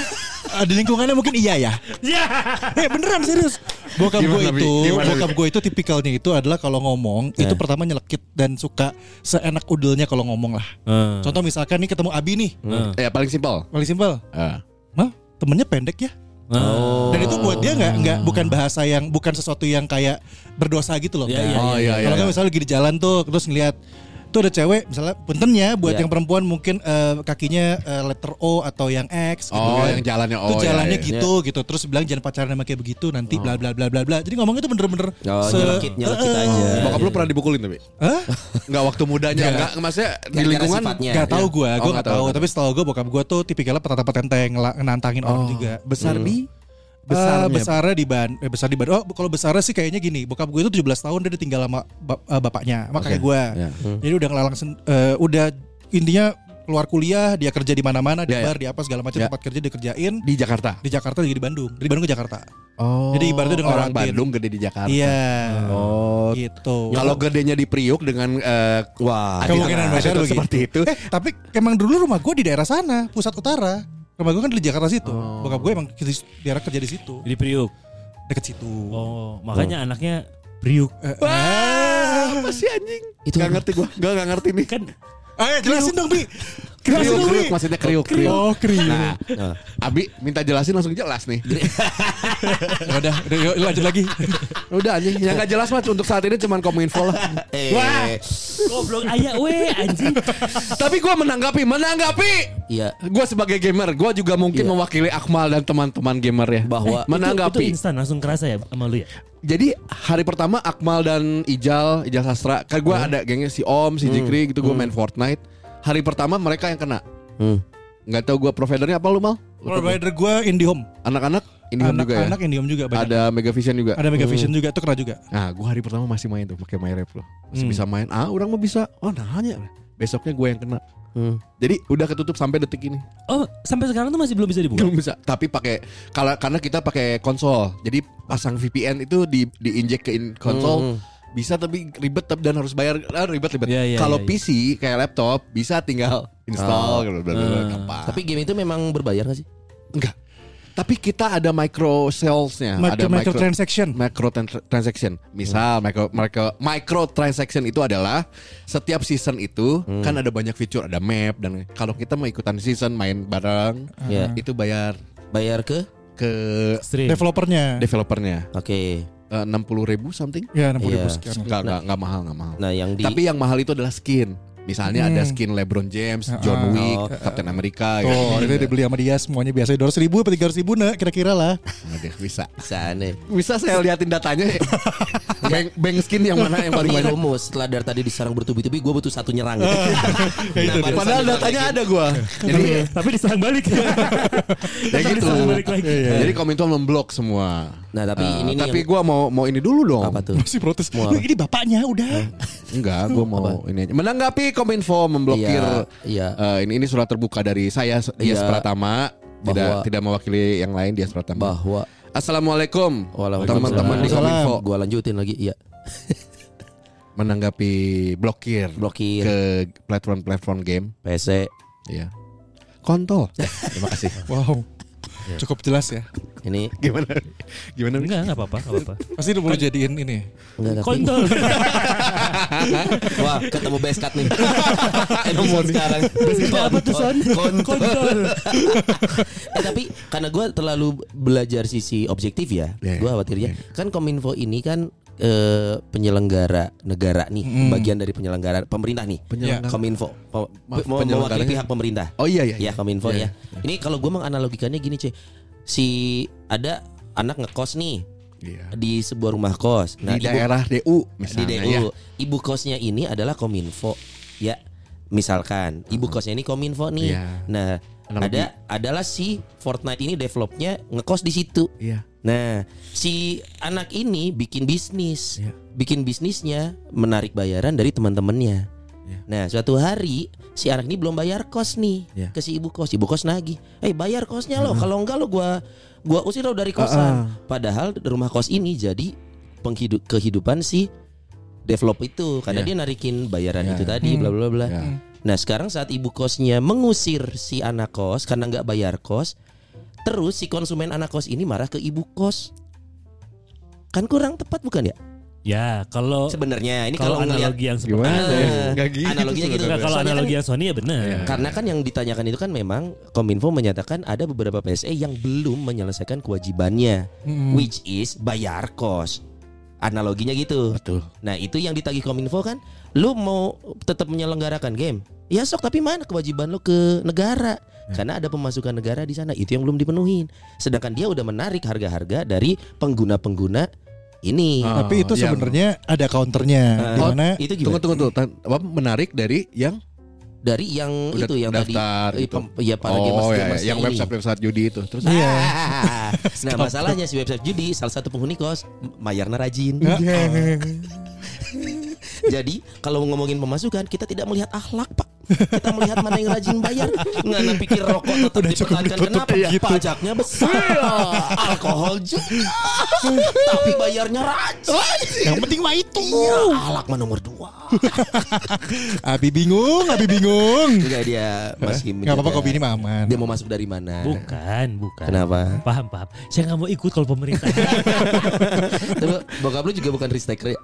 Speaker 6: Ah, Di lingkungannya mungkin iya ya.
Speaker 4: Ya.
Speaker 6: Eh beneran serius. Bokap gue
Speaker 5: Gimana, Bi?
Speaker 6: itu,
Speaker 5: Gimana, Bi? Eh.
Speaker 6: bokap gue itu tipikalnya itu adalah kalau ngomong itu pertama nyelekit dan suka seenak udelnya kalau ngomong lah.
Speaker 4: Eh.
Speaker 6: Contoh misalkan nih ketemu Abi nih,
Speaker 5: Ya paling simpel.
Speaker 6: paling simpel.
Speaker 5: Eh.
Speaker 6: Mah temennya pendek ya.
Speaker 5: Oh.
Speaker 6: Dan itu buat dia nggak nggak bukan bahasa yang bukan sesuatu yang kayak berdosa gitu loh.
Speaker 4: Iya,
Speaker 6: Nggak.
Speaker 4: iya,
Speaker 5: Oh, iya, iya.
Speaker 6: Kalau nggak
Speaker 5: iya.
Speaker 6: misalnya lagi di jalan tuh terus ngeliat tuh ada cewek misalnya puntennya buat
Speaker 3: Iya.
Speaker 6: yang perempuan mungkin eh, kakinya eh, letter O atau yang X gitu
Speaker 5: Oh,
Speaker 6: kan.
Speaker 5: yang jalannya oh.
Speaker 6: Tuh
Speaker 5: iya,
Speaker 6: jalannya
Speaker 5: iya. Oh.
Speaker 6: gitu gitu terus bilang jangan pacaran sama kayak begitu nanti bla bla bla bla bla. Jadi ngomongnya tuh bener-bener
Speaker 3: Oh,
Speaker 6: se-
Speaker 3: nyelekit, nyelekit
Speaker 6: Eh,
Speaker 3: aja.
Speaker 5: Bokap lu pernah dipukulin tapi?
Speaker 6: Hah?
Speaker 5: Enggak waktu mudanya, enggak maksudnya di
Speaker 3: Gara-gara
Speaker 5: lingkungan.
Speaker 3: sifatnya.
Speaker 6: Gak tahu gue,
Speaker 5: Oh,
Speaker 6: gue
Speaker 5: nggak
Speaker 6: gak
Speaker 5: tahu,
Speaker 6: tahu.
Speaker 5: nggak
Speaker 6: Tapi setahu gue bokap gue tuh tipikalnya petata petenteng, ngela- nantangin orang juga.
Speaker 5: Besar nih. Oh.
Speaker 6: Besar
Speaker 5: Hmm. Besarnya.
Speaker 6: besarnya di ban, eh, besar di ban. Oh, kalau besarnya sih kayaknya gini. Bokap gue itu 17 tahun dia
Speaker 5: Iya.
Speaker 6: ditinggal sama bap- eh, bapaknya, sama kakek gue. Jadi udah ngelalang, sen- eh, udah intinya keluar kuliah dia kerja di mana-mana di
Speaker 5: Ya, ya.
Speaker 6: bar di apa segala macam
Speaker 5: Ya.
Speaker 6: tempat kerja dikerjain
Speaker 5: di Jakarta.
Speaker 6: di Jakarta jadi di Bandung dari Bandung ke Jakarta
Speaker 5: Oh.
Speaker 6: Jadi ibaratnya dengan
Speaker 5: orang
Speaker 6: orang Latin.
Speaker 5: Bandung gede di Jakarta.
Speaker 6: iya
Speaker 5: Oh.
Speaker 6: gitu
Speaker 5: Kalau gedenya di Priuk dengan eh,
Speaker 3: Wah,
Speaker 5: Ada
Speaker 6: kemungkinan
Speaker 5: tengah,
Speaker 6: besar
Speaker 5: ada
Speaker 6: begitu.
Speaker 5: seperti itu.
Speaker 6: eh tapi emang dulu rumah gue di daerah sana pusat utara rumah gue kan di Jakarta situ
Speaker 5: Oh.
Speaker 6: bokap gue emang di- daerah kerja di situ
Speaker 4: Jadi Priuk.
Speaker 6: deket situ
Speaker 4: Oh, makanya anaknya Priuk.
Speaker 5: Wah, apa sih anjing?
Speaker 3: Itu
Speaker 5: gak
Speaker 3: apa?
Speaker 5: ngerti gua, gak, gak ngerti nih.
Speaker 4: Kan
Speaker 6: eh jelasin dong bi
Speaker 5: Kriuk,
Speaker 6: jelasin dong bi
Speaker 5: kriuk, maksudnya kriuk, kriuk.
Speaker 6: oh kriuk
Speaker 5: Nah, Abi minta jelasin langsung jelas nih.
Speaker 6: ya udah udah, yuk, lanjut lagi
Speaker 5: Ya Udah anjing, yang gak jelas mah untuk saat ini cuman kominfo lah.
Speaker 3: eh,
Speaker 4: goblok ayak we anjing.
Speaker 5: Tapi gua menanggapi, menanggapi.
Speaker 3: Iya.
Speaker 5: Gue sebagai gamer, gue juga
Speaker 3: Iya.
Speaker 5: mungkin mewakili Akmal dan teman-teman gamer ya.
Speaker 3: Bahwa-
Speaker 4: Itu, itu
Speaker 5: menanggapi.
Speaker 4: instan langsung kerasa ya sama lu ya.
Speaker 5: Jadi hari pertama Akmal dan Ijal, Ijal Sastra, kan gue ada gengnya si Om, si Jikri gitu, gue main Fortnite. Hari pertama mereka yang kena.
Speaker 3: Hmm.
Speaker 5: Nggak tahu gue providernya apa lu mal? Lu tahu
Speaker 6: provider gue Indihome
Speaker 5: Anak-anak, ini juga ya.
Speaker 6: anak-anak Indihome juga banyak
Speaker 5: Ada Megavision juga.
Speaker 6: ada Megavision juga itu kena juga
Speaker 5: Nah, gue hari pertama masih main tuh pakai MyRep loh. Masih
Speaker 3: Hmm.
Speaker 5: bisa main. Ah, orang mah bisa. Oh, nanya. Besoknya gue yang kena.
Speaker 3: Hmm.
Speaker 5: Jadi udah ketutup sampai detik ini.
Speaker 4: Oh, sampai sekarang tuh masih belum bisa dibuka.
Speaker 5: Belum
Speaker 3: Hmm.
Speaker 5: bisa. Tapi pakai kalau karena kita pakai konsol. Jadi pasang VPN itu di diinjek ke in-
Speaker 3: Hmm,
Speaker 5: konsol. Bisa tapi ribet tapi dan harus bayar ah, ribet ribet.
Speaker 4: Iya,
Speaker 3: Ya,
Speaker 4: iya,
Speaker 5: kalau
Speaker 4: iya, iya.
Speaker 5: PC kayak laptop bisa tinggal install gitu, bla bla bla, bla, gampang.
Speaker 3: Oh. Ah. Tapi game itu memang berbayar gak sih?
Speaker 5: enggak. Tapi kita ada micro sales-nya,
Speaker 6: micro, Hmm.
Speaker 5: ada
Speaker 6: micro transaction
Speaker 5: micro tran- transaction. Misal micro micro micro transaction itu adalah setiap season itu
Speaker 6: Hmm.
Speaker 5: kan ada banyak fitur, ada map dan kalau kita mau ikutan season main bareng
Speaker 6: Hmm.
Speaker 3: Iya.
Speaker 5: itu bayar
Speaker 3: Bayar ke?
Speaker 5: ke
Speaker 4: Stream.
Speaker 6: developernya
Speaker 5: developernya Eh,
Speaker 3: Oke.
Speaker 5: enam puluh ribu something
Speaker 6: ya 60 ribu
Speaker 3: Iya.
Speaker 6: sekian
Speaker 5: nggak nggak nggak mahal nggak mahal
Speaker 3: Nah, yang di
Speaker 5: tapi yang mahal itu adalah skin misalnya ada
Speaker 6: Hmm. Oh.
Speaker 5: skin LeBron James John Wick Captain America gitu.
Speaker 6: Tuh, ini dibeli sama Oh, dia semuanya biasanya 200 ribu apa 300 ribu nah, kira-kira lah.
Speaker 5: Aduh, bisa
Speaker 3: bisa nih.
Speaker 5: bisa saya liatin datanya Iya. bank, bank skin yang mana yang paling
Speaker 3: Tapi
Speaker 5: banyak
Speaker 3: rumus setelah dari tadi diserang bertubi-tubi gue butuh satu nyerang. Nah, barusan
Speaker 5: Ya, Iya, padahal
Speaker 3: diserang
Speaker 5: datanya
Speaker 3: lagi.
Speaker 5: ada Iya, gua jadi
Speaker 4: Tapi- Eh, tapi diserang balik.
Speaker 5: Ya
Speaker 4: Tapi
Speaker 5: gitu.
Speaker 4: diserang balik lagi.
Speaker 5: Jadi kominfo memblok semua.
Speaker 3: Nah, tapi
Speaker 5: Eh,
Speaker 3: ini nih
Speaker 5: tapi
Speaker 3: yang-
Speaker 5: gua mau mau ini dulu dong.
Speaker 3: apa tuh?
Speaker 6: Masih protes.
Speaker 3: Mau apa?
Speaker 6: Ini bapaknya udah.
Speaker 5: Enggak, gua mau ini aja. Menanggapi kominfo memblokir
Speaker 3: Iya, iya.
Speaker 5: eh, ini ini surat terbuka dari saya Dias
Speaker 3: Iya.
Speaker 5: Pratama tidak
Speaker 3: Bahwa-
Speaker 5: tidak mewakili yang lain Dias Pratama.
Speaker 3: Bahwa
Speaker 5: Assalamualaikum
Speaker 3: Waalaikumsalam.
Speaker 5: teman-teman di
Speaker 6: Waalaikumsalam.
Speaker 5: kominfo
Speaker 3: gue lanjutin lagi. Iya.
Speaker 5: menanggapi blokir
Speaker 3: Blokir.
Speaker 5: ke platform-platform game.
Speaker 3: PC.
Speaker 5: Iya. Kontol. Terima kasih.
Speaker 6: Wow.
Speaker 5: Iya.
Speaker 6: Cukup jelas ya.
Speaker 3: Ini
Speaker 5: Gimana? Gimana?
Speaker 4: Enggak, enggak apa-apa, enggak apa-apa.
Speaker 6: Pasti lu
Speaker 5: Kan
Speaker 6: perlu jadiin ini.
Speaker 3: enggak tapi-
Speaker 4: Kontol.
Speaker 3: Wah, ketemu best cut nih. Episode sekarang.
Speaker 4: Apa tuh, Son?
Speaker 3: Kontol.
Speaker 4: Kontol.
Speaker 3: Eh, tapi karena gue terlalu belajar sisi objektif ya,
Speaker 5: Iya.
Speaker 3: gue khawatirnya kan kominfo ini kan eh, penyelenggara negara nih, bagian dari penyelenggara pemerintah nih,
Speaker 5: Hmm. Penyelenggara.
Speaker 3: kominfo, Pe-
Speaker 5: Maaf,
Speaker 3: mau mewakili
Speaker 5: penyelenggaranya.
Speaker 3: pihak pemerintah.
Speaker 5: Oh iya iya.
Speaker 3: Ya kominfo
Speaker 5: Iya,
Speaker 3: ya. Ini kalau gue menganalogikannya gini cuy, si ada anak ngekos nih
Speaker 5: Iya.
Speaker 3: di sebuah rumah kos. Nah,
Speaker 5: Di
Speaker 3: ibu-
Speaker 5: daerah
Speaker 3: di
Speaker 5: DU
Speaker 3: Iya.
Speaker 5: misalnya
Speaker 3: DU.
Speaker 5: ya.
Speaker 3: Ibu kosnya ini adalah Kominfo. Ya, misalkan ibu kosnya ini Kominfo nih.
Speaker 5: Hmm. Iya.
Speaker 3: Nah,
Speaker 5: Analogi.
Speaker 3: ada adalah si Fortnite ini developnya ngekos di situ.
Speaker 5: Iya.
Speaker 3: Nah, si anak ini bikin bisnis.
Speaker 5: Iya.
Speaker 3: Bikin bisnisnya menarik bayaran dari teman-temannya.
Speaker 5: Iya.
Speaker 3: Nah, suatu hari si anak ini belum bayar kos nih
Speaker 5: Iya.
Speaker 3: ke si ibu kos. Ibu kos nagih, "Eh, bayar kosnya lo. Kalau enggak lo gua gua usir lo dari kosan." Padahal rumah kos ini jadi penghidup kehidupan si develop itu karena
Speaker 5: Iya.
Speaker 3: dia narikin bayaran
Speaker 5: Iya,
Speaker 3: itu
Speaker 5: iya.
Speaker 3: tadi bla bla bla.
Speaker 5: Iya.
Speaker 3: Nah, sekarang saat ibu kosnya mengusir si anak kos karena nggak bayar kos, terus si konsumen anak kos ini marah ke ibu kos. Kan kurang tepat bukan ya?
Speaker 4: Ya, kalau
Speaker 3: Sebenarnya ini
Speaker 4: kalau
Speaker 3: kalau ngelihat
Speaker 4: analogi yang seperti
Speaker 5: Gimana ya? Iya.
Speaker 3: Ah,
Speaker 5: Nggak gitu
Speaker 3: analoginya gitu.
Speaker 4: Enggak, kalau
Speaker 3: Soalnya kan-
Speaker 4: analogi yang Sony ya benar.
Speaker 3: Karena kan yang ditanyakan itu kan memang Kominfo menyatakan ada beberapa PSE yang belum menyelesaikan kewajibannya, which is bayar kos. Analoginya gitu.
Speaker 5: Betul.
Speaker 3: Nah itu yang ditagih Kominfo kan, lu mau tetap menyelenggarakan game, ya sok tapi mana kewajiban lu ke negara?
Speaker 5: Ya.
Speaker 3: Karena ada pemasukan negara di sana, itu yang belum dipenuhin. Sedangkan dia udah menarik harga-harga dari pengguna-pengguna ini.
Speaker 5: Ah,
Speaker 6: Tapi itu
Speaker 5: yang-
Speaker 6: sebenarnya ada counternya. di
Speaker 5: Oh,
Speaker 6: mana
Speaker 3: itu
Speaker 5: Tunggu
Speaker 3: gimana?
Speaker 5: tunggu tunggu. Tan- Apa menarik dari yang
Speaker 3: Dari yang
Speaker 5: udah
Speaker 3: itu yang
Speaker 5: daftar
Speaker 3: tadi, eh,
Speaker 5: gitu.
Speaker 3: pem- ya para Nah,
Speaker 5: oh,
Speaker 3: gamers,
Speaker 5: iya,
Speaker 3: gamers
Speaker 5: iya. yang website website judi itu. Terus
Speaker 6: Iya.
Speaker 3: Ah. nah masalahnya si website judi salah satu penghuni kos M- Mayarna rajin.
Speaker 6: Iya.
Speaker 3: Jadi kalau ngomongin pemasukan kita tidak melihat akhlak pak. Kita melihat mana yang rajin bayar. Nggak nah, pikir rokok tetap dipertahankan. Kenapa?
Speaker 6: gitu.
Speaker 3: Pajaknya besar. Alkohol juga. Tapi bayarnya rajin.
Speaker 6: Yang penting mah itu.
Speaker 3: Iya, alak mah nomor dua.
Speaker 6: Abi bingung, Abi bingung.
Speaker 3: Enggak dia masih
Speaker 6: Gak apa-apa
Speaker 3: menjaga.
Speaker 6: kopi ini mah aman.
Speaker 3: Dia mau masuk dari mana?
Speaker 4: Bukan, bukan.
Speaker 3: Kenapa?
Speaker 4: Paham, paham. Saya nggak mau ikut kalau pemerintah.
Speaker 3: Tapi bokap lu juga bukan risk-taker ya?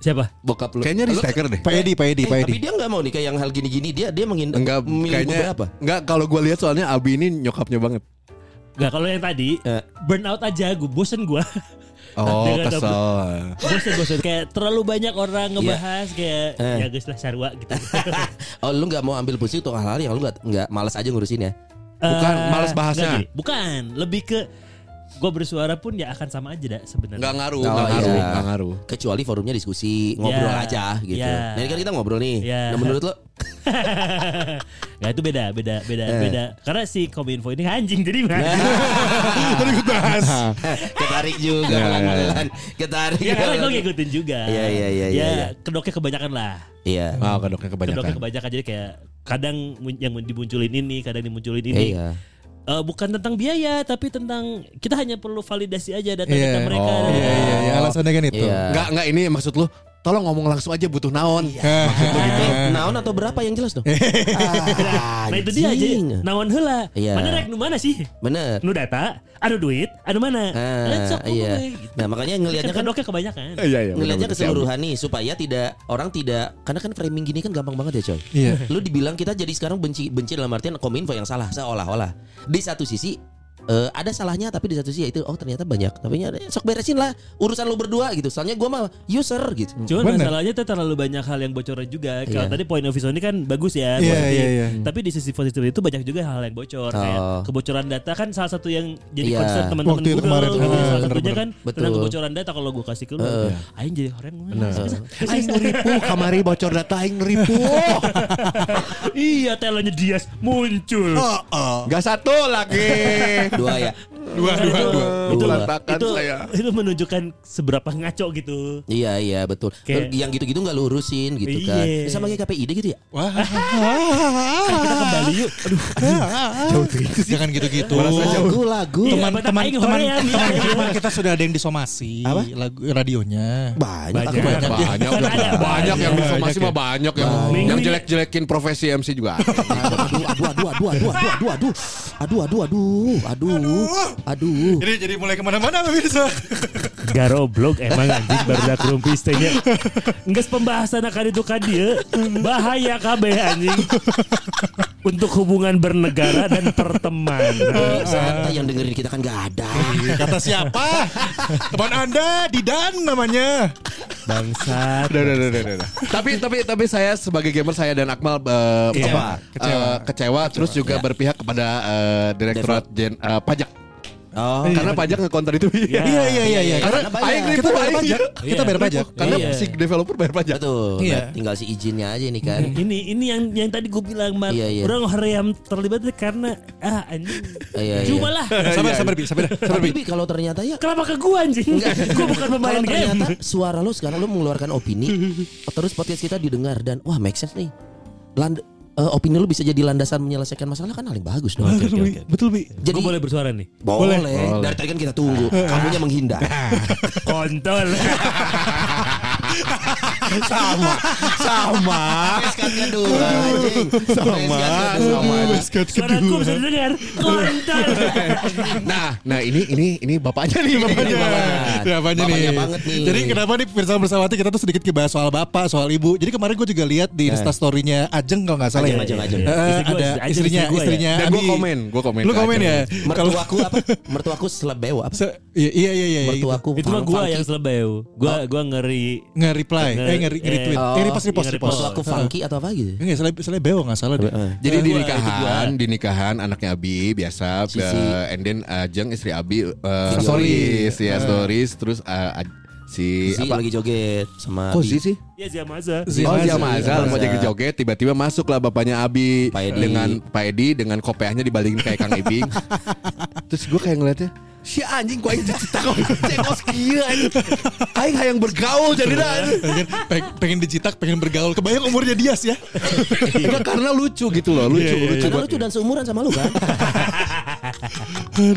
Speaker 4: Siapa?
Speaker 3: Bokap lu.
Speaker 5: Kayaknya
Speaker 3: Lu-
Speaker 5: ristaker deh.
Speaker 6: Pak Edi, Pak Edi, Pak
Speaker 3: Eh,
Speaker 6: Edi.
Speaker 3: Tapi dia nggak mau nikah yang hal gini-gini. Dia dia menghindar.
Speaker 5: Enggak, kayaknya
Speaker 3: beberapa.
Speaker 5: enggak kalau gua lihat soalnya Abi ini nyokapnya banget.
Speaker 4: Gak kalau yang tadi
Speaker 3: Eh.
Speaker 4: burn out aja gue bosen gue
Speaker 3: Ah,
Speaker 5: Oh,
Speaker 4: Dengan
Speaker 5: kesel.
Speaker 4: bosen bosen kayak terlalu banyak
Speaker 3: Iya.
Speaker 4: orang ngebahas kayak
Speaker 3: Eh.
Speaker 4: ya guys lah sarwa gitu
Speaker 3: Oh lu nggak mau ambil pusing untuk hal-hal yang lu nggak nggak malas aja ngurusin ya?
Speaker 5: Bukan,
Speaker 4: Eh,
Speaker 5: males bahasnya.
Speaker 4: nggak gini. bukan lebih ke gue bersuara pun ya akan sama aja dah
Speaker 5: Enggak
Speaker 4: sebenarnya
Speaker 5: ngaruh,
Speaker 3: Oh,
Speaker 5: enggak Ah, ngaruh,
Speaker 3: iya.
Speaker 5: enggak ngaruh.
Speaker 3: Kecuali forumnya diskusi ngobrol
Speaker 4: Ya.
Speaker 3: aja gitu.
Speaker 4: Ya.
Speaker 3: Nah, ini kan kita ngobrol nih.
Speaker 4: Ya.
Speaker 3: Nah, menurut lo
Speaker 4: nggak itu beda beda beda
Speaker 3: Eh.
Speaker 4: beda karena si kominfo ini anjing jadi
Speaker 6: Tadi gue bahas.
Speaker 3: ketarik
Speaker 5: Iya,
Speaker 3: juga pelan-pelan. Ketarik.
Speaker 4: ya karena gue ngikutin juga
Speaker 3: Iya, iya, iya, iya, iya.
Speaker 4: ya kedoknya kebanyakan lah
Speaker 3: Iya.
Speaker 5: Ah, kedoknya kebanyakan.
Speaker 4: kedoknya kebanyakan jadi kayak kadang mun- yang dimunculin ini kadang dimunculin ini
Speaker 3: Iya.
Speaker 4: Eh, bukan tentang biaya tapi tentang kita hanya perlu validasi aja data
Speaker 6: Iya.
Speaker 4: data mereka.
Speaker 5: Oh.
Speaker 6: Iya, iya, iya. Alasannya kan
Speaker 5: Gitu.
Speaker 6: itu.
Speaker 3: Iya.
Speaker 5: Enggak, enggak ini maksud lu tolong ngomong langsung aja butuh naon. Maksud lu gitu.
Speaker 3: Eh, naon atau berapa yang jelas Ah, dong?
Speaker 4: Nah itu dia aja naon heula.
Speaker 3: Iya.
Speaker 4: Mana rek nu mana sih?
Speaker 3: Bener.
Speaker 4: Nu data, anu duit, anu mana?
Speaker 3: Ah,
Speaker 4: Lah, sok
Speaker 3: iya.
Speaker 4: gue, gitu.
Speaker 3: Nah, makanya ngelihatnya
Speaker 4: kan
Speaker 3: kan-
Speaker 4: kedoknya kebanyakan.
Speaker 5: Iya, iya.
Speaker 3: Ngelihatnya
Speaker 5: benar-benar.
Speaker 3: keseluruhan nih supaya tidak orang tidak karena kan framing gini kan gampang banget ya coy.
Speaker 6: Iya.
Speaker 3: Lu dibilang kita jadi sekarang benci benci dalam artian kominfo yang salah seolah-olah di satu sisi eh, ada salahnya tapi di satu sisi itu oh ternyata banyak tapi ya, sok beresin lah urusan lu berdua gitu. Soalnya gua mah user gitu.
Speaker 4: Cuman
Speaker 6: Bener.
Speaker 4: masalahnya tuh terlalu banyak hal yang bocoran juga. Kalau
Speaker 3: Iya.
Speaker 4: tadi point of view Sony kan bagus ya.
Speaker 6: Iya,
Speaker 4: positif.
Speaker 6: iya, iya.
Speaker 4: Tapi di sisi positif itu banyak juga hal yang bocor. Kayak
Speaker 3: Oh.
Speaker 4: kebocoran data kan salah satu yang jadi
Speaker 3: Iya.
Speaker 4: concern teman-teman
Speaker 6: Waktu yang kemarin tuh,
Speaker 4: gitu. Salah
Speaker 6: bener,
Speaker 4: satunya
Speaker 6: bener.
Speaker 4: kan
Speaker 3: Betul.
Speaker 4: tentang kebocoran data kalau gue kasih ke lu. Aing jadi orang gue.
Speaker 5: Aing ngeripu kamari bocor data aing ngeripu.
Speaker 4: Iya telanya Dias muncul.
Speaker 6: Oh,
Speaker 5: Enggak satu lagi.
Speaker 3: Dua ya.
Speaker 5: Dua, dua, dua.
Speaker 4: Nah, Itu-
Speaker 5: Itu lantakan
Speaker 4: itu,
Speaker 5: saya.
Speaker 4: itu menunjukkan seberapa ngaco gitu.
Speaker 3: Iya iya betul.
Speaker 4: Kayak-
Speaker 3: Yang gitu-gitu nggak lurusin gitu kan.
Speaker 4: Iya.
Speaker 3: Sama kayak KPID gitu ya.
Speaker 6: Wah. Ah.
Speaker 4: Kita kembali yuk. Aduh,
Speaker 6: Jangan gitu-gitu.
Speaker 3: Lagu-lagu.
Speaker 4: Iya,
Speaker 6: Teman,
Speaker 4: apa
Speaker 6: teman,
Speaker 4: tak aing
Speaker 6: teman,
Speaker 4: hoream,
Speaker 6: teman,
Speaker 4: iya.
Speaker 6: teman kita sudah ada yang disomasi
Speaker 3: Apa?
Speaker 6: lagu radionya.
Speaker 3: Banyak. ya.
Speaker 4: Banyak.
Speaker 3: Aku-
Speaker 5: Banyak, banyak,
Speaker 4: Kan ada,
Speaker 5: banyak, banyak yang
Speaker 6: banyak
Speaker 5: informasi
Speaker 6: ya.
Speaker 5: mah banyak yang
Speaker 4: Banyak.
Speaker 5: yang jelek-jelekin profesi MC juga. ada.
Speaker 3: aduh aduh aduh aduh aduh aduh aduh aduh aduh aduh aduh aduh aduh
Speaker 6: Jadi jadi mulai kemana-mana pemirsa.
Speaker 4: Garoblok emang anjing baru dak rumpis teh nya. Enggeus pembahasan akan itu kan dia. Bahaya kabeh anjing. Untuk hubungan bernegara dan pertemanan.
Speaker 3: Iya, santai yang dengerin kita kan gak ada
Speaker 6: Iya, Kata siapa? Teman Anda Didan namanya.
Speaker 4: Bangsat.
Speaker 5: Udah, udah, udah, udah, udah. tapi tapi tapi saya sebagai gamer saya dan Akmal eh,
Speaker 4: Kecewa.
Speaker 5: apa, eh, kecewa. terus juga
Speaker 3: Ya.
Speaker 5: berpihak kepada eh, direktorat Jen- eh, pajak.
Speaker 3: oh
Speaker 5: karena pajak ngekonter itu.
Speaker 4: Iya.
Speaker 6: Iya iya iya iya.
Speaker 5: Karena
Speaker 3: Karena pajak.
Speaker 5: aing ribu,
Speaker 6: Kita bayar
Speaker 5: aing.
Speaker 6: pajak. Kita
Speaker 4: Iya.
Speaker 6: bayar pajak.
Speaker 5: Karena
Speaker 4: Iya.
Speaker 5: si developer bayar pajak.
Speaker 3: betul
Speaker 6: Iya.
Speaker 3: Nah, tinggal si izinnya aja nih kan
Speaker 4: Ini ini yang yang tadi gue bilang man,
Speaker 3: Iya, iya.
Speaker 4: orang hoream terlibat karena ah anjing.
Speaker 3: Iya, iya.
Speaker 4: Cuma lah.
Speaker 6: Sabar sabar bi, sabar sabar
Speaker 3: tapi
Speaker 6: bi.
Speaker 3: Bi, kalau ternyata ya
Speaker 4: Kenapa ke gue anjing? gue bukan pemain
Speaker 3: kalau
Speaker 4: game.
Speaker 3: ternyata suara lu sekarang lu mengeluarkan opini terus podcast kita didengar dan wah make sense nih Land eh, opini lu bisa jadi landasan menyelesaikan masalah kan paling bagus dong
Speaker 6: Betul bi.
Speaker 3: jadi
Speaker 4: Gue boleh bersuara nih.
Speaker 3: boleh. dari tadi kan kita tunggu kamunya menghindar
Speaker 4: Kontol.
Speaker 6: Sama.
Speaker 3: Peskat kedua anjing. Peskat kedua.
Speaker 5: sama aja.
Speaker 4: Suaraku bisa dengar. Kontol.
Speaker 5: Nah, nah ini ini ini bapaknya nih bapaknya.
Speaker 3: Bapak.
Speaker 6: Ya, apanya
Speaker 3: Bapaknya
Speaker 6: nih?
Speaker 3: banget nih.
Speaker 6: Jadi kenapa nih Pirsa Bersawati kita tuh sedikit kebahas soal bapak, soal ibu. Jadi kemarin gue juga lihat di Insta story-nya Ajeng kalau nggak salah
Speaker 3: Ajeng,
Speaker 6: ya.
Speaker 3: Ajeng, Ajeng.
Speaker 4: Istri
Speaker 6: Eh,
Speaker 4: gua,
Speaker 6: ada
Speaker 4: istri- Ajeng,
Speaker 6: istrinya,
Speaker 4: istri gua ya.
Speaker 6: istrinya.
Speaker 5: Dan gue
Speaker 6: Abi.
Speaker 5: komen, gue komen.
Speaker 6: Lu
Speaker 5: ke
Speaker 6: komen
Speaker 5: Ajeng.
Speaker 6: ya. Kalau
Speaker 3: Mertuaku apa? Mertuaku selebeo apa?
Speaker 6: Se iya iya iya iya.
Speaker 3: Mertuaku.
Speaker 4: Itu mah gua
Speaker 3: funky.
Speaker 4: yang selebeu. Gua gua ngeri.
Speaker 6: Nge-reply,
Speaker 4: Nge-
Speaker 6: eh nge- nge-retweet.
Speaker 4: eh,
Speaker 6: Eh, repost repost
Speaker 4: nge-
Speaker 6: repost.
Speaker 3: Mertuaku funky atau apa gitu?
Speaker 6: Enggak, seleb seleb bewo nggak salah deh.
Speaker 5: Jadi di
Speaker 4: Gua, itu gua.
Speaker 5: nikahan, di nikahan anaknya Abi biasa,
Speaker 3: Cici.
Speaker 5: eh, and then Ajeng istri Abi eh,
Speaker 6: stories.
Speaker 5: stories, ya stories, terus eh, Aj-
Speaker 4: Iya,
Speaker 5: si
Speaker 3: Si
Speaker 5: apa?
Speaker 3: lagi joget sama
Speaker 5: Kok
Speaker 3: Abi.
Speaker 5: sih sih?
Speaker 4: Ya Zia Maza.
Speaker 6: Zia-
Speaker 5: Oh Zia
Speaker 6: Zia
Speaker 5: Mazal mau
Speaker 3: Mazal.
Speaker 5: jadi joget tiba-tiba masuklah bapaknya Abi
Speaker 3: Pak Edi.
Speaker 5: dengan Pak Edi dengan kopeahnya dibalikin kayak Kang Ibing. Terus gue kayak ngeliatnya Si anjing kok aing cerita kok cengos kieu anjing. Aing hayang bergaul jadi dah.
Speaker 6: pengen, peng- pengen dicetak, pengen bergaul. Kebayang umurnya Dias ya.
Speaker 3: Iya.
Speaker 5: Enggak karena lucu gitu loh, lucu
Speaker 6: Iya, iya,
Speaker 5: lucu.
Speaker 3: Karena lucu
Speaker 4: ya.
Speaker 3: dan seumuran sama lu kan.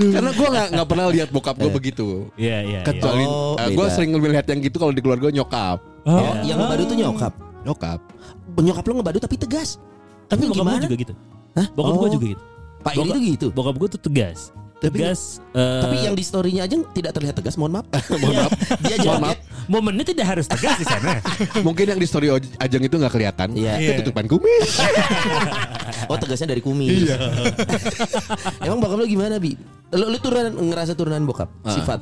Speaker 5: Karena gue nggak nggak pernah lihat bokap gue begitu.
Speaker 4: Iya iya. iya.
Speaker 5: Kecuali
Speaker 3: Oh,
Speaker 5: gue
Speaker 3: beda.
Speaker 5: sering lebih lihat yang gitu kalau di keluarga nyokap.
Speaker 4: Oh,
Speaker 3: Oh, yang ngebadu tuh nyokap.
Speaker 5: Nyokap.
Speaker 3: Nyokap lu ngebadu tapi tegas.
Speaker 4: Tapi bokap
Speaker 3: Tapi
Speaker 4: gue
Speaker 3: gimana?
Speaker 4: juga gitu.
Speaker 3: Hah?
Speaker 4: Bokap gue
Speaker 3: Oh,
Speaker 4: juga gitu.
Speaker 3: Pak ini
Speaker 4: Bokap-
Speaker 3: tuh gitu.
Speaker 4: Bokap gue tuh tegas.
Speaker 3: Tapi-
Speaker 4: Tegas. eh, iya.
Speaker 3: Tapi yang di story-nya aja tidak terlihat tegas, mohon maaf. mohon maaf. Dia
Speaker 5: Mohon
Speaker 3: joget.
Speaker 5: maaf.
Speaker 4: momennya tidak harus tegas di sana.
Speaker 5: Mungkin yang di story Oj- Ajeng itu nggak kelihatan.
Speaker 3: Iya.
Speaker 5: Itu tutupan kumis.
Speaker 3: Oh, tegasnya dari kumis.
Speaker 4: Iya.
Speaker 3: Emang bokap lu gimana, Bi? Lu, lu turunan ngerasa turunan bokap, sifat.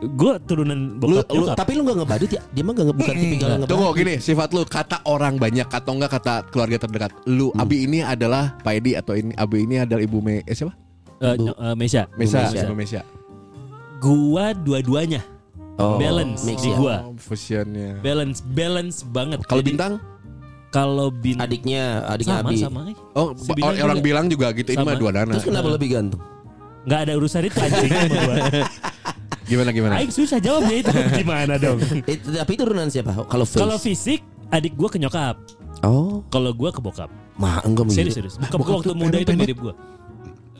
Speaker 4: gue turunan
Speaker 3: Lu,
Speaker 4: Ah. bokap
Speaker 3: lu-
Speaker 4: nyokap. Iya.
Speaker 3: tapi lu gak ngebadut ya? Dia mah gak nge- bukan tipikal ngebadut.
Speaker 5: Tunggu gini sifat lu kata orang banyak atau enggak kata keluarga terdekat. Lu
Speaker 3: Hmm.
Speaker 5: Abi ini adalah Pak Edi atau ini Abi ini adalah Ibu Me eh, siapa?
Speaker 4: Eh, ny- eh, Mesya.
Speaker 5: Mesa,
Speaker 3: Mesa.
Speaker 5: Ibu Mesa.
Speaker 4: Gua dua-duanya. balance
Speaker 3: mix
Speaker 4: di
Speaker 3: ya.
Speaker 4: gua.
Speaker 5: Oh, fusionnya.
Speaker 4: Balance, balance banget.
Speaker 5: Kalau
Speaker 4: Jadi,
Speaker 5: bintang?
Speaker 4: kalau bintang
Speaker 3: Adiknya, adiknya
Speaker 4: sama
Speaker 3: Abi.
Speaker 4: sama. eh.
Speaker 5: Oh,
Speaker 4: Si
Speaker 5: ba-
Speaker 4: Bintang
Speaker 5: orang
Speaker 4: juga.
Speaker 5: bilang juga gitu ini
Speaker 4: Sama.
Speaker 5: mah dua dana.
Speaker 4: Nah,
Speaker 3: Terus kenapa lebih ganteng?
Speaker 4: Nggak ada urusan itu anjing sama gua.
Speaker 5: Gimana gimana?
Speaker 4: Aing susah jawabnya itu gimana dong.
Speaker 3: Eh, tapi turunan siapa? Kalau face.
Speaker 4: Kalau fisik adik gua ke nyokap,
Speaker 3: oh,
Speaker 4: kalau gua ke bokap.
Speaker 3: mah enggak
Speaker 4: Serius
Speaker 3: begitu.
Speaker 4: serius. Bokap gua waktu muda itu mirip gua.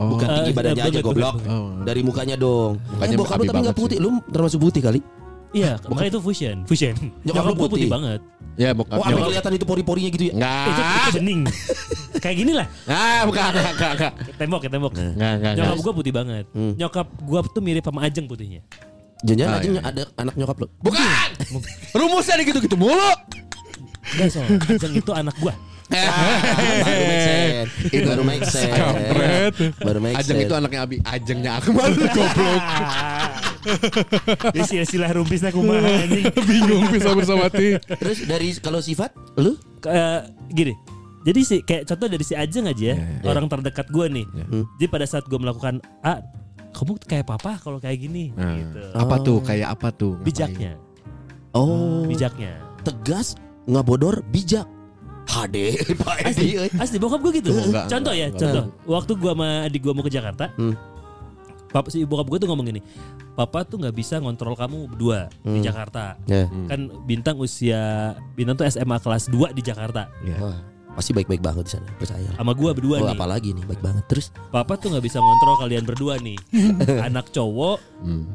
Speaker 5: Oh.
Speaker 3: Bukan tinggi
Speaker 4: Eh,
Speaker 3: badannya
Speaker 4: bukan,
Speaker 3: aja
Speaker 4: bukan,
Speaker 3: goblok.
Speaker 4: bukan.
Speaker 5: Oh.
Speaker 3: Dari mukanya dong.
Speaker 5: Mukanya
Speaker 3: eh, bokap
Speaker 5: Abi
Speaker 3: lu tapi
Speaker 5: banget
Speaker 3: gak putih. Lu termasuk putih kali.
Speaker 4: Iya, makanya itu fusion, fusion.
Speaker 3: Nyokap lu
Speaker 4: gua
Speaker 3: putih.
Speaker 4: banget.
Speaker 5: Ya
Speaker 3: Wah,
Speaker 5: bokap. nyokap.
Speaker 3: sampai Oh, kelihatan itu pori-porinya gitu ya.
Speaker 5: Enggak.
Speaker 4: Itu itu bening. Kayak gini lah,
Speaker 5: Ah, bukan, enggak, enggak, enggak.
Speaker 4: ke tembok, ke tembok.
Speaker 5: Enggak, enggak, enggak.
Speaker 4: Nyokap gua putih banget.
Speaker 3: Nah, Hmm.
Speaker 4: Nyokap gua tuh mirip sama Ajeng putihnya.
Speaker 3: Jangan-jangan
Speaker 5: Ah,
Speaker 3: aja
Speaker 5: iya, iya.
Speaker 3: ada anak nyokap lu.
Speaker 5: Bukan. Rumusnya ada gitu-gitu mulu.
Speaker 4: Enggak soal Ajeng itu anak gua.
Speaker 3: baru make sense. Itu baru make sense.
Speaker 6: Kampret.
Speaker 3: Baru make sense.
Speaker 5: Ajeng itu anaknya Abi, Ajengnya Akmal goblok.
Speaker 4: Di silsilah rumpisnya kumaha anjing.
Speaker 6: Bingung bisa bersama ti.
Speaker 3: Terus dari kalau sifat lu
Speaker 4: Eh, gini. Jadi si kayak contoh dari si Ajeng aja ya, orang terdekat gue nih.
Speaker 3: Ya.
Speaker 4: Hmm. Jadi pada saat gue melakukan A, kamu tuh kayak papa kalau kayak gini
Speaker 3: Nah,
Speaker 4: gitu.
Speaker 5: Apa tuh? Kayak apa tuh? Ngapain?
Speaker 4: Bijaknya,
Speaker 3: oh
Speaker 4: bijaknya.
Speaker 3: tegas nggak bodor bijak. HD Pak Edi. eh. euy.
Speaker 4: Asli bokap gue gitu.
Speaker 5: Oh, enggak,
Speaker 4: contoh ya,
Speaker 5: enggak,
Speaker 4: contoh. Waktu gue sama adik gue mau ke Jakarta,
Speaker 3: Hmm.
Speaker 4: papa si bokap gue tuh ngomong gini, papa tuh nggak bisa ngontrol kamu berdua di Jakarta.
Speaker 3: Ya.
Speaker 4: Kan bintang usia bintang tuh SMA kelas 2 di Jakarta.
Speaker 3: ya. Wah, pasti baik-baik banget di sana percaya.
Speaker 4: Sama gue berdua
Speaker 3: Oh,
Speaker 4: nih.
Speaker 3: apalagi nih baik banget. Terus
Speaker 4: Papa tuh nggak bisa ngontrol kalian berdua nih. Anak cowok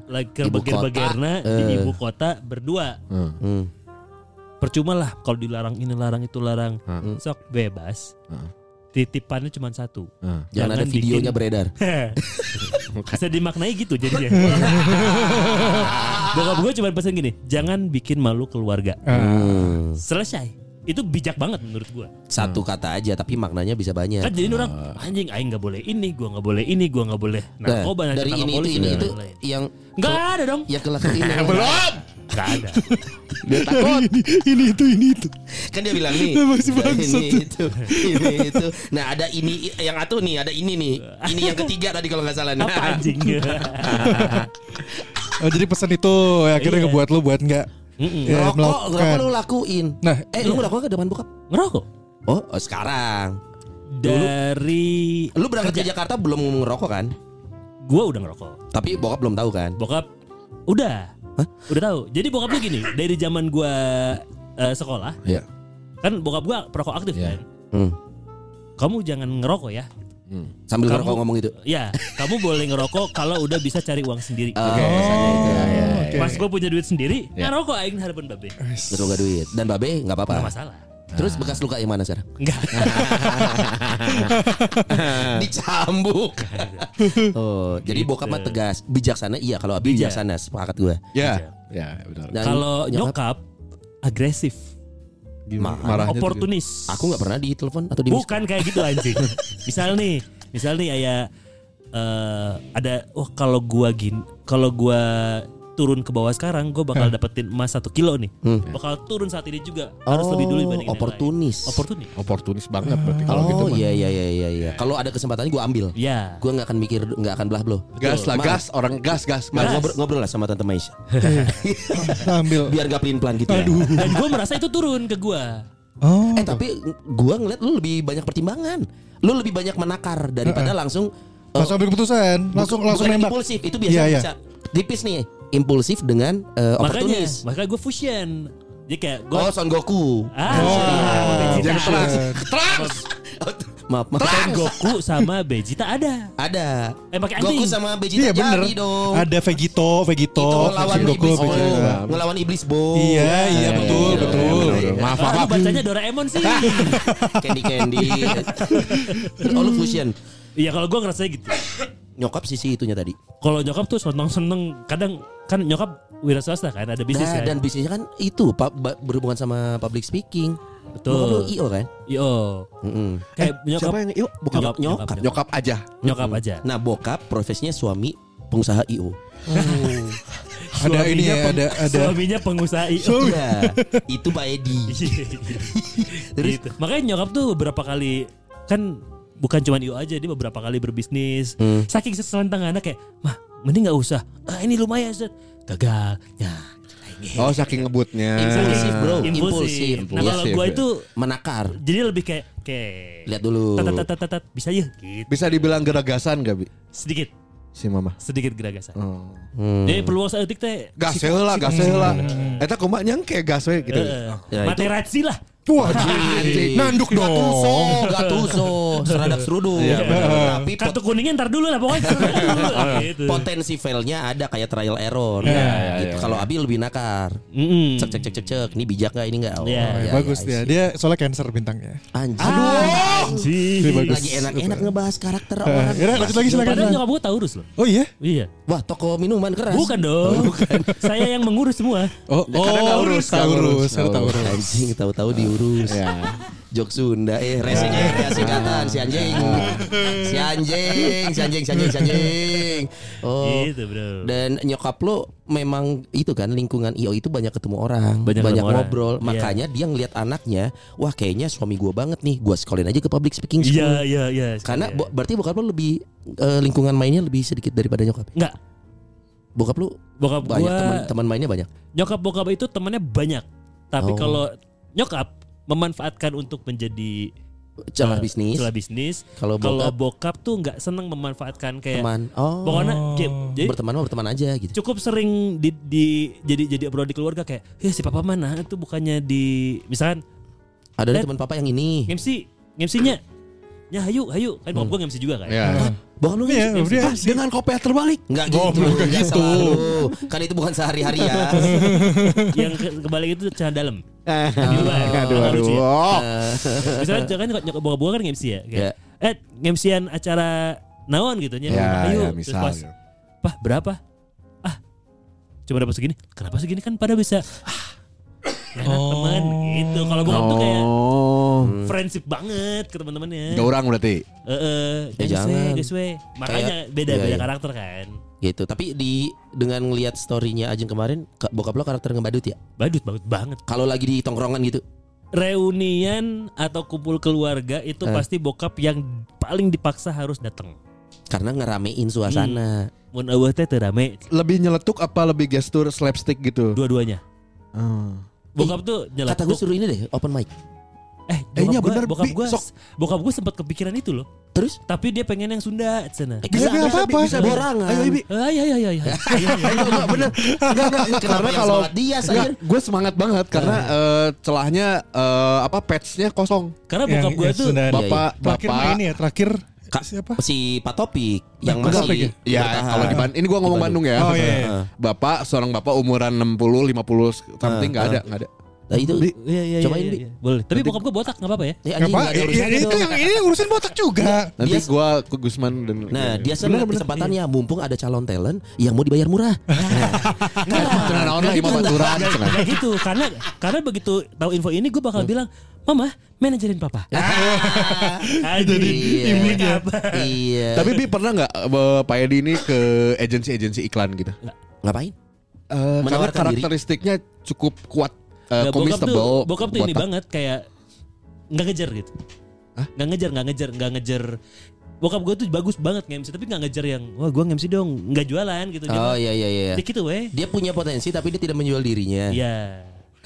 Speaker 4: lagi
Speaker 3: Hmm. Ibu
Speaker 4: gerbeger-begerna
Speaker 3: kota,
Speaker 4: di
Speaker 3: eh.
Speaker 4: ibu kota berdua.
Speaker 3: hmm,
Speaker 4: Percuma lah kalau dilarang ini larang itu larang.
Speaker 3: Hmm.
Speaker 4: Sok bebas. Titipannya cuma satu.
Speaker 3: jangan, ada
Speaker 4: bikin- Hmm.
Speaker 3: videonya beredar.
Speaker 4: Bisa dimaknai gitu jadinya. Bokap gue cuma pesan gini, jangan bikin malu keluarga.
Speaker 3: Hmm,
Speaker 4: Selesai. Itu bijak banget menurut gue.
Speaker 3: Satu kata aja tapi maknanya bisa banyak.
Speaker 4: Hmm. Kan jadi orang anjing aing nggak boleh ini, gue nggak boleh ini, gue nggak boleh
Speaker 3: Nah,
Speaker 4: narkoba nanti
Speaker 3: dari
Speaker 4: ditangkap
Speaker 3: ini itu
Speaker 4: polisi,
Speaker 3: ini
Speaker 4: dan
Speaker 3: itu
Speaker 4: lain-lain.
Speaker 3: yang
Speaker 4: Nggak ada dong.
Speaker 3: ya kelak ini.
Speaker 5: Belum.
Speaker 4: Nggak ada.
Speaker 5: Dia takut.
Speaker 6: Ini itu ini itu.
Speaker 3: kan dia bilang nih
Speaker 6: Masih
Speaker 3: ada
Speaker 6: bangsat
Speaker 3: ini itu ini itu nah ada ini yang atuh nih ada ini nih ini yang ketiga tadi kalau nggak salah nih
Speaker 4: Apa anjing?
Speaker 6: Oh, jadi pesan itu ya, akhirnya
Speaker 4: Iya.
Speaker 6: ngebuat lu buat nggak
Speaker 4: Mm-mm.
Speaker 6: ya,
Speaker 3: rokok rokok
Speaker 6: melakukan.
Speaker 3: lu lakuin
Speaker 6: Nah,
Speaker 3: eh lu ngerokok ke depan bokap
Speaker 4: Ngerokok.
Speaker 3: oh, oh, sekarang
Speaker 4: Dari
Speaker 3: lu berangkat ke Jakarta belum ngerokok kan
Speaker 4: gue udah ngerokok.
Speaker 3: tapi bokap belum tahu kan
Speaker 4: Bokap udah. Udah tahu. Jadi bokapnya gini, dari zaman gue sekolah,
Speaker 5: Iya.
Speaker 4: kan bokap gue perokok aktif
Speaker 5: Iya.
Speaker 4: kan.
Speaker 3: Hmm.
Speaker 4: Kamu jangan ngerokok ya.
Speaker 3: sambil
Speaker 4: Kamu-
Speaker 3: ngerokok ngomong gitu
Speaker 4: Ya, kamu boleh ngerokok kalau udah bisa cari uang sendiri.
Speaker 3: pesannya Oh, itu ya. Iya.
Speaker 6: Oke.
Speaker 4: Pas gue punya duit sendiri, ngerokok aing harapan babe.
Speaker 3: Terus lu nggak duit dan babe nggak apa-apa
Speaker 4: Enggak masalah.
Speaker 3: terus bekas luka yang mana sekarang
Speaker 4: Enggak.
Speaker 5: Nah.
Speaker 3: dicambuk
Speaker 5: Hmm.
Speaker 3: oh jadi bokap
Speaker 4: gitu.
Speaker 3: mah tegas bijaksana iya kalau abi
Speaker 4: Bijak.
Speaker 3: bijaksana sepakat gue
Speaker 5: Ya. Ya, benar.
Speaker 4: Nah,
Speaker 3: Dan
Speaker 4: Kalau nyokap agresif,
Speaker 5: Gimana? tuh
Speaker 4: oportunis.
Speaker 3: gitu. Aku nggak pernah ditelepon atau di
Speaker 4: Bukan kayak gitu anjing. misal nih, misal nih ayah eh, ada wah kalau gua gin, kalau gua turun ke bawah sekarang gue bakal dapetin emas satu kilo nih bakal turun saat ini juga harus lebih dulu dibanding
Speaker 3: Hmm. Oh, oportunis.
Speaker 4: oportunis
Speaker 5: oportunis banget berarti kalau gitu
Speaker 3: Oh
Speaker 5: mah.
Speaker 3: iya iya iya iya. iya. Kalau ada kesempatannya gue ambil.
Speaker 4: ya
Speaker 3: Gue nggak akan mikir nggak akan belah blow.
Speaker 5: Gas lah,
Speaker 3: Maaf.
Speaker 5: gas orang gas gas.
Speaker 3: Maaf,
Speaker 5: gas.
Speaker 3: ngobrol, ngobrol lah sama tante Maisha.
Speaker 6: Nah, ambil.
Speaker 3: Biar gak pelin pelan gitu. Aduh.
Speaker 4: dan gue merasa itu turun ke gua
Speaker 6: Oh.
Speaker 3: Eh tapi gue ngeliat lu lebih banyak pertimbangan. Lu lebih banyak menakar daripada langsung
Speaker 6: langsung ambil keputusan, langsung langsung
Speaker 3: Bukan
Speaker 6: nembak.
Speaker 3: impulsif itu biasa
Speaker 6: Iya, iya.
Speaker 3: bisa tipis nih impulsif dengan eh,
Speaker 4: makanya
Speaker 3: oportunis
Speaker 4: makanya gue fusion jadi kayak gue
Speaker 3: oh Son Goku
Speaker 4: ah, Vegeta.
Speaker 5: Yang trans, trans.
Speaker 3: maaf maaf
Speaker 4: Son Goku sama Vegeta ada
Speaker 3: ada
Speaker 4: Eh, pakai
Speaker 3: Goku
Speaker 4: anjing.
Speaker 3: sama Vegeta
Speaker 6: Iya bener.
Speaker 3: jadi dong
Speaker 6: Ada Vegito,
Speaker 3: itu
Speaker 6: Vegito,
Speaker 3: ngelawan
Speaker 6: Shin Goku,
Speaker 3: iblis bo
Speaker 6: Vegeta.
Speaker 3: ngelawan iblis bo
Speaker 6: Iya, iya
Speaker 3: Nah,
Speaker 6: betul,
Speaker 3: iya,
Speaker 6: betul.
Speaker 5: Aduh, Maaf,
Speaker 4: Ah,
Speaker 5: maaf,
Speaker 4: lu
Speaker 5: maaf.
Speaker 4: bacanya Doraemon sih
Speaker 3: Candy Candy oh lu fusion
Speaker 4: Iya kalau gue ngerasanya gitu
Speaker 3: nyokap sisi itunya tadi
Speaker 4: Kalau nyokap tuh seneng-seneng Kadang kan nyokap wira swasta kan Ada bisnis kan
Speaker 3: nah, dan bisnisnya kan itu pak ba- berhubungan sama public speaking
Speaker 4: Betul.
Speaker 3: Nyokap lu IO kan
Speaker 4: Yo
Speaker 3: Mm-mm.
Speaker 4: Kayak nyokap
Speaker 5: Siapa yang yuk bukan
Speaker 4: Nyokap,
Speaker 5: nyokap
Speaker 4: nyokap.
Speaker 5: nyokap aja.
Speaker 4: Nyokap aja
Speaker 3: nah bokap profesinya suami pengusaha IO
Speaker 6: Ada ini
Speaker 4: Suaminya
Speaker 6: ya,
Speaker 4: peng-
Speaker 6: ada ada
Speaker 4: Suaminya pengusaha IO
Speaker 3: Iya, itu Pak Edi
Speaker 4: Iya.
Speaker 3: Terus?
Speaker 4: gitu. Makanya nyokap tuh beberapa kali kan bukan cuma IO aja dia beberapa kali berbisnis.
Speaker 3: Hmm.
Speaker 4: Saking seselentang anak kayak, "Mah, mending nggak usah. Ah, ini lumayan, Zed." Gagal. Ya.
Speaker 5: Oh saking ngebutnya.
Speaker 3: Impulsif, bro.
Speaker 4: Impulsif.
Speaker 3: Impulsif. Iya,
Speaker 4: Nah, kalau
Speaker 5: Impulsif,
Speaker 4: gua
Speaker 5: ya.
Speaker 4: itu
Speaker 3: menakar
Speaker 4: jadi lebih kayak kayak
Speaker 3: lihat dulu
Speaker 4: tat, tat, tat, tat, tat, bisa ya gitu.
Speaker 5: Bisa dibilang geragasan gak bi?
Speaker 4: Sedikit,
Speaker 5: Si mama.
Speaker 4: sedikit geragasan.
Speaker 5: Oh.
Speaker 3: Hmm.
Speaker 4: Jadi peluang saya detik teh
Speaker 5: Gas heula, gas heula.
Speaker 4: Hmm.
Speaker 5: Eta kumaha nyangke gas we gitu.
Speaker 4: eh,
Speaker 3: Ya, itu-
Speaker 4: materazzi lah.
Speaker 6: Wah, anjing. nanduk
Speaker 3: Gatuso,
Speaker 6: dong.
Speaker 3: Gatuso, oh. seradak seruduk.
Speaker 4: Iya,
Speaker 3: Tapi pot-
Speaker 4: Kartu kuningnya ntar dulu lah pokoknya. ntar dulu. gitu. Iya,
Speaker 3: potensi failnya ada kayak trial error. gitu. Kalau Abi lebih nakar.
Speaker 4: Mm-mm.
Speaker 3: Cek cek cek cek cek. Ini bijak nggak ini nggak? Oh,
Speaker 4: Hmm. Iya.
Speaker 3: ya,
Speaker 6: Bagus
Speaker 3: ya,
Speaker 6: dia. Dia soalnya cancer bintangnya.
Speaker 3: Anjir.
Speaker 4: Anjing.
Speaker 3: Lagi enak-enak ngebahas karakter
Speaker 4: Iya,
Speaker 6: Eh,
Speaker 3: orang.
Speaker 6: ya, lanjut lagi silakan.
Speaker 4: Padahal nyokap gue Taurus loh.
Speaker 6: Oh iya.
Speaker 4: Iya.
Speaker 3: Wah, toko minuman keras.
Speaker 4: Bukan
Speaker 3: Oh,
Speaker 4: dong. Saya yang mengurus semua.
Speaker 6: Oh, oh,
Speaker 5: Taurus, Taurus.
Speaker 6: Taurus, ada Taurus.
Speaker 3: Anjing tahu-tahu diurus.
Speaker 4: Iya.
Speaker 5: Ya,
Speaker 3: Jok Sunda eh resenya ya kreasi kataan si anjing. Si anjing, si anjing, si anjing, si anjing. Oh.
Speaker 4: Gitu, bro.
Speaker 3: Dan nyokap lo memang itu kan lingkungan IO itu banyak ketemu orang, banyak,
Speaker 4: Banyak ketemu orang.
Speaker 3: ngobrol.
Speaker 4: Iya.
Speaker 3: Makanya dia ngelihat anaknya, wah kayaknya suami gua banget nih, gua sekolin aja ke public speaking
Speaker 4: Iya,
Speaker 3: school.
Speaker 4: iya, iya.
Speaker 3: Karena
Speaker 4: Iya.
Speaker 3: bo- berarti bokap lo lebih eh, lingkungan mainnya lebih sedikit daripada nyokap.
Speaker 4: Enggak.
Speaker 3: Bokap lo
Speaker 4: Bokap
Speaker 3: banyak
Speaker 4: gua
Speaker 3: teman-teman mainnya banyak.
Speaker 4: nyokap bokap itu temannya banyak. Tapi
Speaker 3: Oh.
Speaker 4: kalau nyokap memanfaatkan untuk menjadi eh,
Speaker 3: Celah bisnis.
Speaker 4: Celah bisnis.
Speaker 3: Kalau
Speaker 4: Kalau
Speaker 3: bokap
Speaker 4: bokap tuh nggak senang memanfaatkan kayak
Speaker 3: teman. Oh.
Speaker 4: pokoknya dia- jadi
Speaker 3: berteman mah berteman aja gitu.
Speaker 4: cukup sering di, di- jadi jadi abroad di keluarga kayak ya si papa mana itu bukannya di misalkan
Speaker 3: Ada nih
Speaker 4: Dan-
Speaker 3: teman papa yang ini.
Speaker 4: MC MC-nya ya hayu hayu kan bokap gue MC juga kan
Speaker 5: Hmm. Ya.
Speaker 3: Bokap lu
Speaker 6: Iya,
Speaker 3: nge-
Speaker 6: dia
Speaker 5: Dengan kopiah terbalik.
Speaker 3: Enggak
Speaker 6: Oh,
Speaker 3: gitu,
Speaker 6: bukan
Speaker 3: enggak
Speaker 6: gitu.
Speaker 3: selalu. Kan itu bukan sehari-hari ya.
Speaker 4: yang ke- kebalik itu cara dalam
Speaker 5: Eh,
Speaker 4: di luar
Speaker 5: Aduh,
Speaker 4: Kalau
Speaker 5: aduh.
Speaker 4: lucu ya.
Speaker 5: Oh.
Speaker 4: misalnya jangan nyokap nyokap bokap gue kan MC ya kayak,
Speaker 3: Iya.
Speaker 4: eh MC-an acara naon gitu nya
Speaker 5: Ya,
Speaker 4: ayo
Speaker 5: ya,
Speaker 4: terus
Speaker 5: misal.
Speaker 4: pas "Pah, berapa ah cuma dapat segini kenapa segini kan pada bisa ah, enak teman gitu kalau bokap tuh kayak Hmm.
Speaker 5: Oh.
Speaker 4: friendship banget ke teman-temannya
Speaker 5: Gak Ya, orang berarti.
Speaker 4: Heeh,
Speaker 3: Eh, jangan.
Speaker 4: guys we. Makanya beda-beda
Speaker 3: Iya, iya.
Speaker 4: karakter kan.
Speaker 3: gitu. Tapi di dengan ngelihat story-nya Ajeng kemarin, ka- bokap lo karakter ngebadut ya?
Speaker 4: Badut banget banget.
Speaker 3: Kalau lagi di tongkrongan gitu.
Speaker 4: Reunian atau kumpul keluarga itu
Speaker 3: Eh.
Speaker 4: pasti bokap yang paling dipaksa harus datang.
Speaker 3: Karena ngeramein suasana.
Speaker 4: Mun eueuh teh teu rame
Speaker 5: Lebih nyeletuk apa lebih gestur slapstick gitu?
Speaker 4: dua-duanya.
Speaker 5: Oh.
Speaker 4: Bokap tuh nyeletuk.
Speaker 3: Kata gue suruh ini deh, open mic.
Speaker 4: eh,
Speaker 5: Eh,
Speaker 4: bokap
Speaker 5: iya
Speaker 4: gua,
Speaker 5: bener,
Speaker 4: bokap
Speaker 5: Bi,
Speaker 4: gua,
Speaker 5: sok.
Speaker 4: bokap gua sempat kepikiran itu loh.
Speaker 3: Terus?
Speaker 4: Tapi dia pengen yang Sunda sana.
Speaker 3: Eh,
Speaker 6: Bisa, bisa, apa-apa.
Speaker 3: Bisa borangan.
Speaker 5: Ayo, Ibi.
Speaker 4: Ah, iya iya iya iya.
Speaker 5: Enggak bener Enggak enggak
Speaker 3: Kenapa Iya,
Speaker 5: enggak. Karena
Speaker 3: yang
Speaker 5: kalau
Speaker 3: semangat dia,
Speaker 5: Enggak,
Speaker 3: sayang?
Speaker 5: gue semangat banget karena
Speaker 3: Iya.
Speaker 5: eh, celahnya eh, apa patchnya kosong.
Speaker 4: Karena
Speaker 6: Yang-
Speaker 4: bokap gua
Speaker 6: yang
Speaker 4: tuh
Speaker 6: Iya,
Speaker 3: iya.
Speaker 6: Sunda.
Speaker 5: Bapak
Speaker 6: Terakhir
Speaker 5: bapak
Speaker 6: main ya, terakhir
Speaker 3: Ka-
Speaker 6: siapa?
Speaker 3: Si Pak Topik yang
Speaker 6: Enggak, Topik
Speaker 3: masih
Speaker 5: Ya,
Speaker 3: bertahan.
Speaker 5: kalau di Bandung ini gua ngomong
Speaker 3: Ah, Di Ah.
Speaker 5: Bandung ya.
Speaker 6: Oh iya.
Speaker 5: Bapak seorang bapak umuran 60 50
Speaker 3: Ah,
Speaker 5: something enggak ada, enggak ada.
Speaker 3: Nah, itu
Speaker 5: Di-
Speaker 4: Iya iya iya.
Speaker 3: Cobain,
Speaker 4: iya,
Speaker 3: Bi.
Speaker 4: iya. Boleh. Tapi bokap gua botak enggak apa-apa ya.
Speaker 3: Ya,
Speaker 6: Enggak
Speaker 3: anjing, nggak
Speaker 6: apa,
Speaker 3: ada
Speaker 6: i-
Speaker 3: urusannya
Speaker 6: i- itu
Speaker 3: dong.
Speaker 6: yang ini urusan botak juga.
Speaker 5: Nanti
Speaker 3: Dia-
Speaker 5: gua ke Gusman dan Iya,
Speaker 3: Nah, dia senang kesempatannya mumpung ada calon talent yang mau dibayar murah. Nah,
Speaker 5: cenah naon lah imam baturan cenah.
Speaker 4: Gak gitu karena karena begitu tahu info ini gue bakal bilang mama manajerin papa jadi
Speaker 3: Iya.
Speaker 4: ibunya
Speaker 3: Iya.
Speaker 5: Tapi Bi pernah enggak Pak Edi ini ke agensi-agensi iklan gitu?
Speaker 3: ngapain?
Speaker 5: Eh, karena
Speaker 3: Menawarkan diri.
Speaker 5: karakteristiknya cukup kuat
Speaker 4: Nah, bokap
Speaker 5: eh,
Speaker 4: tuh
Speaker 5: committable.
Speaker 4: bokap tuh ini
Speaker 5: botak.
Speaker 4: banget kayak nggak ngejar gitu nggak ngejar nggak ngejar nggak ngejar bokap gue tuh bagus banget nge-MC tapi nggak ngejar yang wah gue nge-MC dong nggak jualan gitu
Speaker 3: Oh iya iya iya.
Speaker 4: ya. gitu weh
Speaker 3: Dia punya potensi tapi dia tidak menjual dirinya.
Speaker 4: Iya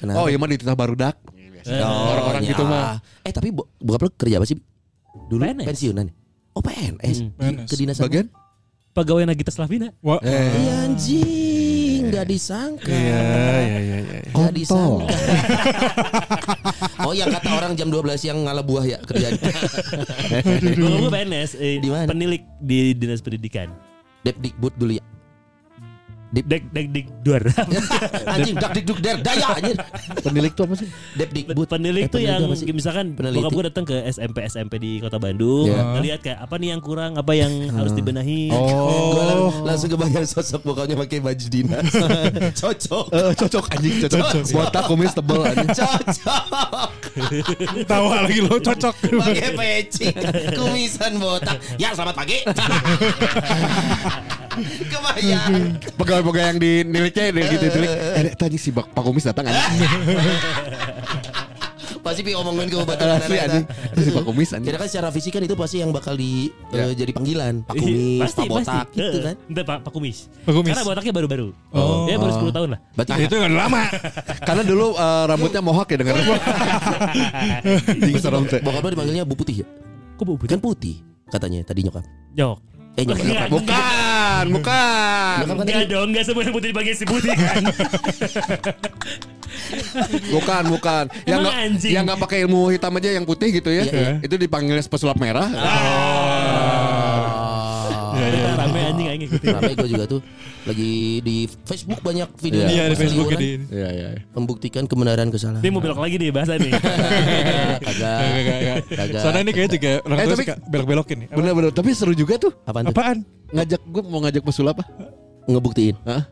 Speaker 4: Eh,
Speaker 3: Kenapa?
Speaker 5: Oh, iya mah dititah barudak.
Speaker 3: Oh,
Speaker 5: Orang-orang
Speaker 3: ya.
Speaker 5: gitu mah.
Speaker 3: Eh tapi bo- bokap lo kerja apa sih? Dulu
Speaker 4: PNS.
Speaker 3: pensiunan. ya? Oh PNS,
Speaker 4: Hmm.
Speaker 3: Di-
Speaker 6: PNS.
Speaker 3: kedinasan.
Speaker 5: Bagian?
Speaker 4: Pegawai Nagita Slavina.
Speaker 6: Wah,
Speaker 5: Eh.
Speaker 3: Iya anjing, nggak disangka.
Speaker 5: iya, iya, iya.
Speaker 3: Nggak disangka. oh yang kata orang jam 12 yang ngalah buah ya kerjaan.
Speaker 4: Kalau gue PNS, eh,
Speaker 3: Di mana?
Speaker 4: penilik di Dinas Pendidikan.
Speaker 3: Depdikbud dulu ya.
Speaker 4: Dek dek dek duar.
Speaker 3: anjing dak dik duk der daya anjing.
Speaker 5: Penilik tuh apa sih?
Speaker 3: Depdikbud.
Speaker 4: Penilik
Speaker 3: Eh,
Speaker 4: tuh yang
Speaker 3: apa sih?
Speaker 4: misalkan
Speaker 3: Peneliti.
Speaker 4: bokap gue datang ke SMP SMP di Kota Bandung,
Speaker 5: Iya.
Speaker 4: ngeliat kayak apa nih yang kurang, apa yang harus dibenahi.
Speaker 3: Oh, Gua lang- langsung kebayang sosok bokapnya pakai baju dinas. Cocok.
Speaker 5: Eh, cocok anjing cocok.
Speaker 3: iya.
Speaker 5: Botak kumis tebel anjing.
Speaker 3: Cocok.
Speaker 6: tawa lagi lo cocok.
Speaker 3: Pakai peci, kumisan botak. Ya selamat pagi. Kebayang.
Speaker 5: Pegawai-pegawai yang diniliknya dia gitu nilik. Eh, Dek, tadi si Pak Pak Kumis datang anjing. Iya,
Speaker 3: Pasti pi omongin ke obat
Speaker 5: Asli
Speaker 3: iya.
Speaker 5: anjing. Terus Ah, si Pak Kumis anjing.
Speaker 3: Karena kan secara fisik kan itu pasti yang bakal di
Speaker 5: Ya. Iya,
Speaker 3: eh, jadi panggilan.
Speaker 4: Ih,
Speaker 3: Pak Kumis, Pak Botak gitu
Speaker 4: Eh,
Speaker 3: kan.
Speaker 4: Bentar, Pak, Pak Kumis.
Speaker 6: Pak Kumis.
Speaker 4: Karena botaknya baru-baru.
Speaker 6: Oh.
Speaker 4: Ya baru 10 tahun lah.
Speaker 5: Iya,
Speaker 3: Berarti
Speaker 6: Itu yang lama.
Speaker 5: Karena dulu eh, rambutnya mohawk ya denger. Anjing serem teh.
Speaker 3: bokap lo dipanggilnya Bu Putih ya?
Speaker 4: Kok bau
Speaker 3: Kan putih katanya tadi nyokap.
Speaker 4: Jok.
Speaker 3: Eh
Speaker 5: Iya.
Speaker 3: nyokap.
Speaker 4: Enggak,
Speaker 3: nyokap.
Speaker 5: Bukan, bukan.
Speaker 3: Nyokap kan
Speaker 4: Enggak
Speaker 3: tadi Iya,
Speaker 4: dong, enggak semua yang putih dipanggil si putih kan.
Speaker 5: Bukan, bukan. Yang
Speaker 4: Emang
Speaker 5: nggak
Speaker 4: anjing?
Speaker 5: yang nggak pakai ilmu hitam aja yang putih gitu ya.
Speaker 3: Iya, iya.
Speaker 5: Itu dipanggilnya pesulap merah.
Speaker 4: Ah.
Speaker 5: iya.
Speaker 3: iya.
Speaker 4: Kita Rame anjing aing ngikutin.
Speaker 3: Rame gue juga tuh lagi di Facebook banyak video
Speaker 6: Iya di
Speaker 3: Asli
Speaker 6: Facebook
Speaker 3: orang
Speaker 6: di
Speaker 5: Iya, iya. iya.
Speaker 3: membuktikan kebenaran kesalahan.
Speaker 4: Ini mau belok lagi nih bahasa nih.
Speaker 3: Kagak. Kagak.
Speaker 6: Soalnya ini kayaknya juga orang
Speaker 5: Eh,
Speaker 6: tua
Speaker 5: tapi-
Speaker 6: suka belok-belokin nih.
Speaker 5: Bener, bener. Tapi seru juga tuh.
Speaker 3: Apaan tuh?
Speaker 6: Apaan?
Speaker 5: Ngajak gue mau ngajak pesulap apa?
Speaker 3: Ngebuktiin.
Speaker 5: Hah?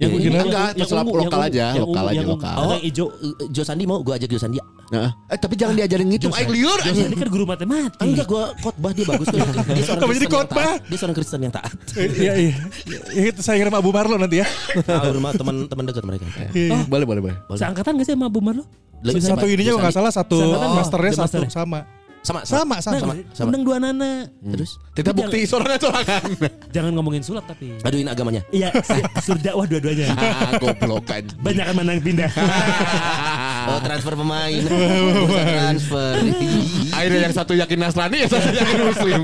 Speaker 3: Ya,
Speaker 5: Yang
Speaker 3: gua
Speaker 5: begini
Speaker 3: gini.
Speaker 5: enggak,
Speaker 4: Iya, yang
Speaker 5: pesulap
Speaker 4: ungu, yang
Speaker 5: lokal
Speaker 4: ungu,
Speaker 5: aja,
Speaker 4: yang
Speaker 5: lokal
Speaker 4: ungu,
Speaker 5: aja
Speaker 4: yang ungu.
Speaker 5: lokal.
Speaker 3: Oh,
Speaker 4: Yang hijau.
Speaker 3: eh, Jo Sandi mau gue ajak Jo Sandi ya?
Speaker 5: Nah, eh tapi jangan diajarin ngitung aing liur
Speaker 3: Iya.
Speaker 4: Jok
Speaker 5: anjing.
Speaker 4: ini kan guru matematik.
Speaker 3: Enggak gue khotbah dia bagus kok. Dia seorang
Speaker 6: Kenapa Iya. jadi
Speaker 3: Kristen yang
Speaker 6: khotbah?
Speaker 3: taat. Dia seorang Kristen yang taat.
Speaker 6: Iya iya. Iya, Itu saya kirim Abu Marlo nanti ya.
Speaker 3: Tahu rumah teman-teman dekat mereka.
Speaker 5: Oh, boleh, boleh, boleh.
Speaker 4: Seangkatan gak sih sama Bumar lo?
Speaker 3: Lagi
Speaker 6: Iya. Satu
Speaker 3: sama-
Speaker 6: ininya
Speaker 3: Jo
Speaker 6: kalau nggak
Speaker 3: Sandi.
Speaker 6: salah satu
Speaker 4: Sangkatan nggak? Dia
Speaker 6: masternya satu
Speaker 4: masternya.
Speaker 6: sama.
Speaker 3: Sama,
Speaker 6: Sama Hmm. sama.
Speaker 3: Sama, sama.
Speaker 4: Undang dua nana.
Speaker 3: Terus
Speaker 5: Kita bukti sorangan-sorangan.
Speaker 4: Jangan ngomongin sulap tapi.
Speaker 3: aduin agamanya.
Speaker 4: Iya, surdakwah dua-duanya.
Speaker 5: Ah, goblok anjing.
Speaker 4: Banyak yang menang pindah.
Speaker 6: Ah.
Speaker 3: Oh transfer pemain Bursa transfer Iya.
Speaker 5: Akhirnya yang satu yakin Nasrani, yang satu yakin Muslim.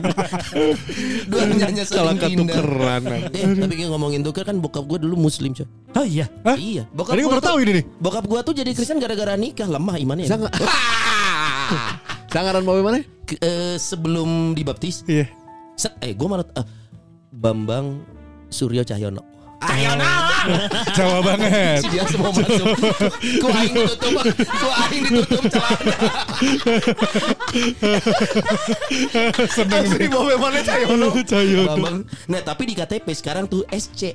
Speaker 3: Dua nyanya saling
Speaker 5: Salah
Speaker 3: pindah
Speaker 5: ketukeran.
Speaker 3: Eh tapi kayak ngomongin tuker kan bokap gue dulu muslim coy
Speaker 4: Oh iya.
Speaker 6: Hah?
Speaker 3: Iya Bokap
Speaker 6: Tadi gue
Speaker 3: gua
Speaker 6: baru tahu
Speaker 3: tuh-
Speaker 6: ini nih.
Speaker 3: Bokap gue tuh jadi Kristen gara-gara nikah Lemah imannya
Speaker 5: Sangat. Sangaran mau mana?
Speaker 3: Ke- eh, Sebelum dibaptis
Speaker 6: Iya.
Speaker 3: Set Eh gue malah eh, Bambang Suryo Cahyono
Speaker 6: Jawa banget.
Speaker 3: Si dia semua masuk Ku aing ditutup Ku aing ditutup celana
Speaker 5: Asli mau mana Cahyono?
Speaker 3: Bambang Nah tapi di KTP sekarang tuh SC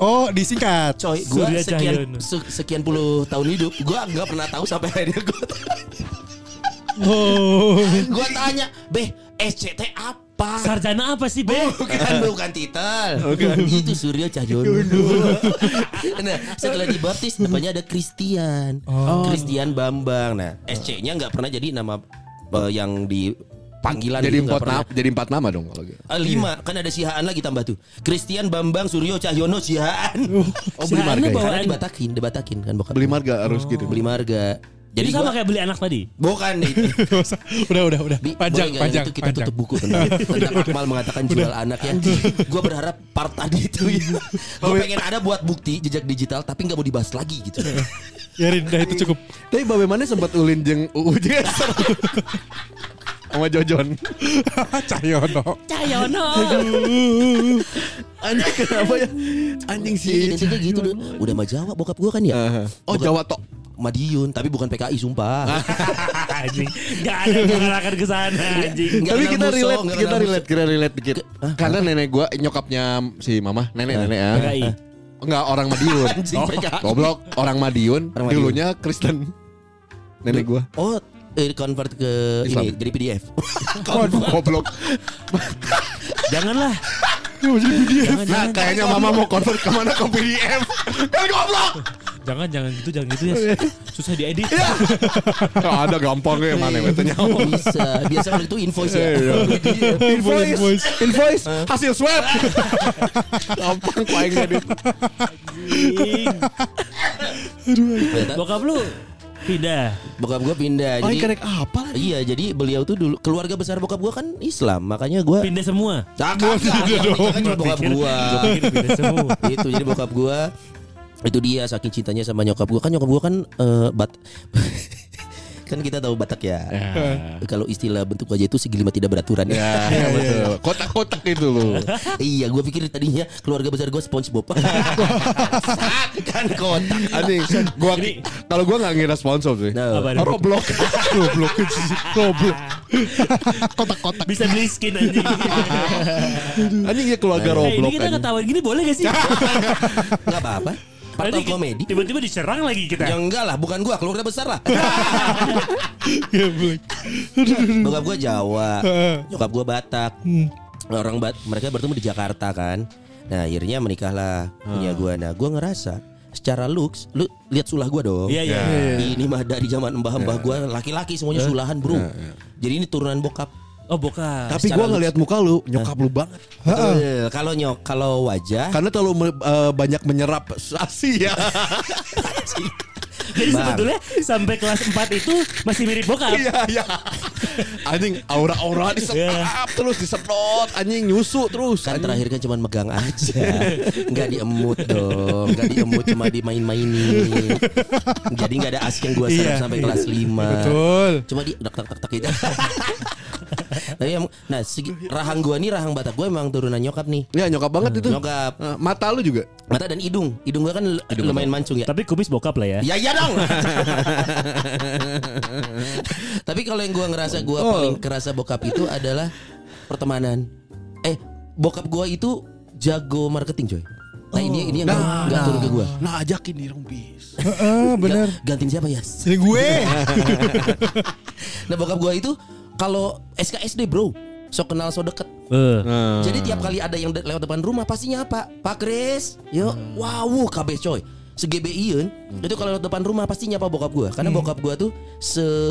Speaker 6: Oh disingkat.
Speaker 3: Coy, gue
Speaker 4: Surya
Speaker 3: sekian
Speaker 4: Cahyono.
Speaker 3: se- sekian puluh tahun hidup, gue nggak pernah tahu sampai akhirnya gue
Speaker 6: Oh.
Speaker 3: gue tanya, beh SCT apa?
Speaker 4: Sarjana apa sih, Be?
Speaker 3: Bukan bukan titel, itu Surya Cahyono. nah setelah dibaptis depannya ada Christian, Christian Bambang. Nah SC-nya nggak pernah jadi nama eh, yang di panggilan
Speaker 5: Jadi
Speaker 3: gitu nggak
Speaker 5: empat
Speaker 3: pernah.
Speaker 5: nama, jadi empat nama dong kalau gitu.
Speaker 3: Eh, lima kan ada Sihaan lagi tambah tuh Christian Bambang Suryo Cahyono Sihaan
Speaker 5: Oh beli
Speaker 4: Sarjana
Speaker 5: marga, ya?
Speaker 4: bawaan.
Speaker 3: karena dibatakin dibatakin kan bokap
Speaker 5: beli marga harus gitu.
Speaker 3: beli marga
Speaker 4: Jadi
Speaker 3: gua-
Speaker 4: sama kayak beli anak tadi.
Speaker 3: Bukan itu.
Speaker 6: udah udah udah.
Speaker 3: Bi, boleh
Speaker 6: Panjang
Speaker 3: nggak
Speaker 6: panjang
Speaker 3: yang itu kita
Speaker 6: panjang.
Speaker 3: tutup buku tentang, tentang Akmal mengatakan jual anak ya. Gue berharap part tadi itu ya. Gue pengen ada buat bukti jejak digital tapi nggak mau dibahas lagi gitu.
Speaker 6: Yarin dah Iya, itu cukup.
Speaker 5: Tapi bagaimana sempat ulin jeng UU juga sama Jojon.
Speaker 6: Cahyono.
Speaker 3: Iya,
Speaker 5: Anjing kenapa ya? Anjing
Speaker 3: Iya,
Speaker 5: sih.
Speaker 3: identiknya gitu dulu. Udah mah Jawa bokap gue kan ya.
Speaker 5: Oh
Speaker 3: Bokap-
Speaker 5: Jawa tok.
Speaker 3: Madiun tapi bukan PKI sumpah.
Speaker 4: anjing. Gak ada yang mengarahkan ke sana, anjing.
Speaker 3: Nggak
Speaker 5: Tapi
Speaker 3: kenal
Speaker 5: kita
Speaker 3: musuh,
Speaker 5: relate,
Speaker 3: nggak
Speaker 5: kita
Speaker 3: kenal
Speaker 5: relate, kita relate dikit. Karena nenek gua nyokapnya si mama, nenek-nenek ya.
Speaker 4: PKI.
Speaker 5: Enggak orang Madiun. Oh,
Speaker 3: Anjing, PKI.
Speaker 5: Goblok, orang Madiun,
Speaker 3: Orang Madiun.
Speaker 5: dulunya Kristen. Nenek gua.
Speaker 3: musuh. Oh, eh, convert ke
Speaker 5: Islam.
Speaker 3: ini jadi PDF.
Speaker 5: Waduh, goblok.
Speaker 4: Janganlah. Jangan,
Speaker 5: Nah,
Speaker 4: jangan,
Speaker 5: kayaknya mama mau convert kemana ke PDF. Kan goblok.
Speaker 4: jangan, jangan gitu, jangan gitu ya. Susah diedit.
Speaker 3: Ya.
Speaker 5: Nggak ada gampang ya mana betulnya.
Speaker 3: Oh, Bisa. Biasa kalau itu invoice
Speaker 4: Iya,
Speaker 3: ya.
Speaker 5: Invoice,
Speaker 3: Nah.
Speaker 5: invoice, hasil swab. Gampang paling edit.
Speaker 4: Anjing. Bokap lu Pindah.
Speaker 3: Bokap gue pindah.
Speaker 5: Oh,
Speaker 3: jadi
Speaker 5: ikan apa lagi?
Speaker 3: Iya, jadi beliau tuh dulu keluarga besar bokap gue kan Islam, makanya gue
Speaker 4: Pindah semua.
Speaker 3: Cakap kan cuma bokap
Speaker 4: Pikir-
Speaker 3: gue.
Speaker 4: gua pikir pindah semua.
Speaker 3: itu jadi bokap gue itu dia saking cintanya sama nyokap gue kan nyokap gue kan eh, bat kan kita tahu Batak ya. Kalau istilah bentuk wajah itu segili mah tidak beraturan
Speaker 5: Ya,
Speaker 3: ya.
Speaker 5: ya, betul. Kotak-kotak itu loh.
Speaker 3: iya, gue pikir tadinya keluarga besar gue SpongeBob. Saat kan kotak.
Speaker 5: Anjing, gua kalau gua nggak ngira sponsor sih.
Speaker 3: No.
Speaker 4: Apa nih?
Speaker 5: Roblox. Roblox. Roblox.
Speaker 6: Kotak-kotak.
Speaker 4: Bisa beli skin anjing.
Speaker 5: Anjing
Speaker 3: Nah,
Speaker 5: ya
Speaker 4: Eh,
Speaker 5: keluarga
Speaker 4: ini
Speaker 5: Roblox.
Speaker 3: kan
Speaker 4: kita
Speaker 5: anjing.
Speaker 4: ketahuan gini boleh gak sih?
Speaker 3: Gak apa-apa. Part
Speaker 4: Nanti
Speaker 3: of comedy.
Speaker 4: Tiba-tiba diserang lagi
Speaker 5: Nah.
Speaker 4: kita.
Speaker 3: Ya enggak lah, bukan gua, keluarga besar lah.
Speaker 5: Ya,
Speaker 3: Bokap gua Jawa, nyokap gua Batak.
Speaker 5: Hmm.
Speaker 3: Orang Bat mereka bertemu di Jakarta kan. Nah, akhirnya menikahlah
Speaker 5: Ah.
Speaker 3: punya gua. Nah, gua ngerasa secara looks, lu lihat sulah gua dong.
Speaker 4: Iya, iya.
Speaker 3: Ini mah dari zaman
Speaker 5: Iya.
Speaker 3: mbah-mbah gua laki-laki semuanya sulahan, Bro. Jadi ini turunan bokap.
Speaker 4: Oh, bokap.
Speaker 5: Tapi
Speaker 3: secara
Speaker 5: gua ngelihat muka lu, nyokap lu banget.
Speaker 3: Betul. Kalau nyok, kalau wajah
Speaker 5: Karena terlalu me- eh, banyak menyerap sasi ya.
Speaker 4: Jadi
Speaker 3: Bang.
Speaker 4: sebetulnya sampai kelas 4 itu masih mirip bokap.
Speaker 5: Iya, iya. Anjing aura-aura
Speaker 3: Iya.
Speaker 5: diserap terus disedot, anjing nyusu terus.
Speaker 3: kan
Speaker 5: Anjing.
Speaker 3: terakhir kan cuma megang aja nggak diemut dong nggak diemut cuma dimain-mainin jadi nggak ada as yang gue serap
Speaker 6: Iya.
Speaker 3: sampai kelas 5
Speaker 6: Betul.
Speaker 3: cuma di tak tak tak tak gitu Tapi emang- nah segi- rahang gue nih rahang batak gue emang turunan nyokap nih
Speaker 5: Ya nyokap banget itu.
Speaker 3: Hmm, nyokap
Speaker 5: Eh, Mata lu juga.
Speaker 3: mata dan hidung hidung gue kan l- lumayan mancung ya
Speaker 4: Tapi kumis bokap lah ya.
Speaker 3: Ya ya dong. Tapi kalau yang gua ngerasa gua paling kerasa bokap itu adalah pertemanan. Eh, bokap gua itu jago marketing, coy. Nah, ini ini yang nggak turun ke gua.
Speaker 5: Nah ajakin nih rumpis.
Speaker 6: Heeh, bener.
Speaker 3: Ga- Gantiin siapa ya?
Speaker 6: Ini gue.
Speaker 3: Nah, bokap gua itu kalau SKSD, Bro. Sok kenal so deket
Speaker 4: Eh.
Speaker 3: Jadi tiap kali ada yang de- lewat depan rumah pastinya apa? Pak Kris, yuk. Wow, KB coy. Segebe Ian, itu kalau lewat depan rumah pasti nyapa bokap gua karena bokap gua tuh se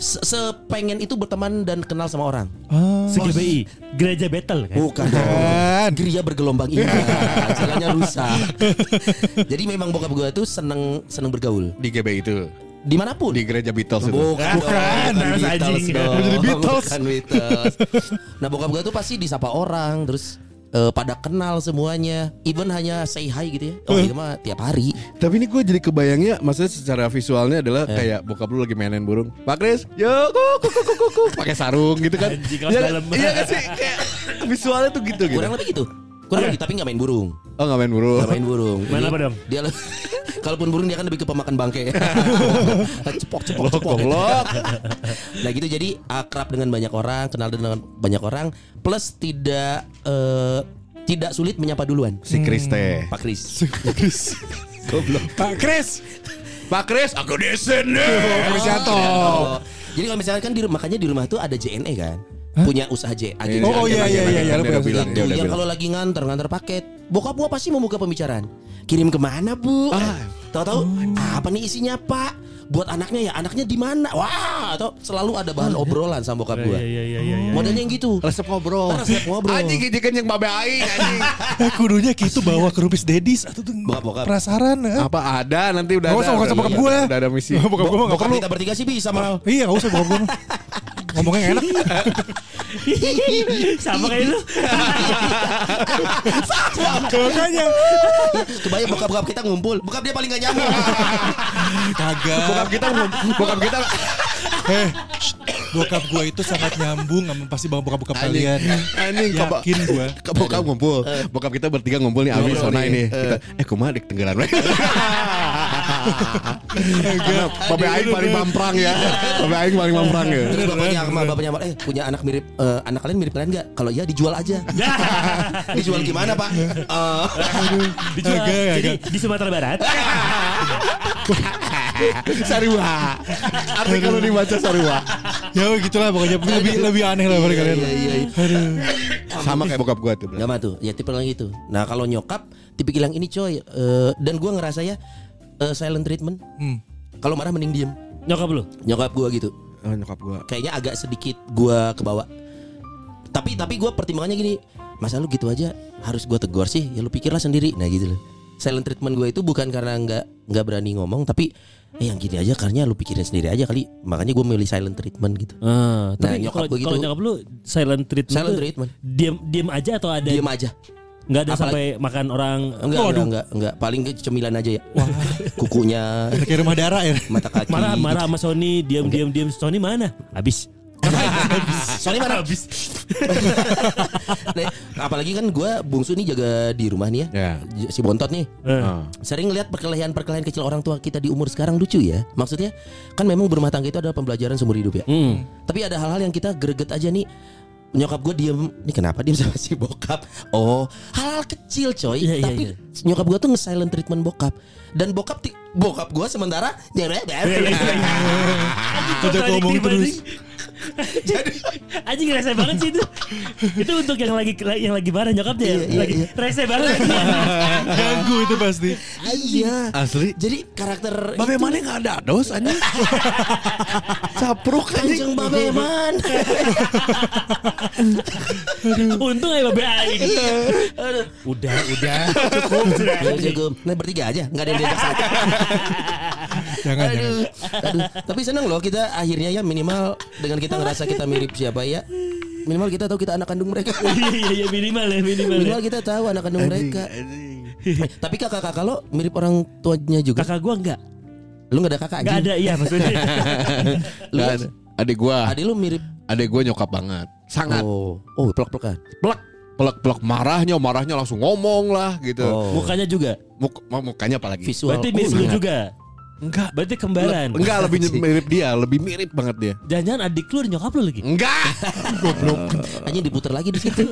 Speaker 3: se- sepengen itu berteman dan kenal sama orang.
Speaker 4: CGBI Gereja Battle kan.
Speaker 3: Bukan.
Speaker 6: Kan.
Speaker 3: dong. Geria bergelombang ini. Jalannya rusak. Jadi memang bokap gua tuh seneng seneng bergaul.
Speaker 5: Di GB itu.
Speaker 3: Dimanapun.
Speaker 5: Di gereja Beatles itu.
Speaker 3: Bukan, bukan,
Speaker 4: Gitu harus
Speaker 3: Beatles
Speaker 4: anjing.
Speaker 3: dong.
Speaker 4: Mau jadi
Speaker 6: Beatles.
Speaker 3: Bukan Beatles. Nah bokap gue tuh pasti disapa orang terus eh, pada kenal semuanya, even hanya say hi gitu ya. Oh itu mah tiap hari.
Speaker 4: Gitu.
Speaker 5: Tapi ini gue jadi kebayangnya, maksudnya secara visualnya adalah kayak bokap lu lagi mainin burung. Pak Kris, yuk, kuk, kuk, kuk, kuk, kuk, kuk. pakai sarung gitu kan?
Speaker 4: Anjing,
Speaker 5: Iya
Speaker 4: kaos
Speaker 5: kan?
Speaker 4: dalam.
Speaker 5: Iya kan sih, kayak visualnya tuh gitu gitu.
Speaker 3: Kurang lebih gitu. Kurang lebih tapi nggak main burung.
Speaker 5: Oh nggak main burung.
Speaker 3: Nggak main burung.
Speaker 4: Iya. Main
Speaker 3: Dia-
Speaker 4: apa dong?
Speaker 3: Dia le- kalaupun burung dia kan lebih ke pemakan bangke. cepok cepok
Speaker 5: Goblok,
Speaker 3: cepok.
Speaker 5: goblok.
Speaker 3: Nah gitu jadi akrab dengan banyak orang, kenal dengan banyak orang, plus tidak eh, tidak sulit menyapa duluan.
Speaker 5: Si Kris teh.
Speaker 3: Pak Kris. Goblok.
Speaker 6: Pak Kris.
Speaker 5: Pak Kris, aku di sini.
Speaker 3: Oh. Jadi kalau misalkan di rumah, makanya di rumah tuh ada JNE kan. Punya usaha J E. agen.
Speaker 6: Oh, oh,
Speaker 5: Dia
Speaker 6: iya,
Speaker 5: udah
Speaker 6: iya, iya, iya, lu
Speaker 5: bilang,
Speaker 6: punya
Speaker 5: dia udah
Speaker 3: yang
Speaker 5: bilang.
Speaker 3: kan kalau lagi nganter nganter paket, bokap gua pasti membuka pembicaraan. Kirim kemana bu? Eh, Tahu-tahu apa nih isinya pak? Buat anaknya ya, anaknya di mana? Wah, atau selalu ada bahan obrolan sama bokap
Speaker 4: Iya
Speaker 3: gua.
Speaker 4: iya iya iya. iya.
Speaker 3: Modelnya yang gitu.
Speaker 5: Resep ngobrol.
Speaker 3: Resep ngobrol.
Speaker 5: Anjing gijikan yang babe aing anjing.
Speaker 6: Eh, kudunya gitu bawa ke Rumpis Dedis atau tuh
Speaker 3: Bokap-bokap.
Speaker 6: penasaran. eh.
Speaker 5: Apa ada nanti udah
Speaker 6: Nggak usah, nggak usah
Speaker 5: udah-
Speaker 6: bokap
Speaker 5: udah-
Speaker 6: gue.
Speaker 5: Udah ada misi.
Speaker 6: Bokap gue mah nggak
Speaker 3: Bokap
Speaker 6: perlu.
Speaker 3: kita bertiga sih bisa mal.
Speaker 6: Iya nggak usah bokap gue mah. Ngomongnya nggak enak.
Speaker 3: Iya.
Speaker 4: Sama kayak lu.
Speaker 6: Makanya.
Speaker 3: Kebayang bokap-bokap kita ngumpul. Bokap dia paling gak nyambung.
Speaker 6: Kagak.
Speaker 5: Bokap kita bokap kita
Speaker 6: Eh, shh, bokap gue itu sangat nyambung sama pasti bang bokap-bokap kalian.
Speaker 5: Anjing kebak-
Speaker 6: Yakin gue.
Speaker 5: Ke bokap ngumpul Bokap kita bertiga ngumpul nih Abi Sona ini kita, Eh kumaha di tenggelan we Karena Babe Aing paling mamprang ya Babe Aing paling mamprang ya
Speaker 3: Terus bapaknya sama bapaknya Amar, eh punya anak mirip eh, anak kalian mirip kalian nggak? Kalau iya dijual aja. dijual gimana pak? Eh,
Speaker 4: Dijual.
Speaker 6: Agak,
Speaker 4: Jadi
Speaker 6: agak.
Speaker 4: di Sumatera Barat.
Speaker 5: Sarua Artikel kalau dibaca Sarua
Speaker 6: Ya gitulah pokoknya lebih lebih aneh lah bagi kalian.
Speaker 3: iya, iya, iya.
Speaker 5: Sama kayak bokap gua tuh
Speaker 3: Gak mah tuh, ya tipe yang gitu. Nah kalau nyokap, tipe bilang ini coy, eh, dan gue ngerasa ya eh, silent treatment.
Speaker 6: Hmm.
Speaker 3: Kalau marah mending diem.
Speaker 4: Nyokap lu.
Speaker 3: Nyokap gue gitu,
Speaker 5: Oh, Nyokap gua
Speaker 3: kayaknya agak sedikit gue kebawa. Tapi tapi gue pertimbangannya gini, masa lu gitu aja harus gue tegur sih? Ya lu pikirlah sendiri. Nah gitu loh. Silent treatment gue itu bukan karena nggak nggak berani ngomong, tapi eh yang gini aja karena lu pikirin sendiri aja kali makanya gue milih silent treatment gitu
Speaker 4: Ah, tapi kalau
Speaker 3: nyokap gua gitu.
Speaker 4: kalau nyokap lu silent treatment
Speaker 3: silent
Speaker 4: tuh
Speaker 3: treatment
Speaker 4: diam diam aja atau ada
Speaker 3: diem aja
Speaker 4: nggak ada sampai
Speaker 3: Apalagi-
Speaker 4: makan orang
Speaker 3: enggak enggak, enggak enggak paling ke cemilan aja ya kukunya
Speaker 6: Kayak rumah darah ya.
Speaker 3: mata kaki gitu.
Speaker 4: marah marah sama Sony diam diam diam Sony mana habis
Speaker 3: Sony mana? Nah, apalagi kan gue bungsu nih jaga di rumah nih ya
Speaker 5: Ya.
Speaker 3: J- si bontot nih
Speaker 4: Eh,
Speaker 5: Ah.
Speaker 3: sering ngeliat perkelahian-perkelahian kecil orang tua kita di umur sekarang lucu ya maksudnya kan memang berumah tangga itu adalah pembelajaran seumur hidup ya
Speaker 4: Hmm.
Speaker 3: tapi ada hal-hal yang kita greget aja nih nyokap gue diem ini kenapa diem sama si bokap oh hal-hal kecil coy
Speaker 4: Iya, iya,
Speaker 3: tapi
Speaker 4: iya.
Speaker 3: nyokap gue tuh nge-silent treatment bokap dan bokap ti- bokap gue sementara
Speaker 5: Iya,
Speaker 6: Udah ngomong terus.
Speaker 4: Jadi anjing rese banget sih itu. itu untuk yang lagi yang lagi marah nyokapnya ya.
Speaker 3: Iya, iya,
Speaker 4: lagi
Speaker 3: iya.
Speaker 4: rese banget.
Speaker 6: Ganggu itu pasti.
Speaker 3: iya
Speaker 5: Asli.
Speaker 3: jadi karakter
Speaker 5: Babe mana nggak ada dos anjing. Capruk
Speaker 3: Kanjeng
Speaker 5: anjing.
Speaker 3: Babe Man.
Speaker 4: Untung ya babe aing.
Speaker 3: Iya.
Speaker 4: Udah, udah. Cukup sudah.
Speaker 3: Ayo, Jago. Nah bertiga aja, nggak ada yang diajak saya.
Speaker 6: Jangan, jangan.
Speaker 3: Aduh, aduh. Tapi seneng loh kita akhirnya ya minimal dengan kita ngerasa kita mirip siapa ya. Minimal kita tahu kita anak kandung mereka.
Speaker 4: Iya, iya, iya minimal ya minimal. ya.
Speaker 3: Minimal kita tahu anak kandung mereka. Eh, Tapi kakak-kakak lo mirip orang tuanya juga.
Speaker 4: Kakak gua enggak.
Speaker 3: Lu nggak ada kakak
Speaker 4: Enggak
Speaker 3: anjing.
Speaker 4: ada iya maksudnya.
Speaker 3: Lu,
Speaker 5: Dan adik gua,
Speaker 3: adik lu mirip.
Speaker 5: adik gua nyokap banget. Sangat
Speaker 3: Oh, oh pelak-pelakan.
Speaker 5: plek plek plek marahnya, marahnya langsung ngomong lah gitu.
Speaker 3: Oh.
Speaker 4: Mukanya juga.
Speaker 5: Muk- ma- mukanya apalagi?
Speaker 3: Visual. Oh, iya.
Speaker 4: Berarti miss lu
Speaker 5: Sangat.
Speaker 4: juga.
Speaker 5: iya. Enggak.
Speaker 4: Berarti kembaran.
Speaker 5: Enggak lebih mirip dia, lebih mirip banget dia. Eh,
Speaker 4: Jangan-jangan adik lu dan nyokap lu lagi.
Speaker 5: Enggak.
Speaker 3: Hanya diputar lagi di situ.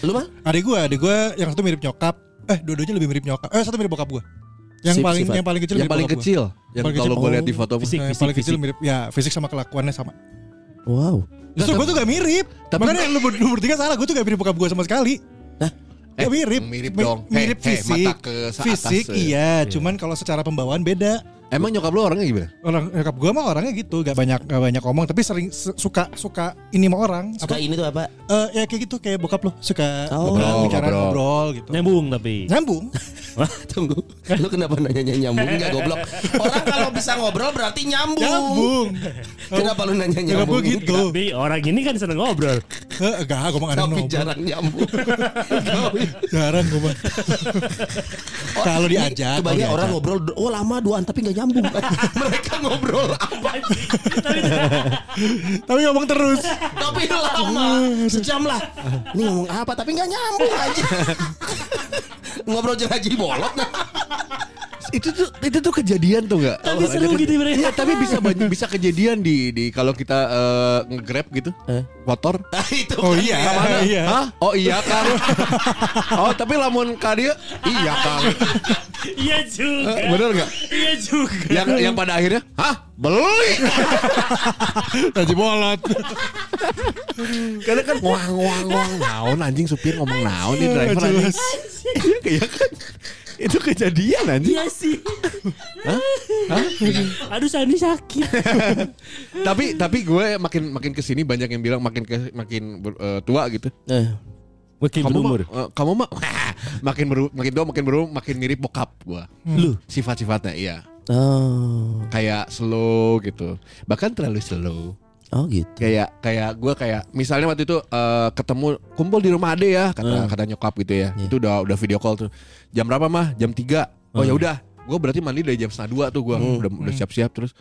Speaker 3: lu mah?
Speaker 6: Adik gue, adik gue yang satu mirip nyokap. Eh, dua-duanya lebih mirip nyokap. Eh, satu mirip bokap gue. Yang
Speaker 3: Sif-
Speaker 6: paling
Speaker 3: sifat.
Speaker 6: yang paling kecil
Speaker 5: yang
Speaker 6: mirip
Speaker 5: paling
Speaker 6: bokap gua.
Speaker 5: kecil, yang
Speaker 6: Paling
Speaker 5: kalau
Speaker 6: kecil,
Speaker 5: gua
Speaker 6: oh.
Speaker 5: lihat di foto.
Speaker 4: Fisik,
Speaker 6: Nah, yang
Speaker 4: fisik,
Speaker 6: paling kecil
Speaker 4: fisik.
Speaker 6: mirip ya fisik sama kelakuannya sama.
Speaker 3: Wow.
Speaker 6: Justru gue tuh gak mirip.
Speaker 5: Tapi-
Speaker 6: Makanya lu, ber- lu bertiga salah, gue tuh gak mirip bokap gue sama sekali.
Speaker 5: Eh,
Speaker 6: Gak mirip.
Speaker 5: mirip
Speaker 6: Mi-
Speaker 5: dong.
Speaker 6: Mirip
Speaker 5: Hei, hei,
Speaker 6: fisik.
Speaker 5: mata ke se- atas,
Speaker 6: fisik
Speaker 5: eh.
Speaker 6: iya, cuman kalau secara pembawaan beda.
Speaker 5: Emang nyokap lu orangnya gimana?
Speaker 6: Orang nyokap gue mah orangnya gitu, gak banyak gak banyak ngomong tapi sering se- suka suka ini sama orang.
Speaker 3: Suka
Speaker 6: Apa?
Speaker 3: ini tuh apa?
Speaker 6: Eh, ya kayak gitu kayak bokap lo suka
Speaker 3: Oh.
Speaker 6: ngobrol,
Speaker 5: Ngobrol,
Speaker 6: bicara
Speaker 5: ngobrol.
Speaker 6: ngobrol gitu.
Speaker 4: Nyambung tapi.
Speaker 6: Nyambung.
Speaker 3: Tunggu, lu kenapa nanya nyambung nggak goblok? Orang kalau bisa ngobrol berarti nyambung.
Speaker 6: Nyambung.
Speaker 3: Kenapa lu nanya
Speaker 6: Nyokap
Speaker 3: nyambung?
Speaker 6: gue Ya, gitu.
Speaker 4: Tapi orang ini kan seneng ngobrol.
Speaker 6: Eh, Enggak, gue mah nggak ada
Speaker 3: Tapi
Speaker 6: ngobrol.
Speaker 3: jarang nyambung.
Speaker 6: Jarang gue mah. Kalau diajak, kalau
Speaker 3: Oh, Kebanyakan
Speaker 6: diajak.
Speaker 3: orang ngobrol, oh lama duaan tapi nggak nyambung. Mereka ngobrol apa?
Speaker 6: Tapi ngomong terus.
Speaker 3: Tapi lama, Hmm, sejam lah. Ini ngomong apa tapi nggak nyambung aja. ngobrol jelaji bolot.
Speaker 5: itu tuh itu tuh kejadian tuh nggak?
Speaker 4: Tapi seru gitu, Bre.
Speaker 5: Iya, tapi bisa banyak bisa kejadian di di kalau kita eh, nge-grab gitu.
Speaker 4: Eh?
Speaker 5: Motor.
Speaker 3: Nah, itu
Speaker 6: Oh iya, iya.
Speaker 5: Hah? Oh iya Kang. oh tapi lamun ka dia iya Kang.
Speaker 4: Iya juga.
Speaker 5: Eh, bener nggak? Ya.
Speaker 4: Iya juga.
Speaker 5: Yang yang pada akhirnya, "Hah? Beli."
Speaker 6: Gaji bolot.
Speaker 5: Karena kan wang wang wang naon anjing supir ngomong naon nih driver anjing.
Speaker 6: Jelas.
Speaker 5: Iya kan? Itu kejadian anjing.
Speaker 4: Iya sih.
Speaker 5: Hah?
Speaker 4: Aduh Sani sakit.
Speaker 5: tapi tapi gue makin makin kesini banyak yang bilang makin ke, makin ber- eh, tua gitu.
Speaker 4: Makin
Speaker 5: kamu mah, eh, kamu mah makin beru- makin tua makin beru makin mirip bokap gua. Hmm. Lu sifat-sifatnya iya.
Speaker 3: Oh,
Speaker 5: Kayak slow gitu. Bahkan terlalu slow.
Speaker 3: oh gitu.
Speaker 5: Kayak kayak gua kayak misalnya waktu itu eh, ketemu kumpul di rumah Ade ya
Speaker 3: Hmm.
Speaker 5: kata kata nyokap gitu ya.
Speaker 3: Iya.
Speaker 5: Itu udah udah video call tuh. Jam berapa mah? Jam 3. Oh ya
Speaker 3: Hmm.
Speaker 5: udah. Gue berarti mandi dari jam setengah dua tuh gua udah udah siap-siap terus.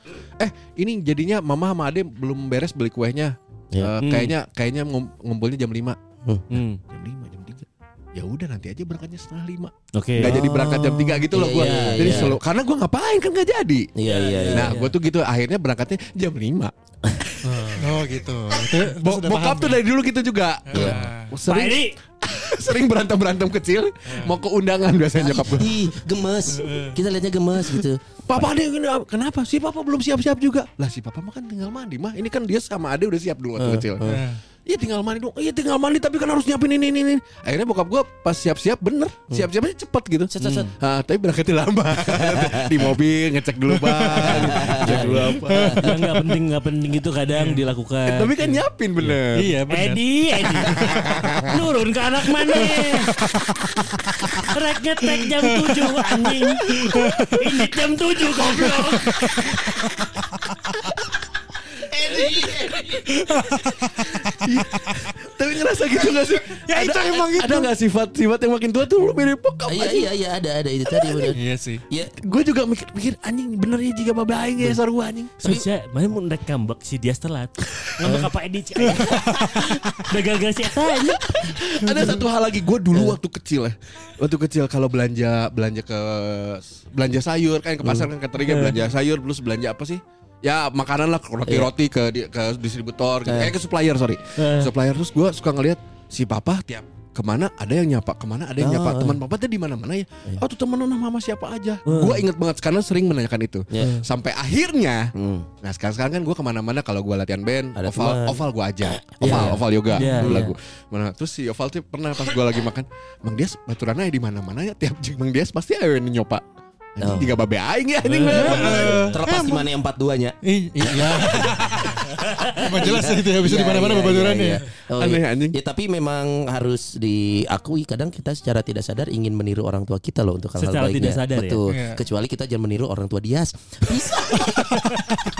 Speaker 5: Eh ini jadinya mama sama Ade belum beres beli kuenya.
Speaker 3: Iya.
Speaker 5: Eh,
Speaker 3: Hmm.
Speaker 5: Kayaknya kayaknya ngum- ngumpulnya jam 5
Speaker 4: Hmm.
Speaker 5: jam 5 jam 3 ya udah nanti aja berangkatnya setengah lima
Speaker 4: Oke.
Speaker 5: nggak jadi berangkat jam 3 gitu loh
Speaker 3: Iya,
Speaker 5: gue
Speaker 3: iya,
Speaker 5: jadi
Speaker 3: iya.
Speaker 5: selalu karena gue ngapain kan nggak jadi
Speaker 3: Iya iya. iya.
Speaker 5: nah gue tuh gitu akhirnya berangkatnya jam 5
Speaker 6: Oh gitu. Itu
Speaker 5: Bo-
Speaker 6: sudah
Speaker 5: bokap
Speaker 6: paham,
Speaker 5: tuh
Speaker 6: ya?
Speaker 5: dari dulu gitu juga
Speaker 3: Iya.
Speaker 4: Pak
Speaker 5: sering
Speaker 4: Edi,
Speaker 5: sering berantem berantem kecil
Speaker 3: Iya.
Speaker 5: mau ke undangan biasanya nyokap gue
Speaker 3: Ih, gemes. Kita lihatnya gemes gitu.
Speaker 5: papa ade kenapa- kenapa si papa belum siap siap juga lah si papa mah kan tinggal mandi mah ini kan dia sama ade udah siap dulu waktu kecil
Speaker 6: Eh.
Speaker 5: Iya tinggal mandi dong. Iya tinggal mandi tapi kan harus nyiapin ini ini ini. Akhirnya bokap gue pas siap-siap bener, siap-siapnya cepet gitu.
Speaker 3: Set, set, set.
Speaker 5: Ah, tapi berangkatnya lama. Di mobil ngecek dulu bang, ngecek dulu apa.
Speaker 4: yang nggak penting nggak penting itu kadang dilakukan.
Speaker 5: Eh. Iya. tapi kan nyiapin bener.
Speaker 6: Iya benar.
Speaker 4: Edi, Edi, nurun ke anak mana? Trek ngetek jam 7 anjing. Ini jam 7 goblok.
Speaker 5: Tapi ngerasa gitu gak sih? ya itu Ah, emang gitu. Ada gak sifat-sifat yang makin tua tuh lu mirip bokap
Speaker 3: Iya iya iya ada ada itu tadi benar.
Speaker 6: Iya sih.
Speaker 3: Ya
Speaker 5: Gue juga mikir-mikir anjing bener ya jika babe aing ya suara gue anjing.
Speaker 4: Susah, mana mau ndek ngambek si dia telat. Ngambek apa Edi? Cik? Udah gagal si Eta aja.
Speaker 5: Ada satu hal lagi gue dulu waktu kecil ya. Waktu kecil kalau belanja belanja ke belanja sayur kan ke pasar kan cateringnya belanja sayur terus belanja apa sih? Ya makanan lah roti roti ke di- ke distributor gitu. kayak ke supplier sorry supplier terus gue suka ngelihat si papa tiap kemana ada yang nyapa kemana ada yang nyapa teman papa tuh di mana mana ya oh tuh teman nah mama siapa aja gue inget banget karena sering menanyakan itu
Speaker 3: Iya.
Speaker 5: sampai akhirnya
Speaker 3: Hmm.
Speaker 5: nah sekarang sekarang kan gue kemana-mana kalau gue latihan band
Speaker 3: Ada
Speaker 5: oval
Speaker 3: teman.
Speaker 5: oval gue ajak
Speaker 3: Iya.
Speaker 5: oval oval yoga
Speaker 4: Iya,
Speaker 5: dulu
Speaker 4: iya.
Speaker 5: lagu mana terus si Oval tuh pernah pas gue lagi makan Mang Dias baturannya di mana mana ya tiap jeng Mang Dias pasti ayo nyopa
Speaker 3: Oh. Iya.
Speaker 5: Anjing tiga babe aing ya anjing
Speaker 6: Iya.
Speaker 3: terlepas di mana yang 42 nya.
Speaker 6: I- Iya. Emang jelas itu ya bisa di mana-mana babaturannya.
Speaker 3: iya,
Speaker 6: ya.
Speaker 3: iya. Oh,
Speaker 5: Aneh,
Speaker 3: iya.
Speaker 5: anjing.
Speaker 3: Ya tapi memang harus diakui kadang kita secara tidak sadar ingin meniru orang tua kita loh untuk hal-hal
Speaker 4: Secara
Speaker 3: baiknya.
Speaker 4: tidak sadar ya?
Speaker 3: Betul.
Speaker 6: Iya.
Speaker 3: Kecuali kita jangan meniru orang tua Dias. Bisa.